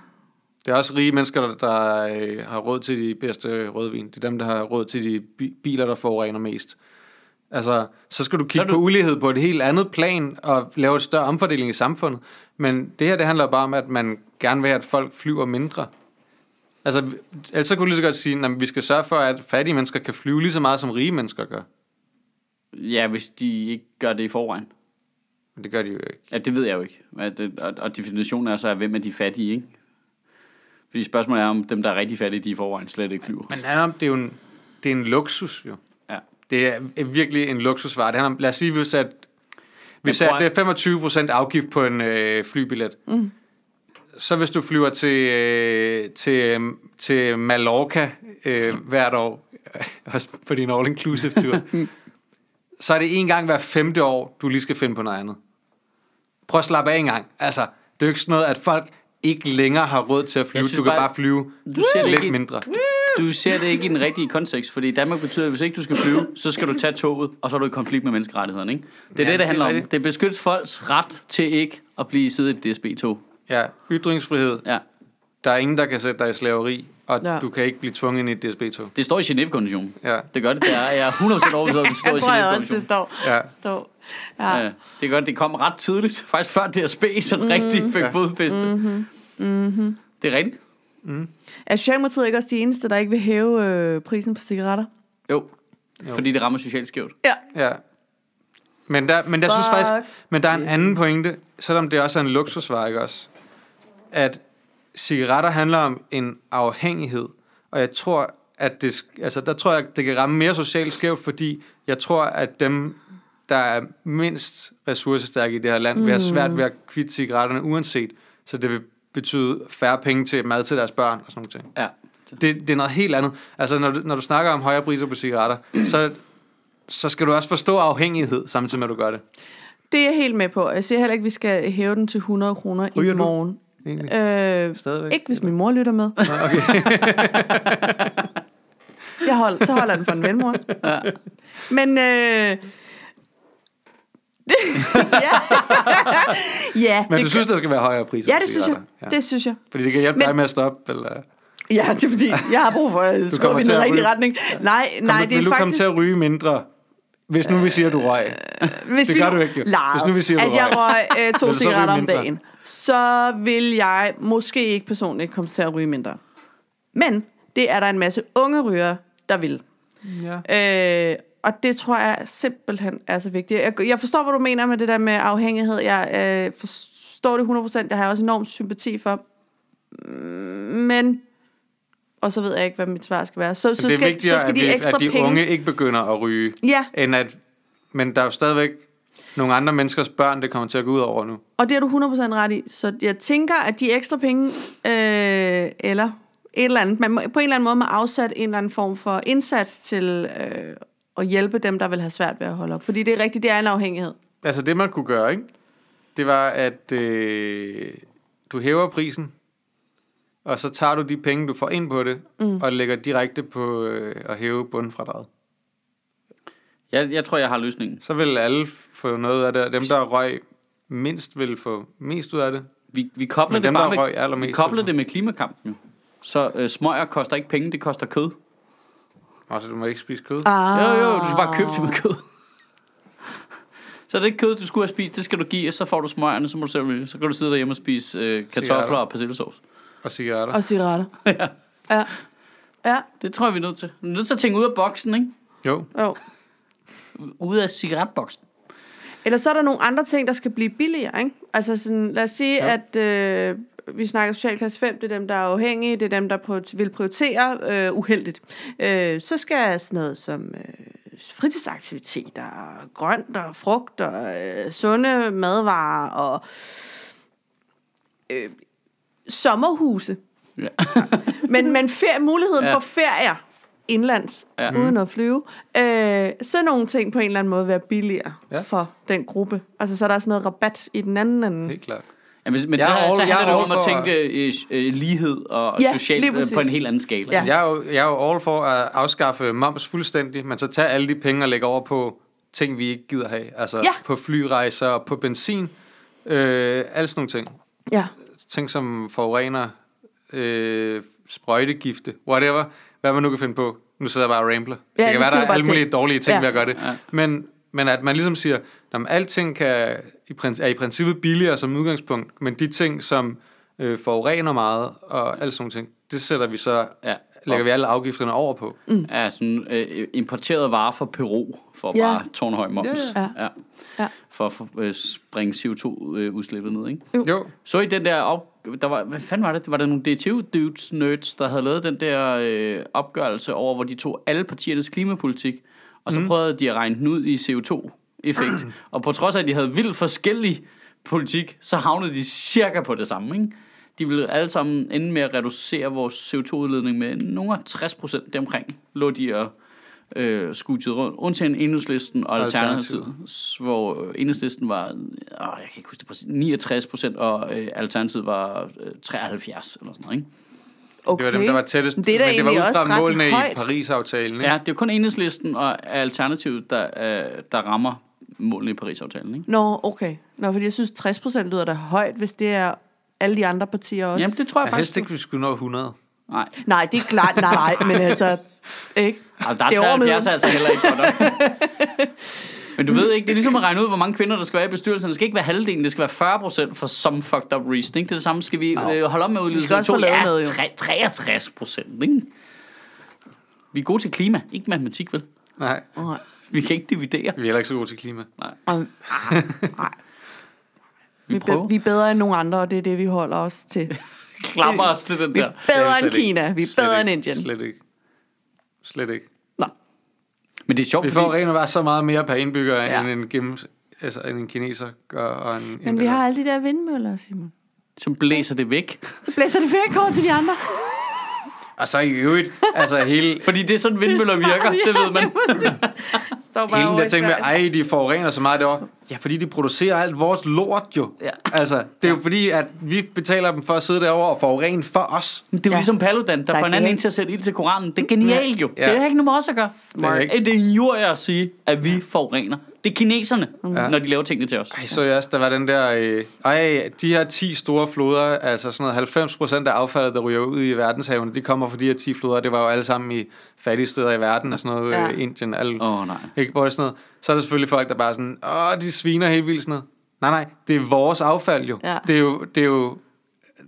Speaker 1: Det er også rige mennesker, der, der øh, har råd til de bedste rødvin. Det er dem, der har råd til de bi- biler, der forurener mest. Altså, så skal du
Speaker 3: Så
Speaker 1: kigge
Speaker 3: er
Speaker 1: du...
Speaker 3: du-
Speaker 1: på ulighed på et helt andet plan og lave et større omfordeling i samfundet. Men det her, det handler bare om, at man gerne vil have, at folk flyver mindre. Altså, vi- ellers så kunne du lige så godt sige, at vi skal sørge for, at fattige mennesker kan flyve lige så meget, som rige mennesker gør.
Speaker 3: Ja, hvis de ikke gør det i forvejen.
Speaker 1: Men det gør de jo ikke.
Speaker 3: Ja, det ved jeg jo ikke. Hvad det- Og, og definitionen er så, at hvem er de fattige, ikke? Fordi spørgsmålet er, om dem, der er rigtig fattige, de i forvejen slet ikke flyver.
Speaker 1: Men det handler om, det er jo en, det er en luksus, jo.
Speaker 3: Ja.
Speaker 1: Det er virkelig en luksusvare. Det handler om, lad os sige, hvis at vi
Speaker 3: Men prøv
Speaker 1: satte
Speaker 3: at-
Speaker 1: 25% afgift på en øh, flybillet. Mm. Så hvis du flyver til, øh, til, til Mallorca øh, hvert år, *laughs* også på din all-inclusive-tur, så er det en gang hver femte år, du lige skal finde på noget andet. Prøv at slappe af en gang. Altså, det er jo ikke sådan noget, at folk ikke længere har råd til at flyve.
Speaker 3: synes
Speaker 1: Du kan
Speaker 3: bare-
Speaker 1: bare flyve
Speaker 3: Du ser det
Speaker 1: lidt
Speaker 3: ikke i-
Speaker 1: mindre.
Speaker 3: Du ser det ikke i den rigtige kontekst, fordi i Danmark betyder, at hvis ikke du skal flyve, så skal du tage toget, og så er du i konflikt med menneskerettighederne, ikke? Det er
Speaker 1: Ja,
Speaker 3: ja, det,
Speaker 1: det er
Speaker 3: det handler det om.
Speaker 1: rigtigt.
Speaker 3: Det beskytter folks ret til ikke at blive siddet i et DSB-tog.
Speaker 1: Ja, ytringsfrihed.
Speaker 3: Ja.
Speaker 1: Der er ingen, der kan sætte dig i slaveri, og ja.
Speaker 2: Ja.
Speaker 1: du kan ikke blive tvunget ind i et DSB-tog.
Speaker 3: Det står i Genève-konventionen.
Speaker 1: Ja.
Speaker 3: Det gør det, det er. Jeg er 100% overbevist om, at det står i
Speaker 2: Jeg tror jeg også, det
Speaker 3: Genève-konventionen.
Speaker 2: står.
Speaker 1: Ja.
Speaker 2: står. Ja.
Speaker 3: Ja, det er godt, det kom ret tidligt. *laughs* Faktisk før DSB sådan mm. rigtig fik
Speaker 1: Ja.
Speaker 3: ja. fodfæste. Mm-hmm. Mm-hmm. Det er rigtigt.
Speaker 2: Er Socialdemokratiet ikke også de eneste, der ikke vil hæve øh, prisen på cigaretter?
Speaker 3: Jo. jo. Fordi det rammer socialt skævt.
Speaker 2: Ja.
Speaker 1: Ja. Men der, men der synes
Speaker 2: Fuck.
Speaker 1: faktisk, men der er en anden pointe, selvom det også er en luksusvare, ikke også? At cigaretter handler om en afhængighed, og jeg tror, at det, sk- altså, der tror jeg, det kan ramme mere socialt skævt, fordi jeg tror, at dem, der er mindst ressourcestærke i det her land, mm. vil have svært ved at kvitte cigaretterne uanset, så det vil betyde færre penge til mad til deres børn og sådan noget.
Speaker 3: Ja.
Speaker 1: Det, det er noget helt andet. Altså, når du, når du snakker om højere priser på cigaretter, så, så skal du også forstå afhængighed, samtidig med, at du gør det.
Speaker 2: Det er jeg helt med på. Jeg siger heller ikke, at vi skal hæve den til 100 kroner
Speaker 1: Ryger
Speaker 2: i
Speaker 1: du?
Speaker 2: morgen.
Speaker 1: Egentlig.
Speaker 2: Øh,
Speaker 1: Stadigvæk.
Speaker 2: ikke hvis min mor lytter med. Okay. jeg hold, så holder jeg den for en venmor. Ja. Men... Øh, *laughs* ja, ja
Speaker 1: Men det du
Speaker 2: det,
Speaker 1: synes, der skal være højere priser
Speaker 2: ja,
Speaker 1: på
Speaker 2: det synes jeg.
Speaker 1: cigaretter?
Speaker 2: Det synes jeg.
Speaker 1: Fordi det kan hjælpe men...
Speaker 2: Men-
Speaker 1: dig med at stoppe, eller...
Speaker 2: Ja, det er fordi, jeg har brug for at skubbe i
Speaker 1: til
Speaker 2: den
Speaker 1: at
Speaker 2: rigtige
Speaker 1: ryge.
Speaker 2: retning. Nej, nej,
Speaker 1: Kom,
Speaker 2: det er
Speaker 1: vil du komme
Speaker 2: faktisk... Øh,
Speaker 1: til at ryge mindre, hvis nu vi siger, at du røg?
Speaker 2: hvis
Speaker 1: Det
Speaker 2: vi
Speaker 1: gør
Speaker 2: nu
Speaker 1: du ikke, jo.
Speaker 2: legede,
Speaker 1: Hvis nu vi siger, du
Speaker 2: at jeg røg øh,
Speaker 1: Vil
Speaker 2: to
Speaker 1: du så
Speaker 2: cigaretter
Speaker 1: ryge
Speaker 2: om
Speaker 1: mindre?
Speaker 2: dagen, så vil jeg måske ikke personligt komme til at ryge mindre. Men det er der en masse unge rygere, der vil.
Speaker 1: Ja.
Speaker 2: Øh, og det tror jeg simpelthen er så vigtigt. Jeg, jeg forstår, hvad du mener med det der med afhængighed. Jeg øh, forstår det 100%. Jeg har også enorm sympati for. mm, Men... Og så ved jeg ikke, hvad mit svar skal være. Så, så,
Speaker 1: det er
Speaker 2: skal, så
Speaker 1: vigtigere,
Speaker 2: skal
Speaker 1: at,
Speaker 2: de
Speaker 1: vi,
Speaker 2: ekstra
Speaker 1: at de
Speaker 2: penge...
Speaker 1: unge ikke begynder at ryge,
Speaker 2: Ja,
Speaker 1: end at, men der er jo stadigvæk nogle andre menneskers børn, det kommer til at gå ud over nu.
Speaker 2: Og det er du 100% ret i. Så jeg tænker, at de ekstra penge, øh, eller et eller andet, man må, på en eller anden måde må afsat en eller anden form for indsats til øh, at hjælpe dem, der vil have svært ved at holde op. Fordi det er rigtigt, det er en afhængighed.
Speaker 1: Altså det, man kunne gøre, ikke? Det var, at øh, du hæver prisen, og så tager du de penge, du får ind på det, mm. og lægger direkte på øh, at hæve bundfradraget.
Speaker 3: Jeg, jeg tror, jeg har løsningen.
Speaker 1: Så vil alle få noget af det, og dem, der røg mindst, vil få mest ud af det.
Speaker 3: Vi, vi koblede
Speaker 1: Men
Speaker 3: det
Speaker 1: dem,
Speaker 3: bare
Speaker 1: der røg
Speaker 3: med,
Speaker 1: allermest,
Speaker 3: vi koblede
Speaker 1: ved
Speaker 3: det med klimakampen jo. Så øh, smøger koster ikke penge, det koster kød.
Speaker 1: Og så Altså, du må ikke spise kød.
Speaker 2: Ah.
Speaker 3: Jo, jo, du skal bare købe det med kød. *laughs* så det kød, du skulle have spist, det skal du give, og så får du smøgerne, så må du selv vælge. Så kan du sidde derhjemme og spise øh, kartofler
Speaker 1: Cigaretter.
Speaker 3: og persillesovs.
Speaker 1: Og cigaretter.
Speaker 2: Og cigaretter.
Speaker 3: *laughs* Ja.
Speaker 2: Ja. Ja,
Speaker 3: Det tror jeg, vi er nødt til. Vi er nødt til at tænke ud af boksen, ikke?
Speaker 1: Jo,
Speaker 2: jo.
Speaker 3: Ude af cigaretboksen.
Speaker 2: Eller så er der nogle andre ting, der skal blive billigere, ikke? Altså sådan, lad os sige, ja. at øh, vi snakker social klasse 5, det er dem, der er afhængige, det er dem, der prior- vil prioritere øh, uheldigt. Øh, så skal sådan noget som øh, fritidsaktiviteter, grønt og frugt og øh, sunde madvarer og øh, sommerhuse.
Speaker 3: Ja.
Speaker 2: *laughs* Men, men ferie, muligheden ja.
Speaker 3: Ja.
Speaker 2: for ferier indlands,
Speaker 3: Ja.
Speaker 2: ja. uden at flyve, øh, så nogle ting på en eller anden måde være billigere
Speaker 1: Ja.
Speaker 2: ja. for den gruppe. Altså, så er der sådan noget rabat i den anden ende.
Speaker 1: helt klart.
Speaker 3: Ja, men, men
Speaker 1: Jeg
Speaker 3: så,
Speaker 1: er all-
Speaker 3: så
Speaker 1: jeg
Speaker 3: handler
Speaker 1: er
Speaker 3: det jo
Speaker 1: all
Speaker 3: om
Speaker 1: for-
Speaker 3: at tænke øh, øh, lighed og
Speaker 2: Ja,
Speaker 3: socialt
Speaker 2: lige
Speaker 3: øh,
Speaker 2: præcis.
Speaker 3: på en helt anden skala.
Speaker 2: Ja.
Speaker 3: ikke?
Speaker 1: Jeg er, jo, jeg er jo all for at afskaffe moms fuldstændig, men så tage alle de penge og lægge over på ting, vi ikke gider have. Altså
Speaker 2: Ja.
Speaker 1: på flyrejser, på benzin, øh, alle sådan nogle ting.
Speaker 2: Ja.
Speaker 1: Ting som forurener, øh, sprøjtegifte, whatever. Hvad man nu kan finde på. Nu sidder jeg bare og rambler.
Speaker 2: Ja,
Speaker 1: det
Speaker 2: nu
Speaker 1: kan være,
Speaker 2: siger
Speaker 1: der
Speaker 2: du
Speaker 1: er
Speaker 2: bare
Speaker 1: alle mulige
Speaker 2: ting.
Speaker 1: dårlige ting
Speaker 2: Ja.
Speaker 1: ja. ved at gøre det.
Speaker 3: Ja.
Speaker 1: Men, men at man ligesom siger, at alting kan, i prin- er i princippet billigere som udgangspunkt, men de ting, som øh, forurener meget og alle sådan nogle ting, det sætter vi så
Speaker 3: Ja.
Speaker 1: lægger vi alle afgifterne over på.
Speaker 3: Mm. Ja, sådan øh, importerede varer fra Peru for
Speaker 2: Ja.
Speaker 3: ja. bare tårnhøj moms.
Speaker 1: Ja,
Speaker 2: ja.
Speaker 3: Ja.
Speaker 2: Ja.
Speaker 3: For at få, øh, springe CO2-udslippet øh, ned, ikke?
Speaker 1: Jo,
Speaker 3: Så i den der op... Der var, hvad fanden var det? Var der nogle DTU dudes nerds, der havde lavet den der øh, opgørelse over, hvor de tog alle partiernes klimapolitik, og så mm. prøvede de at regne den ud i CO2-effekt. *clears throat* og på trods af, at de havde vildt forskellig politik, så havnede de cirka på det samme, ikke? De ville alle sammen ende med at reducere vores CO2-udledning med nogle af 60 procent deromkring, lå de og øh, skudtede rundt, undtagen enhedslisten og
Speaker 1: Alternativet.
Speaker 3: alternativet hvor øh, enhedslisten var, øh, jeg kan ikke huske det præcis, 69 procent, og øh, alternativet var øh, 73 eller sådan noget, ikke?
Speaker 2: Okay.
Speaker 1: det var dem, der var tættest.
Speaker 2: Men det er da
Speaker 1: men det var
Speaker 2: egentlig
Speaker 1: ud
Speaker 2: også
Speaker 1: fra
Speaker 2: ret
Speaker 1: målene i
Speaker 2: højt.
Speaker 1: Paris-aftalen. Ikke?
Speaker 3: Ja, det er jo kun enhedslisten og alternativet, der, øh, der rammer målene i Paris-aftalen, ikke?
Speaker 2: Nå, okay. Nå, fordi jeg synes, 60% lyder da højt, hvis det er alle de andre partier også.
Speaker 3: Jamen,
Speaker 2: Jamen, det...
Speaker 3: det tror jeg,
Speaker 1: Jeg helst
Speaker 3: faktisk.
Speaker 1: ikke, vi skulle nå 100.
Speaker 3: Nej,
Speaker 2: Nej, det er klart. Nej, nej, men altså... Ikke?
Speaker 3: altså, der
Speaker 2: Det
Speaker 3: er
Speaker 2: er over
Speaker 3: 73
Speaker 2: midten.
Speaker 3: altså heller ikke godt nok.
Speaker 2: *laughs*
Speaker 3: Men du ved ikke, det er ligesom at regne ud, hvor mange kvinder, der skal være i bestyrelsen. Det skal ikke være halvdelen, det skal være 40 procent for some fucked up reason. Ikke? Det er det samme, skal vi øh, holde op med at udlede
Speaker 2: skal også få lavet noget, jo.
Speaker 3: ja, 63 procent, ikke? Vi er gode til klima, ikke matematik, vel?
Speaker 1: Nej,
Speaker 2: Nej.
Speaker 3: Vi kan ikke dividere.
Speaker 1: vi er heller ikke så gode til klima.
Speaker 2: Og- Nej. Vi, er
Speaker 3: prøver.
Speaker 2: be- vi er bedre end nogle andre, og det er det, vi holder os til.
Speaker 3: Klammer os til den
Speaker 2: Vi
Speaker 3: der.
Speaker 2: er bedre
Speaker 1: slet
Speaker 2: end
Speaker 1: ikke.
Speaker 2: Kina. Vi er
Speaker 1: Slet
Speaker 2: bedre end
Speaker 1: ikke.
Speaker 2: Indien.
Speaker 1: Slet ikke. Slet ikke.
Speaker 2: Nå.
Speaker 3: Men det er sjovt,
Speaker 1: Vi
Speaker 3: fordi...
Speaker 1: får rent og bare så meget mere per indbygger,
Speaker 2: Ja.
Speaker 1: ja. end, en gennem, altså, end en kineser gør, og en
Speaker 2: Men vi har alle de der vindmøller, Simon.
Speaker 3: som blæser det væk.
Speaker 2: Så blæser det væk over til de andre.
Speaker 1: Og så i øvrigt, altså
Speaker 2: *laughs*
Speaker 1: hele,
Speaker 3: Fordi det er sådan, vindmøller virker, det ved man.
Speaker 2: Står
Speaker 1: hele
Speaker 2: over
Speaker 1: den
Speaker 2: i
Speaker 1: der ting med,
Speaker 2: Sverige.
Speaker 1: ej, de forurener så meget derovre. Ja, fordi de producerer alt vores lort jo.
Speaker 3: Ja.
Speaker 1: Altså, det er jo fordi, at vi betaler dem for at sidde derovre og forurene for os.
Speaker 3: Det er jo
Speaker 2: Ja.
Speaker 3: ligesom Paludan, der
Speaker 2: Tak
Speaker 3: får
Speaker 2: skal
Speaker 3: en
Speaker 2: I
Speaker 3: anden
Speaker 2: have.
Speaker 3: en til at sætte ild til Koranen. Det er genialt jo.
Speaker 1: Ja.
Speaker 3: Det er ikke noget med os at gøre.
Speaker 1: Det er
Speaker 3: Det
Speaker 1: ikke-
Speaker 3: er en jury at sige, at vi forurener. Det er kineserne,
Speaker 2: Mm.
Speaker 1: Ja.
Speaker 3: når de laver tingene til os.
Speaker 1: Ej, så jeg også, der var den der, øh, ej, de her 10 store floder, altså sådan noget 90 procent af affaldet, der ryger ud i verdenshavene, de kommer fra de her 10 floder, det var jo alle sammen i fattige steder i verden, og sådan noget,
Speaker 2: Ja.
Speaker 1: ja. øh, Indien, alle,
Speaker 3: Åh, nej.
Speaker 1: ikke, hvor det er sådan noget. Så er der selvfølgelig folk, der bare er sådan, åh, de sviner helt vildt sådan noget. Nej, nej, det er vores affald jo.
Speaker 2: Ja.
Speaker 1: Det er jo, det er jo,
Speaker 3: De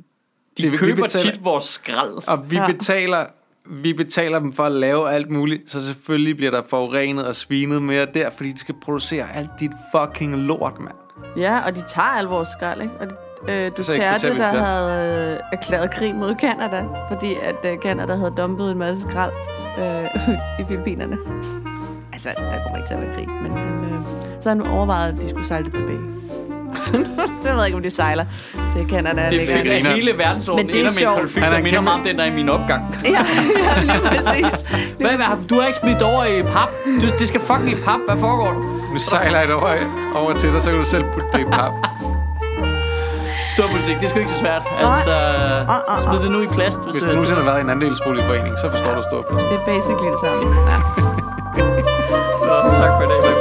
Speaker 1: Det er- de
Speaker 3: køber
Speaker 1: betaler-
Speaker 3: tit vores skrald.
Speaker 1: og vi
Speaker 2: Ja.
Speaker 1: ja. betaler vi betaler dem for at lave alt muligt, så selvfølgelig bliver der forurenet og svinet mere der, fordi de skal producere alt dit fucking lort, mand.
Speaker 2: Ja, og de tager al vores skrald, ikke? Og de, øh,
Speaker 1: Så eksporterer vi
Speaker 2: Duterte,
Speaker 1: det.
Speaker 2: der havde øh, erklæret krig mod Kanada, fordi at øh, Kanada havde dumpet en masse skrald øh, *laughs* i Filippinerne. Altså, der kommer ikke til at være krig, men han, øh, så har han overvejet, at de skulle sejle det tilbage. *laughs* Så jeg ved ikke, om de sejler til Kanada.
Speaker 1: Det er
Speaker 2: længere.
Speaker 1: fedt. griner.
Speaker 3: Hele verdensordenen
Speaker 2: Men det er
Speaker 3: ender med en
Speaker 2: sjovt.
Speaker 3: konflikt,
Speaker 1: Han er
Speaker 3: der
Speaker 1: en
Speaker 3: minder
Speaker 1: kæmpe-
Speaker 3: meget om den, der er i min opgang.
Speaker 2: *laughs* Ja, ja, *laughs* lige præcis. Lige
Speaker 3: Hvad,
Speaker 2: præcis.
Speaker 3: hvad, du har ikke smidt det over i pap. Du, det skal fucking i pap. Hvad foregår der?
Speaker 1: Nu sejler jeg det over, over til dig, så kan du selv putte det i pap.
Speaker 3: Stor politik, det er sgu ikke så svært. Altså,
Speaker 2: Ah, ah, ah.
Speaker 3: smid det nu i plast, hvis,
Speaker 1: Hvis
Speaker 3: du
Speaker 1: du nogensinde har været i en andelsboligforening, så forstår du stort.
Speaker 2: Det er basically det samme. Ja.
Speaker 3: Nå, tak for i dag. Bye.